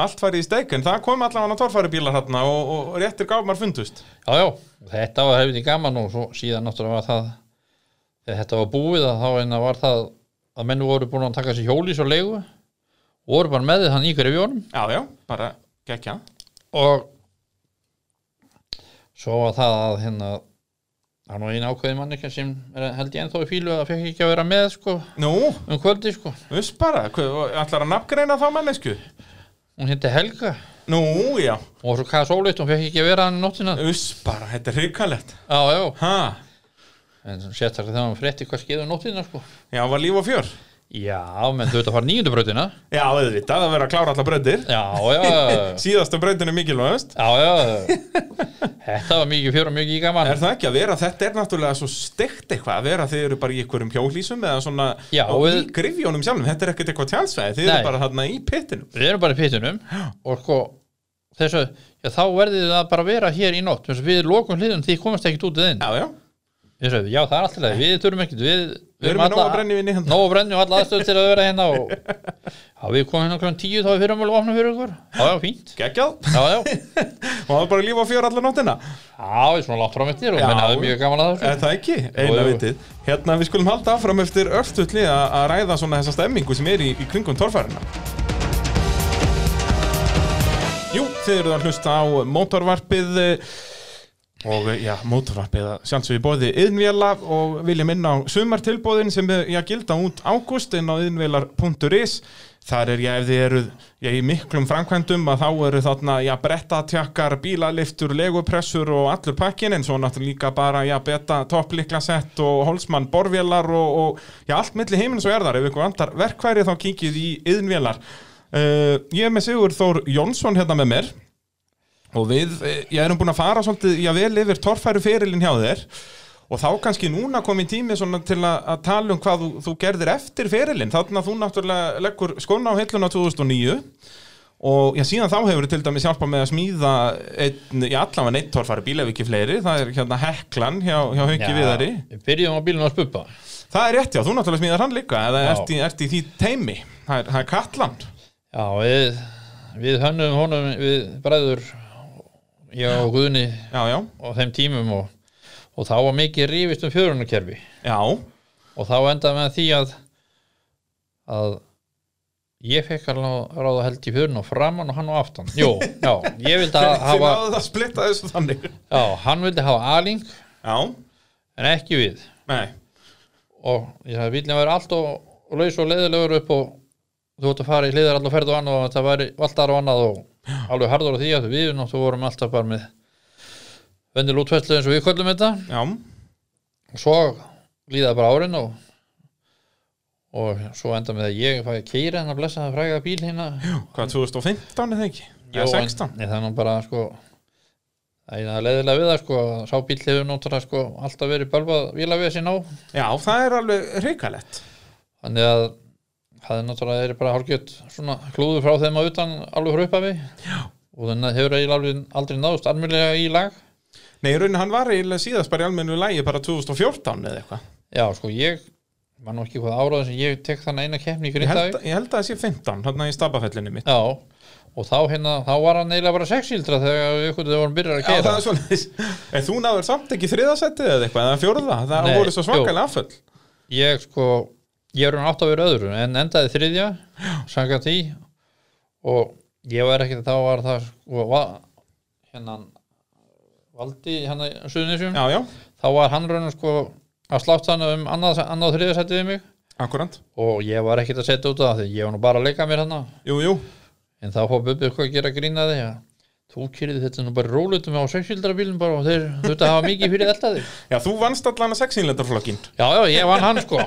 S1: Allt farið í steik, en það kom allavega á torfæri bílar hérna og, og réttir gámar fundust.
S2: já, já, þetta var hefði gaman og svo síðan náttúrulega var það þegar þetta var búið að þá einna var það að menn voru búin að taka sér hjólís og leigu voru bara með þann í grefjónum
S1: Já, já, bara gekkja.
S2: og svo var það að hérna hann var einu ákveði mannekja sem er, held ég ennþá í fílu að fekk ekki að vera með sko,
S1: Nú,
S2: um kvöldi sko
S1: viss bara, hvað- ætlar að nafngreina þá mannesku?
S2: hún hétti Helga
S1: Nú, já,
S2: hún var svo kaða sóleitt, hún fekk ekki að vera hann í nóttina já,
S1: viss bara, þetta er hrikalegt.
S2: já,
S1: Hæ?
S2: en sérstaklega þegar hann frétti hvað skeiði um nóttina sko.
S1: Já, var líf og fjör
S2: já, menn þú veit að fara nýjundu brautina
S1: Já, auðvitað, að vera að klára alla bröndir
S2: já, já, já,
S1: Síðasta bröndin er mikilvægast
S2: já, já. þetta var mikið fjóra mikið gaman
S1: Er það ekki að vera, þetta er náttúrulega svo steikt eitthvað að vera að þið eru bara í einhverjum hjólísum eða svona
S2: Já,
S1: og
S2: við-
S1: í grifjónum sjálfum, þetta er ekkert eitthvað tjálsvæði þið
S2: Nei.
S1: eru bara þarna í pittinum
S2: við erum bara í pittunum og sko þessu, já, þá verðið það bara að vera hér í nótt þessu, við lokum hliðum því komast ekkert út eðin já.
S1: Já, já,
S2: Þessu, já, það er alltaf leið, við þurfum ekkert við,
S1: við erum með nóg að brenni vinni hérna
S2: Nó brenni og alla aðstöð til að vera hérna og já, við komum hérna klokkan tíu þá er fyrirmál og opna fyrir ykkur, já, já, fínt
S1: Gekkjað,
S2: já, já,
S1: og það er bara líf og fjör alla nóttina
S2: já, ég er svona látt frá mittir og
S1: Já.
S2: menn hafði mjög gaman að þessu
S1: Er það ekki, eina
S2: Jú, jú.
S1: vitið Hérna, við skulum halda áfram eftir örstutli að að ræða svona þessa stemmingu sem er í, í kringum torfærina Jú, þið eruð að hlusta á mótorvarpið eh, og eh, já, mótorvarpið að sjálfsög í bóði yðnvjala og viljum inn á sumartilbóðin sem eh, já, gilda út ágúst inn á yðnvjalar.is Þar er ég ef þið eruð já, í miklum framkvæmdum að þá eru þarna já, brettatjakkar, bílaliftur, legupressur og allur pakkin en svo náttúrulega líka bara já, beta toppliklasett og holsmann borvjalar og, og já, allt milli heiminn svo er þar ef ykkur vantar verkværi þá kikið í yðnvjalar uh, Ég er með Sigur Þór Jónsson hérna með mér Og við, eh, ég erum búin að fara svolítið, já vel yfir torfæru fyrirlin hjá þér og þá kannski núna komið tími svona til að, að tala um hvað þú, þú gerðir eftir ferilinn, þannig að þú náttúrulega leggur skona á hilluna 2009 og já, síðan þá hefur til dæmis hjálpað með að smíða einn, já, allavega neitt torfari bíl ef ekki fleiri, það er hérna Heklan hjá, hjá Hauki Viðari,
S2: Við byrjum á bílinu að spuppa
S1: það er rétt já, þú náttúrulega smíðar hann líka, eða
S2: Já.
S1: ert í, ert í því teimi, það er, það er Katlan
S2: Já, við, við hönnum honum við bræður ég og Guðni
S1: já, já,
S2: á þeim tímum og, og þá var mikið rífist um fjörunarkerfi
S1: já,
S2: og þá endaði með því að að ég fekk að lá- ráða held í fjörun og framan og hann á aftan Jó, já, ég vildi að
S1: þið
S2: hafa
S1: náðu það að splitta þessu þannig
S2: já, hann vildi hafa aling
S1: já,
S2: en ekki við
S1: nei,
S2: og ég sagði, bílinn var allt og laus og leiðilegur upp og þú ætti að fara í hliðar allar ferð og annað og þetta væri valtar og annað og alveg harður á því að við náttúrulega vorum alltaf bara með vendil útfæslu eins og við köllum þetta
S1: já,
S2: og svo líða bara árin og og svo enda með að ég fæði keira hennar blessa það fræga bíl hérna Jú,
S1: hvað 2015 er það ekki? Já, 16
S2: en, en það er nú bara sko það er það leiðilega við það sko að sá bíl hefur náttúrulega sko alltaf verið bölvað vila við þessi ná
S1: Já, það er alveg hrikalett
S2: þannig að það er náttúrulega er bara hálfgjött svona klúður frá þeim að utan alveg frá uppafi Já. og þannig að hefur eiginlega aldrei, aldrei náðust almennlega í lag
S1: Nei, í raunin hann var eiginlega síðast bara í almennu lægi bara 2014 eða eitthvað
S2: Já, sko ég mann ekki hvað áraðin sem ég tek þannig eina keppni í
S1: ég,
S2: Grindavík
S1: held- ég held að það sé 15, hann í stabafellinni mitt
S2: Já, og þá hérna þá var hann eiginlega bara sexíldra þegar við ykkur þau vorum byrjar að
S1: Já, það
S2: keira
S1: er svoleiðis En þú náður samt ekki þriðasættið eða eitthvað eða fjórða, það
S2: Nei,
S1: voru svo svakalega afföll
S2: Ég sko, ég er hann átt að vera öðru en endaði þriðja, sanga því og ég var ekkert þá var það sko va, hérna valdi hérna suðnisjum
S1: Já, já,
S2: þá var hann raunum sko að slátt hann um annað, annað þriðasættið við mig
S1: akkurant
S2: og ég var ekkert að setja út af því ég var nú bara að leika mér hann
S1: Jú, jú,
S2: en þá fór Bubbi eitthvað að gera grína því að þú kyrði þetta nú bara rólutum á sexhildra bílum bara og þeir þurfti að hafa mikið fyrir elda þig
S1: já, þú vannst allan að sexínlendarflokkin
S2: já, já, ég vann hann sko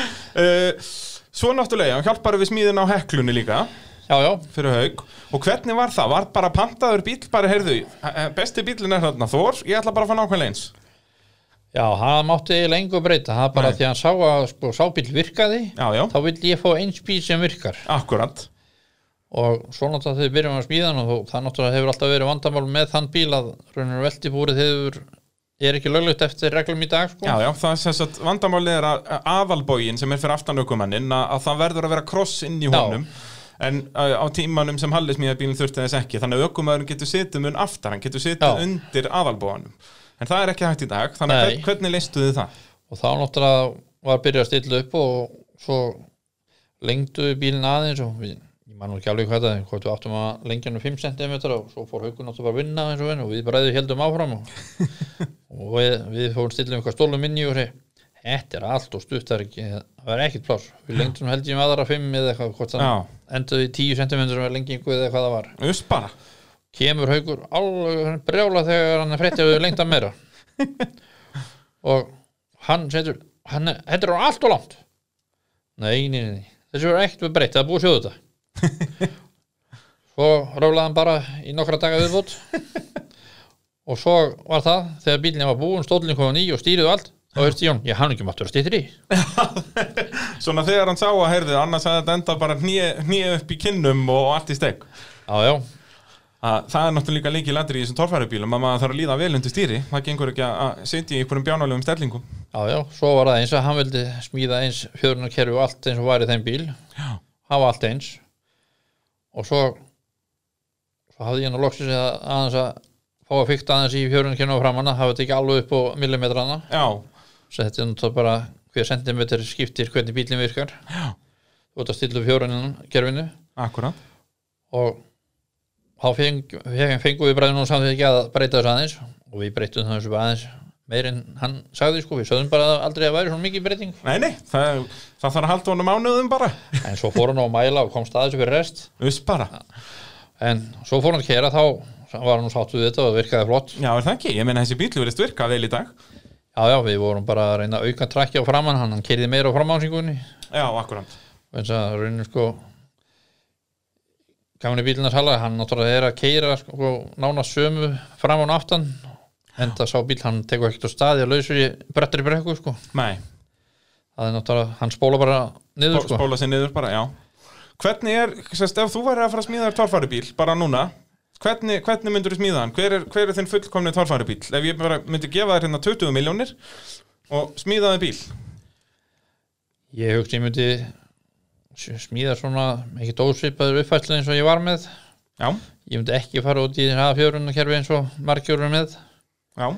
S1: uh, Svo náttúrulega, hann hjálpar við smíðin á heklunni líka
S2: já, já,
S1: fyrir haug og hvernig var það? Var bara pantaður bíl, bara heyrðu eh, besti bílinn er þarna Þór, ég ætla bara að fá nákvæmlega eins
S2: já, hann mátti lengur breyta það bara
S1: Nei.
S2: því að hann sá að sko, sábíl virkaði
S1: Já, já,
S2: þá vill ég fá eins bíl sem virkar
S1: akkurant
S2: og svo náttúrulega þegar við byrjum að smíða hann og þó- það náttúrulega hefur alltaf verið vandamál með þann bíl að raunar veltibúrið hefur er ekki löglegt eftir reglum í dag sko.
S1: Já, já, það er sem sagt vandamálið er að að aðalbógin sem er fyrir aftan aukumannin að, að það verður að vera kross inn í honum en uh, á tímanum sem Halli smíða bílinn þurfti þess ekki, þannig að aukumæðurinn getur setið mun aftar, hann getur setið
S2: Já.
S1: undir aðalbóganum, en það er ekki hægt í dag þannig að
S2: Nei.
S1: hvern, hvernig leistuðu það?
S2: og þá náttúrulega var að byrja að stilla upp og svo lengdu við bílinn aðeins og við, ég man nú ekki alveg hvað það er, hvort við áttum að lengja hann um 5 cm og svo fór haugun náttúrulega bara að vinna aðeins og vinna og við bræðið heldum áfram og, og við, við fórum stillum eitthvað stólum inn í og segi þetta er allt og stutt það er ekki, það er ekkit pláss við lengdum held ég um aðra 5 eða eitthvað hvort
S1: Já.
S2: það endaði í 10 cm með lengingu eða hvað það var
S1: Uss bara,
S2: kemur haugur alveg brjála þegar hann er frétti að við lengta meira og hann setur hann, þetta er orðið allt og langt nei, nei, nei, nei. þessi verður ekkert við breytt það er búið að sjóðu þetta svo rálaði hann bara í nokkra daga viðbútt og svo var það þegar bílinni var búin stólinn kom hann í og stýrið og allt þá hörst ég hann, ég hann ekki máttur að stýttri
S1: svona þegar hann sá að heyrðu annars að þetta enda bara hnýja upp í kinnum og allt í steg
S2: já, já,
S1: að það er náttúrulega líki ladri í þessum torfærubílum að maður þarf að líða vel undir stýri það gengur ekki að- að setja í einhverjum bjánulegum stellingum
S2: já, já, svo var það eins að hann vildi smíða eins fjörunarkerfi og allt eins og var í þeim bíl
S1: Já.
S2: hafa allt eins og svo svo hafði ég nú loksins að aðeins að fá að fykta aðeins í fjörunarkerfi og framanna hafa þetta ekki alveg upp á millimetrana
S1: Já,
S2: svo þetta er náttúrulega bara hver sentimetr skiptir hvernig bílinn virkar já. þú ert að stilla upp fjörunarkerfinu
S1: akkurat
S2: og þá feng, feng, fengum við bræðin og samþykja að breyta þessu aðeins og við breytum þessu bara aðeins meir en hann sagði sko, við sögðum bara aldrei að væri svona mikið breyting
S1: Nei, nei, það, það þarf að halda honum mánuðum bara
S2: en svo fór hann á að mæla og komst að þessu fyrir rest
S1: Uss bara
S2: en svo fór hann að kera þá var hann sáttu við þetta og það virkaði flott
S1: Já, er það ekki? Ég meina þessi bíl verðist virka vel í dag
S2: já já, við vorum bara að reyna að auka trakki á framann hann, hann kerði meira á framásingunni
S1: Já, akkurant
S2: eins að rauninu sko sko, gaman í bílina sala hann náttúrulega er að keira sko, nána sömu fram og aftan enda sá bíl, hann tekur ekkert á staði að lausu í brettri brekku sko
S1: Nei,
S2: það er náttúrulega, hann spóla bara niður
S1: Bó-
S2: sko
S1: spóla sér niður bara, já hvernig er, sérst, ef þú væri að fara að smíða þér torfæribíl, bara núna hvernig, hvernig myndur þú smíða hann, hver er, hver er þinn fullkomni torfæribíl, ef ég bara myndi gefa þér hérna 20 miljónir og smíða þér bíl,
S2: ég hugsi, ég myndi s- smíða svona, ekkert ósvipaður uppfæslu eins og ég var með
S1: já,
S2: ég myndi ekki fara út í A4-kerfi eins og margjórum með
S1: já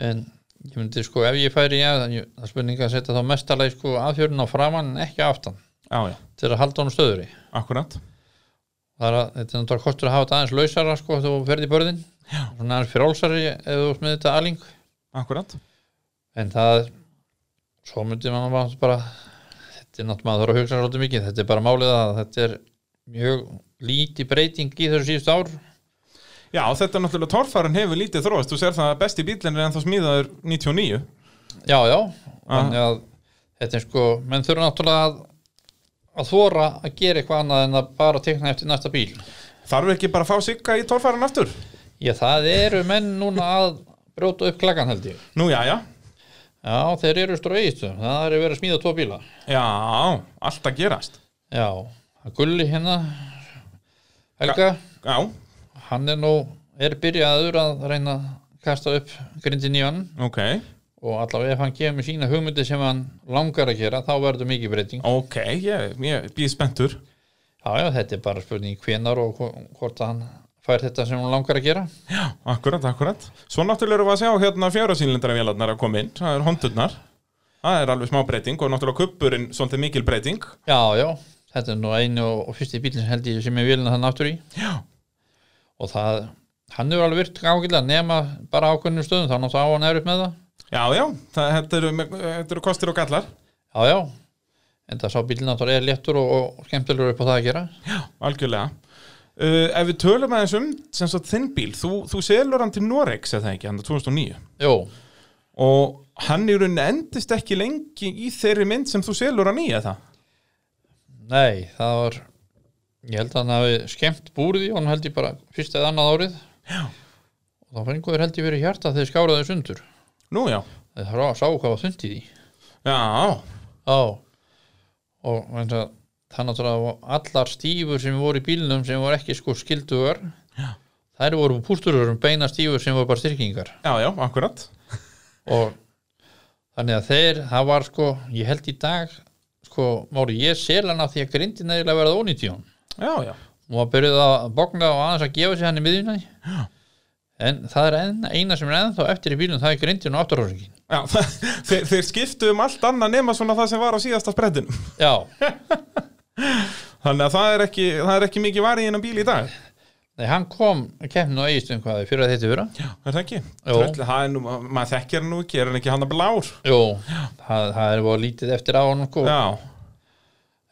S2: en ég myndi sko, ef ég færi já, það er spurning að setja þá mestalagi sko A4-un á framann en ekki aftan
S1: já, já,
S2: til að halda honum stöður í
S1: akkurat
S2: það er að, þetta er náttúrulega kostur að hafa þetta aðeins lausara sko þegar þú ferði í börðin já. svona aðeins frjálsari ef þú ert með þetta aling
S1: akkurat,
S2: en það svo myndi mann bara, bara þetta er náttúrulega maður þarf að hugsa svolítið mikið þetta er bara málið að þetta er mjög lítið breyting í þessu síðust ár
S1: já, þetta er náttúrulega torfærin hefur lítið þróast, þú sér það að besti bílinn er ennþá smíðaður 99
S2: já, já, þannig að þetta er sko, menn þurfa náttúrulega að að þóra að gera eitthvað annað en að bara tekna eftir næsta bíl
S1: þarf ekki bara að fá sigga í torfærin aftur
S2: já, það eru menn núna að brjóta upp klakkan held ég
S1: nú, já, já,
S2: já, þeir eru stróiðstu, það er verið að smíða tvo bíla
S1: já, allt að gerast
S2: já, Gulli hérna Helga
S1: já,
S2: hann er nú, er byrjaður að reyna að kasta upp grindin í hann
S1: ok,
S2: og allavega ef hann kemur sína hugmyndi sem hann langar að gera þá verður mikið breyting
S1: ok, ég, ég býð spenntur
S2: já já, þetta er bara spurning hvenar og hvo- hvort að hann fær þetta sem hann langar að gera
S1: Já, akkurat, akkurat. Svo náttúrulega erum við að sjá hérna fjárasýnlindara vélarnar að koma inn, það er hondurnar. Það er alveg smá breyting og náttúrulega kuppurinn svolítið mikil breyting.
S2: já já, þetta er nú einu og, og fyrsti bílinn held ég sem ég vilja þann aftur í
S1: Já.
S2: og það, hann er alveg virkt ágætlega nema bara ákveðnum stöðum þá náttúrulega á hann er upp með það
S1: Já, já, það, þetta, eru, þetta eru kostir og gallar,
S2: já já, en það sá bílinn náttúrulega er léttur og, og skemmtilegur upp á það að gera
S1: algjörlega. Uh, ef við tölum aðeins um sem svo þinn bíl, þú, þú selur hann til Norex eða ekki, hann er 2009
S2: jú,
S1: og hann í rauninni endist ekki lengi í þeirri mynd sem þú selur hann í eða það.
S2: Nei, það var ég held að hann hafi skemmt búrið í honum held ég bara fyrst eða annað árið Já. og þá fengur þeir held ég verið hjarta þegar skáraði sundur
S1: Nú já,
S2: þeir þarf að sá hvað var þundið í
S1: já,
S2: Já og þannig að það náttúrulega var allar stífur sem voru í bílnum sem voru ekki sko skildugar Já. þær voru pústururum beina stífur sem voru bara styrkingar
S1: já, já, akkurat.
S2: og þannig að þeir, það var sko ég held í dag sko, Mári, ég sel hann af því að grindin eða verða ónýtt í hún
S1: Já, já,
S2: og maður byrjuði að bókna og aðeins að gefa sér hann í miðjuna en það er enn, eina sem er ennþá eftir í bílunum það er grindin og afturhóringin
S1: já þeir, þeir skiptu um allt annað nema svona það sem var á síðasta spreddinum.
S2: já,
S1: Þannig að það er ekki, það er ekki mikið varið innan bíl í dag
S2: Nei, hann kom keppnum á eigistum hvaði fyrir að þetta vera
S1: Er það ekki?
S2: Jú.
S1: Tröll, það er nú, maður þekkir hann nú ekki, er hann ekki hann að blár?
S2: Jú, það, það er bara lítið eftir á hann sko.
S1: Já,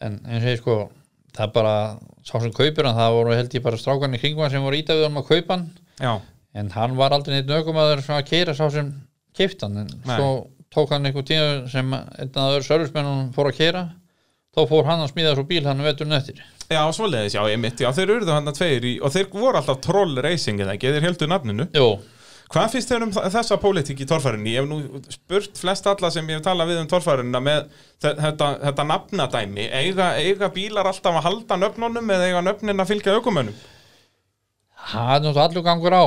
S2: en eins og ég sko það er bara, sá sem kaupir hann það voru held ég bara strákan í kringum hann sem voru ítafið hann að kaupa hann
S1: já,
S2: en hann var aldrei neitt nögumæður sem að keira sá sem keipt hann en
S1: Nei.
S2: svo tók hann einhver tíma sem einn að öðru servicemennum fór að keira þá fór hann að smíða svo bíl hann veturinn eftir
S1: já, svoleiðis, já, ég mitt, já, þeir urðu hann að tveir í, og þeir voru alltaf troll racing eða ekki, þeir heldur nafninu
S2: Jú,
S1: Hvað finnst þeir um þa- þessa pólitík í torfærinni? Ég hef nú spurt flest alla sem ég hef talað við um torfærinna með þe- þetta, þetta nafnadæmi, eiga, eiga bílar alltaf að halda nöfnunum eða eiga nöfnin að fylgja ökumönnum?
S2: það er náttúrulega allur gangur á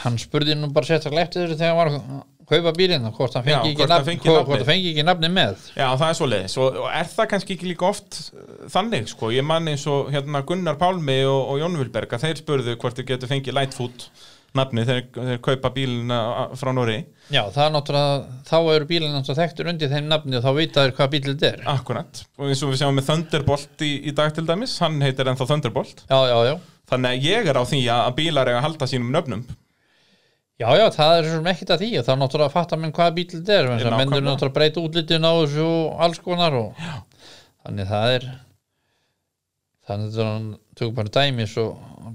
S2: hann spurði nú bara sérstaklega eftir þessu þegar hann var að kaupa bílinn hvort hann
S1: Já,
S2: fengi, ekki,
S1: hvort hann
S2: nafn,
S1: fengi
S2: hvort, hvort
S1: nafnið.
S2: hann fengi ekki nafni með
S1: Já, það er svoleiðis og, og er það kannski ekki líka oft uh, þannig, sko, ég man eins og hérna Gunnar Pálmi og, og Jón Vilberg að þeir spurðu hvort þeir getur fengið Lightfoot nafni þegar þeir kaupa bílina a- frá Nóri,
S2: Já, það er náttúrulega, þá eru bílinn náttúrulega þekktur undir þeim nafni og þá vita þér hvað bíl þetta er
S1: akkurat og eins og við sjáum með Thunderbolt í, í dag til dæmis hann heitir ennþá Thunderbolt
S2: Já, já, já
S1: þannig að ég er á því að að bílar eiga að halda sínum nöfnum
S2: Já, já, það er svo sem ekkert að því og þá náttúrulega fattar menn hvaða bíl þetta er menn
S1: Nákvæmlega.
S2: mennur náttúrulega að breyta útlitin á þessu og alls konar og þannig það er þannig þetta hann tökum bara dæmi svo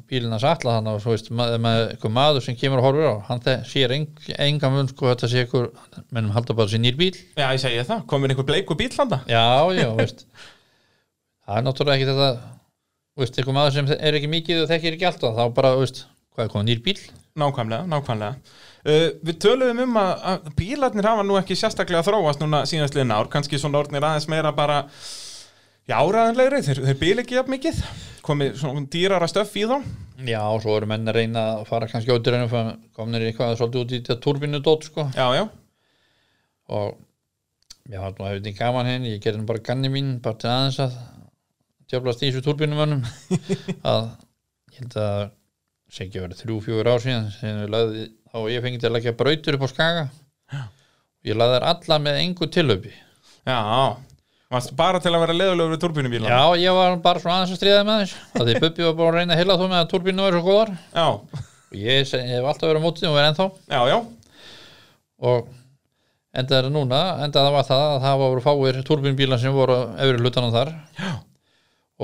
S2: bílinn hans atla hann og svo veist maður, maður, einhver maður sem kemur og horfir á hann þe- sér eng, engan mun sko þetta sé ykkur, mennum halda bara sér nýr bíl
S1: Já, ég segi það, komin einhver bleiku bíl handa
S2: Já, já, veist það er náttúrulega ekki þetta veist, einhver maður sem er ekki mikið og þekkir ekki alltaf þá bara, veist, hvað er komið nýr bíl
S1: nákvæmlega, nákvæmlega. Uh, við töluðum um að, að bílarnir hafa nú ekki sérstaklega þróast núna síðastliðin ár, kannski svona orðnir aðeins meira bara já, áraðanlegri, þeir, þeir bíl ekki jafn mikið, komið svona dýrara stöff í þá.
S4: Já, svo eru menn að reyna að fara kannski áttir en komnir í eitthvað svolítið út í þetta turbinudót sko.
S1: Já, já,
S4: og já, nú hefði þetta gaman
S2: hérna,
S4: henni ég gerði nú bara ganni mín, bara til aðeins að djöflast í þessu turbinumönnum að ég held að sé ekki að vera þrjú, fjögur ár síðan sem við lagði, þá ég fengið til að leggja brautur upp á skaga ég lagði þær alla með engu tilöpi
S1: já, varst bara til að vera leðulegur við turbínubílar.
S4: já, ég var bara svona aðeins að stríða með þess að því Bubbi var bara að reyna að heila þú með að turbinu væri svo góðar
S1: Já,
S4: og ég, se- ég hef alltaf verið á mótið og verið ennþá
S1: já, já,
S4: og enda er núna enda það var það að það voru fáir turbinbílar sem voru á efri hlutanum þar Já.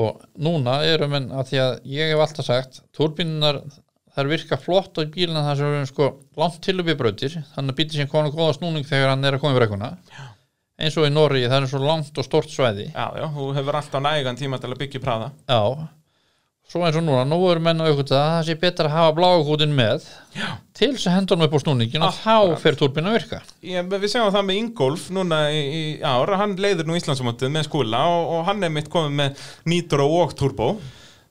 S4: og núna eru menn að því að ég hef alltaf sagt turbinunar þær virka flott á bílina þar sem eru sko langt til upp í brautir þannig að bíli sem konar góða snúning þegar hann er að koma í brekkuna eins og í Noregi það er svo langt og stort svæði
S1: já, já, þú hefur alltaf nægan tíma til að byggja praða.
S4: Já, svo eins og núna, nú eru menn að aukvitað að það sé betra að hafa bláugútin með Já. Ah, til þess að hendur hann upp á snúningin og þá fer turbinu að virka
S1: Ég, við segjum það með Ingolf núna í, í ár, hann leiðir nú Íslandsumótið með skúla og, og hann er mitt komið með nýtró og turbo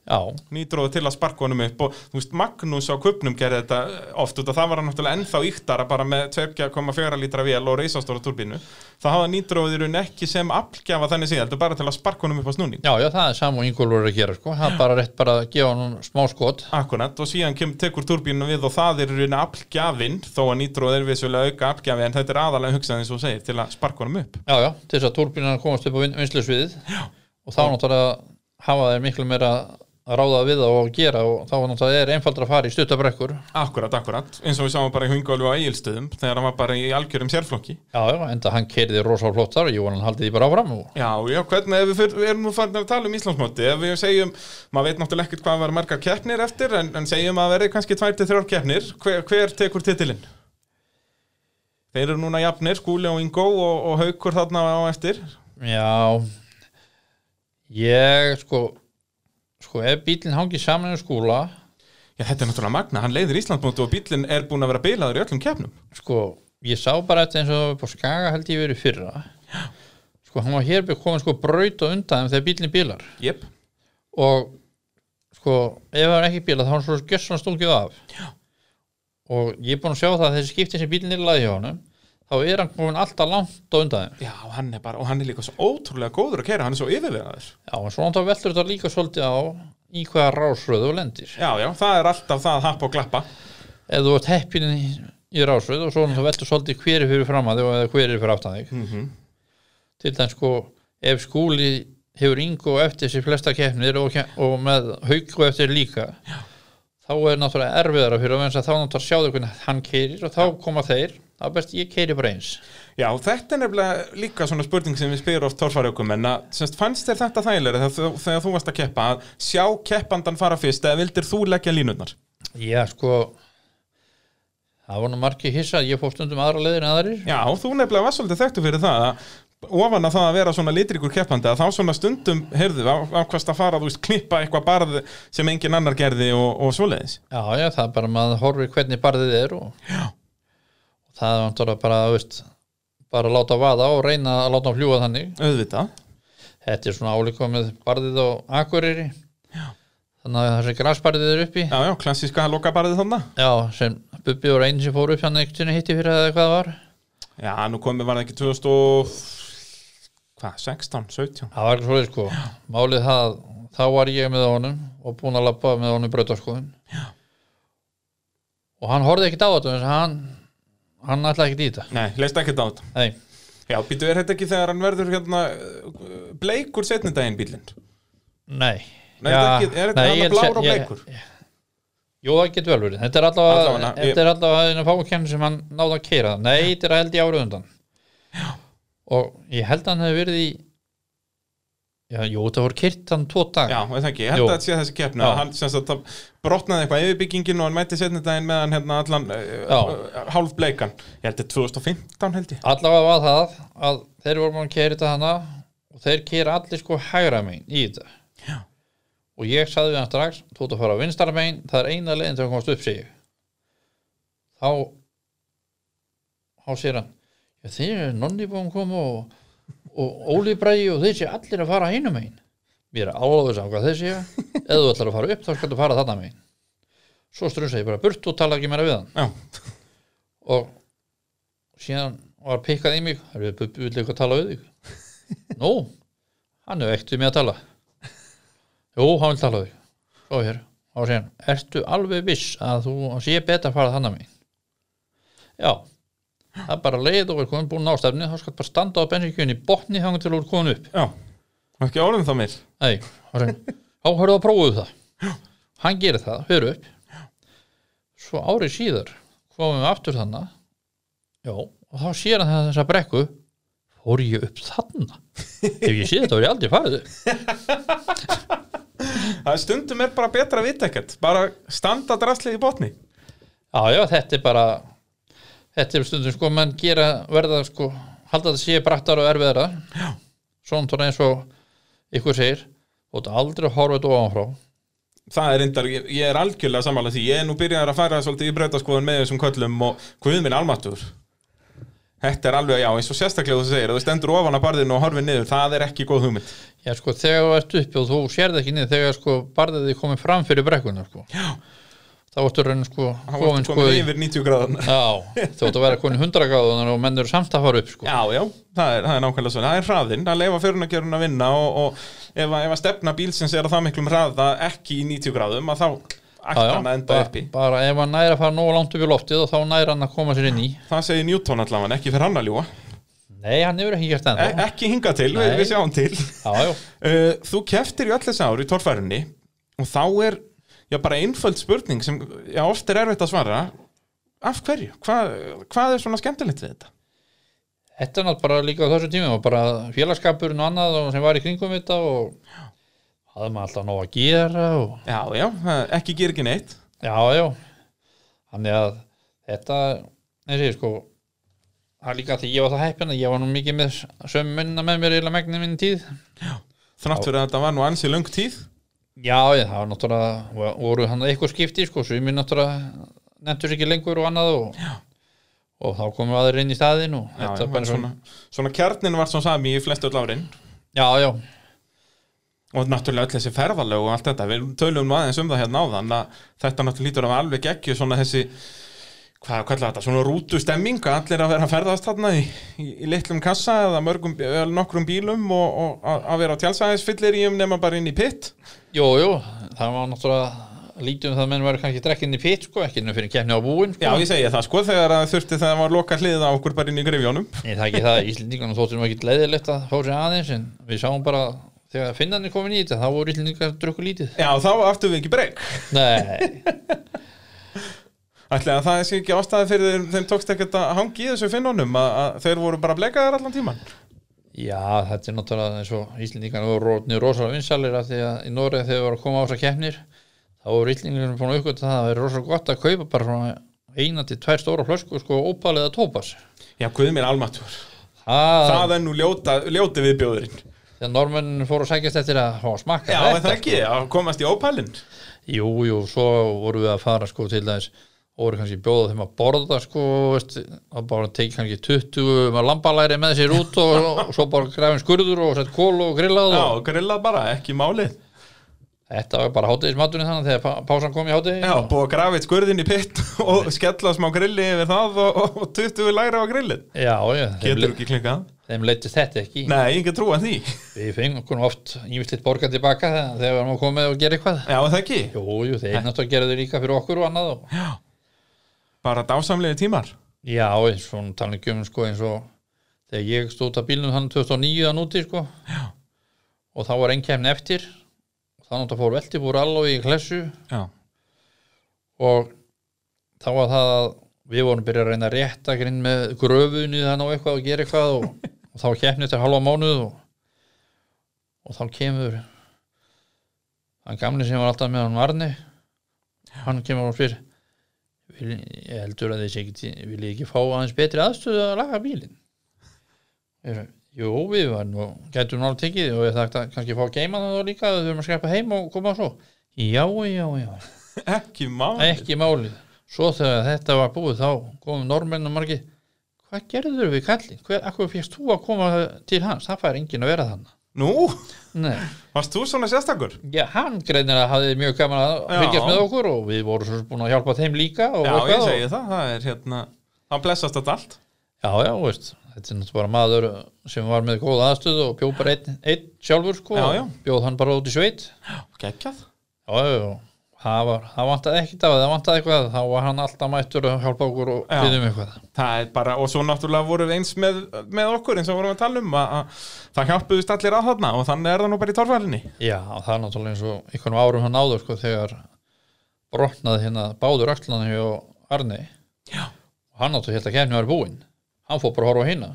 S4: Já,
S1: nýtró til að sparka honum upp og þú veist Magnús á kupnum gerði þetta oft út og það var hann náttúrulega ennþá yktara bara með 2,4 lítra vél og reisastóra turbínu það hafa nýtróið í raun ekki sem aflgjafa þannig síðan, þetta er bara til að sparka honum upp á snúning
S4: Já, já, það er sam og yngolur að gera sko, það er bara rétt bara að gefa hann smá skot
S1: Akkurat, og síðan kemur tekur turbínu við og það er í raun aflgjafinn þó að nýtróið er vissulega auka aflgjafi en þetta er aðalega hugsað eins og þú segir til að sparka honum upp
S4: Já, já, til þess að túrbínan komast upp á vin- vinslusviðið já. og þá náttúrulega hafa þeir miklu meira að ráða við það og gera og þá náttúrulega er einfaldra að fara í stuttabrekkur Já,
S1: Akkurat, akkurat, eins og við sáum bara í Hungólu á Egilstöðum þegar hann var bara í algjörum sérflokki
S4: já, enda hann kerði rosa flott þar og ég vona hann haldið því bara áfram og
S1: Já, já, hvernig, ef við, fyr, við erum nú farin að tala um Íslandsmóti, ef við segjum, maður veit náttúrulega ekkert hvað var margar keppnir eftir, en, en segjum að verði kannski 23 keppnir, hver, hver tekur titilinn? Þeir eru núna jafnir, Skúli og Ingo og, og Haukur þarna á eftir.
S4: Já ég sko sko ef bílinn hangi saman í skúla
S1: Já, þetta er náttúrulega magna, hann leiðir Íslandsmóti og bílinn er búin að vera bilaður í öllum keppnum.
S4: sko, ég sá bara þetta eins og það var upp á Skaga held ég verið í fyrra sko, hann var hér komin sko braut og undan þeim þegar bílinn bílar
S1: Jep.
S4: og sko, ef það var ekki bílað þá var hann svo gjössan stungið af Já. og ég er búin að sjá það að þessi skipti sem bílinn er laði hjá honum þá er hann komin alltaf langt og undan þeim
S1: Já, hann er bara, og hann er líka svo ótrúlega góður að kæra, hann er svo yfirvegaður.
S4: Já, en svona þá veltur þetta líka svolítið á í hvaða rásröðu og lendir
S1: Já, já, það er alltaf það að happa og glappa.
S4: ef þú ert heppin í, í rásröð og svona þá veltur svolítið hveri fyrir fram að þig og eða hveri fyrir aftan þig
S1: Mhm.
S4: til þannig sko ef skúli hefur yngu eftir sér flesta keppnir og, ke- og með hauku eftir líka Já. þá er náttúrulega erfiðara fyrir að þá náttúrulega sjáðu hvernig hann keirir og þá koma þeir, þá er best ég keiri bara eins
S1: Já, þetta er nefnilega líka svona spurning sem við spyrum oft torfarjökum en að semst, fannst þér þetta þægilega þegar, þú- þegar þú varst að keppa að sjá keppandan fara fyrst eða vildir þú leggja línurnar?
S4: Já sko það var nú margir hissa ég fór stundum aðra leiðir en aðrir
S1: Já, þú nefnilega var svolítið þekktu fyrir það að ofan að það að vera svona litrikur keppandi að þá svona stundum, heyrðu, á, ákvast að fara þú veist, klippa eitthvað barð sem engin annar gerði og, og svoleiðis.
S4: Já, já, það er bara maður horfir hvernig barðið er og, og það er náttúrulega bara, þú veist, bara að láta vaða og reyna að láta hann fljúga þannig
S1: Auðvitað.
S4: Þetta er svona álíka með barðið á Akureyri þannig að þessi grasbarðið er uppi
S1: Já, já, klassíska lokabarðið þannig.
S4: Já, sem Bubbi var einn sem fór upp hann einhvern veginn hitti fyrir það eða hvað það var
S1: Já, nú komið var það ekki 2000 og... Hvað, 16, 17?
S4: Það var ekki svoleið sko Málið það, að þá var ég með honum og búin að labba með honum brautarskoðun Já Og hann horfði ekkert á þetta þess að hann hann ætlaði ekkert í þetta
S1: Nei, leist ekki þetta á þetta.
S4: Nei,
S1: Já, býtu, er þetta ekki þegar hann verður hérna uh, bleikur setni daginn bílind?
S4: nei
S1: Nei, þetta er ekki- er þetta hann
S4: ég
S1: að blár
S4: held-
S1: og
S4: ég-
S1: bleikur?
S4: Jú, það getur vel verið Þetta er allavega,
S1: Allavega,
S4: þetta er allavega einu fákenn sem hann náði að keira Nei, þetta er að held ég árið undan Já. Og ég held að hann hefði verið í Já, jú, það voru keirt hann tvo dag
S1: Já, er það ekki, ég held
S4: Jú.
S1: að þetta sé þessi keppni
S4: Já.
S1: að hann sem sagt það brotnaði eitthvað yfirbyggingin og hann mætti setni daginn með hann hérna allan uh,
S4: Já.
S1: uh, hálf bleikan Ég held þetta 2015 held ég
S4: Allavega var það að þeir voru búin að keira þetta hana og þeir keira allir sko hægra megin í þetta Já. og ég sagði við hann strax þú ert að fara á vinstara megin, það er eina leiðin til að komast upp sig á á sér hann já, þeir eru nonni búin kom og, og Óli Bræði og þeir sé allir að fara hinum megin mér er alveg saman hvað þeir séu eða þú ætlar að fara upp þá skal þú fara þarna megin svo strunsa ég bara burt og tala ekki meira við hann
S1: Já,
S4: og síðan var pikkað í mig erum við bubbi vill eitthvað tala við þig nú, hann hefur ekkert við mig að tala jú, hann vil tala við þig svo hér, þá segir hann ertu alveg viss að þú að sé betra að fara þannig mín já, það er bara leið og er komin búin ástæfni þá skal bara standa á bensinkjöðin í botni þangar til úr komin upp
S1: já Ekki orðum þá meir
S4: Nei, þá segir hann, þá hörðu að prófuðu það hann gerir það, hörðu upp svo árið síðar komum við aftur þannig já, og þá sér hann það þessa brekku fór ég upp þannig ef ég sé þetta var ég aldrei farið upp
S1: Það er stundum er bara betra að vita ekkert Bara standa drastlið í botni
S4: já, já, þetta er bara þetta er stundum sko, menn gera verða sko, halda þetta sé brattar og erfiðara já. svona tóra eins og ykkur segir, þú ert aldrei að horfa þetta ofanfrá
S1: Það er reyndar, ég, ég er algjörlega sammála því Ég er nú byrjaður að færa svolítið í breytaskoðun með þessum köllum og guð minn almatur Þetta er alveg, já, eins og sérstaklega þú segir ef Þú stendur ofan að barðinu og horfið niður Það er ekki góð hugmynd
S4: Já, sko, þegar þú ert uppi og þú sérð ekki niður þegar, sko, barðið þið komið fram fyrir brekkuna, sko. Já. Þá ertu raunin, sko,
S1: Það var
S4: komin,
S1: komin
S4: sko,
S1: sko,
S4: í...
S1: yfir 90 gráðan
S4: Já, þú ert að vera komin hundra gráðunar og menn eru samt að fara upp, sko.
S1: Já, já, það er, það er nákvæmlega svona, það er hraðinn að leifa fyrirnagjörun að vinna og, og ef, að, ef að stefna bílsins er að það miklum hraða ekki í 90 gráðum að þá ætti hann að enda
S4: bara,
S1: uppi
S4: bara ef hann næra að fara nógu langt upp í loftið og þá næra hann að koma sér inn í.
S1: Það segir Newton allavega, ekki fyrir hann að ljúa
S4: Nei, hann hefur ekki gert
S1: e
S4: það ennþá.
S1: ekki hinga til, við,
S4: Nei.
S1: við sjáum til
S4: Já, já,
S1: uh, Þú keftir í öll þessi ár í torfærunni og þá er, já bara einföld spurning sem já, oft er erfitt að svara af hverju, Hva, hvað er svona skemmtilegt við þetta?
S4: þetta er náttúrulega bara líka á þessu tími og bara félagskapurinn og annað og sem var í kringum þetta og hafði maður alltaf nóg að gera og
S1: Já, já, það- ekki gera ekki neitt
S4: Já, já Þannig að þetta eins og ég sko það er líka því ég var það heppin að ég var nú mikið með sömu munna með mér eða megnin minn tíð
S1: þrátt fyrir að þetta var nú ansi löng tíð
S4: Já, ég, það var náttúrulega voru hann eitthvað skipti sko sömu náttúrulega nefntur sér ekki lengur og annað og, og þá komum aðeir inn í staðin og
S1: Já, já,
S4: þetta er
S1: bara
S4: bara
S1: svona, svona kjarnin var svona sami í flestu öll árin
S4: Já, já,
S1: og náttúrulega öll þessi ferðalög og allt þetta við tölum nú aðeins um það hérna áðan að þetta náttúrulega lítur af alveg ekki svona þessi hvað hvað er þetta, svona rútu stemming að allir að vera að ferðast þarna í, í, í litlum kassa eða mörgum, eða nokkrum bílum og, og að, að vera á tjálsæðisfyllir í um nema bara inn í pitt
S4: jú, jú það var náttúrulega lítið um það að menn var kannski drekkinni pitt sko, ekki ennum fyrir kemni á búin sko.
S1: Já, ég segi það sko, þegar að þurfti þegar var loka hliða á okkur bara inn í grifjónum
S4: Nei, það er ekki það, Íslendingarna þóttum ekki leiðilegt að fá sér aðeins en við sáum bara þegar finnarnir komin í þetta þá voru Íslendingar drukku lítið
S1: Já, þá aftur við ekki breyk
S4: Nei,
S1: Ætli að það er ekki ástæði fyrir þeim, þeim tókst ekkert að hangi í þessu finnunum að, að þeir voru bara blekaðar allan tíman
S4: já, þetta er náttúrulega eins og Íslendingarna voru rótnir rosalega vinsalir af því að í Noreg þegar við voru að koma á þessar keppnir þá voru Íslendingarna búin að uppgöta það að það er rosalega gott að kaupa bara svona eina til tvær stóra flösku sko ópaliða tópas
S1: Já, guð mér almatur
S4: Það,
S1: Það er nú ljóta, ljóti viðbjóðurinn
S4: þegar normenn fóru að sækjast eftir að fá að smakka
S1: Já,
S4: þetta,
S1: er það ekki, að komast í ópælinn
S4: Jú, jú, svo voru við að fara sko til þess og voru kannski bjóða þeim að borða sko, veist, að bara tekið kannski 20 með lambalæri með sér út og, og svo bara grafin skurður og sett kól og grillað
S1: Já,
S4: og
S1: grilla bara, ekki málið
S4: þetta var bara hátegismatunni þannig þegar pá- pásan kom í hátegi
S1: Já, búið að grafa eitt skurðin í pitt og skella smá grilli yfir það og, og, og 20 læra á grillið
S4: Já, já, þeim,
S1: Getur
S4: le
S1: ekki klinkað
S4: þeim leittist þetta ekki
S1: Nei, ég get trúan því Já,
S4: Við fengum okkur oft ívillit borga tilbaka þegar þegar við varum að koma og gera eitthvað
S1: er það ekki
S4: Jú, jú, þeir náttúrulega gera þau líka fyrir okkur og annað og
S1: Bara dásamlega tímar
S4: Já, eins og talningum sko eins og þegar ég stóð út af bílnum hann 2009 að núti sko Já. og þá var einn kemni eftir og þannig að fór velti búr alveg í klessu
S1: Já,
S4: og þá var það að við vorum byrjað að reyna að rétta grinn með gröfunni þannig og eitthvað og gera eitthvað og, og þá keppni þetta halva mánuð og, og þá kemur hann gamli sem var alltaf með hann varni hann kemur og spyr vil, ég heldur að þessi ekki tí- vil ég ekki fá aðeins betri aðstöðu að laga bílinn Ég sagði, Jú, við varum nú, gætum nála tekið og ég þakta kannski fá að geima það þá líka við þurfum að skrepa heim og koma svo Já, já, já
S1: ekki málið
S4: ekki málið
S2: svo þegar þetta var búið þá komum normennum margi hvað gerður við kallin, hver, akkur fyrst þú að koma til hans, það fær enginn að vera þannig
S1: Nú,
S2: Nei.
S1: varst þú svona sérstakur?
S2: Já, hann greinir að hafði mjög gaman að
S1: Já.
S2: fylgjast með okkur og við vorum svo sem búin að hjálpa þeim líka og
S1: Já,
S2: eitthvað
S1: ég
S2: og-
S1: segi það, það er hérna hann blessast þetta allt
S2: Já, já, þú veist, þetta er náttúrulega bara maður sem var með góð aðstöð og bjóð bara einn, einn sjálfur sko,
S1: Já, já.
S2: og bjóð hann bara út í sveit
S1: Gekkjað
S2: Já, já, já, það var, það vantaði ekkert af það, það vantaði eitthvað, þá var hann alltaf mættur að hjálpa okkur og
S1: Já.
S4: um
S2: byggðum eitthvað
S1: Það er bara, og svo náttúrulega vorum við eins með, með okkur eins og vorum að tala um að, að það hjálpuðust allir að þarna og þannig er það nú bara í torfælinni
S2: Já, það er náttúrulega eins og einhvern árum hann áður sko, þegar brotnaði hérna báður axlana hjá Arni Já. og hann náttúrulega held að kefni var búinn hann fór bara að horfa á hérna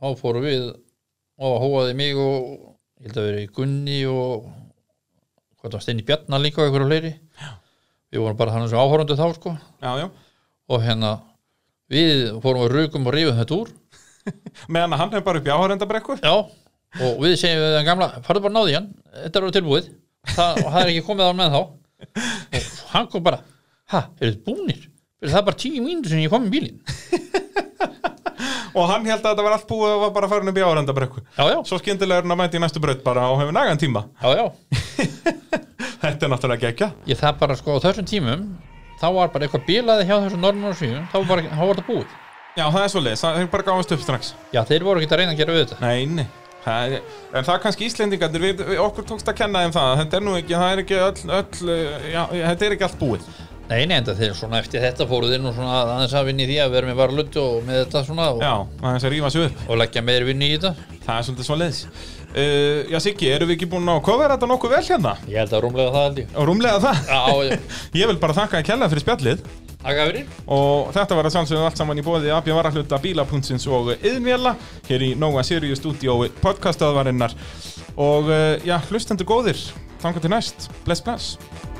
S2: þá fóru við og hóaði mig og ég held að verið Gunni og hvað það var Steini Bjarnar líka og einhverju fleiri Já. við vorum bara þannig sem áhorundu þá sko
S1: Já, já,
S2: og hérna við fórum að rukum og rífum þetta úr
S1: meðan að hann er bara upp í áhörendabrekku
S2: Já, og við segjum við þann gamla farðu bara náði hann, þetta eru tilbúið það, og það er ekki komið á hann með þá og hann kom bara ha, eru þið búnir? Fyrir það er bara tíu mínútur sem ég kom í bílinn
S1: og hann held að þetta var allt búið og var bara farin upp í áhörendabrekku
S2: Já, já,
S1: Svo skyndilega er hann að mæta í næstu braut bara og hefur nagan tíma
S2: já, já
S1: Þetta er náttúrulega gekkja
S2: ég það bara sko á þessum tímum þá var bara eitthvað bílaði hjá þessum normann og svíum þá var, bara, þá var það búið
S1: Já, það er svoleiðis, það er bara gáðast upp strax
S2: Já, þeir voru ekki að reyna að gera við þetta
S1: Nei, nei Það er, en það er kannski Íslendingarnir, við, við okkur tókst að kenna þeim það, þetta er nú ekki, það er ekki öll, öll, já, þetta er ekki allt búið.
S2: Nei, nei, enda þeir svona eftir þetta fóruð inn og svona aðeins að vinni í því að vera með varlut og með þetta svona og,
S1: Já, það er þess að rífa sig upp.
S2: og leggja meir vinni í þetta
S1: Það er svolítið svo leiðis. Uh, já, Siggi, erum við ekki búin að kofera þetta nokkuð vel hérna?
S2: Ég held að rúmlega það held ég
S1: Og rúmlega það.
S2: Já, já,
S1: Ég vil bara þakka að kella fyrir spjallið
S2: takk að verið
S1: og þetta var að sjálfsögðu allt saman í bóði AB Varahluta, Bíla.sins og Yðnvjalla hér í Nóa Sirius stúdíói podcastaðvarinnar og uh, já, hlustendur góðir, þanga til næst, bless bless.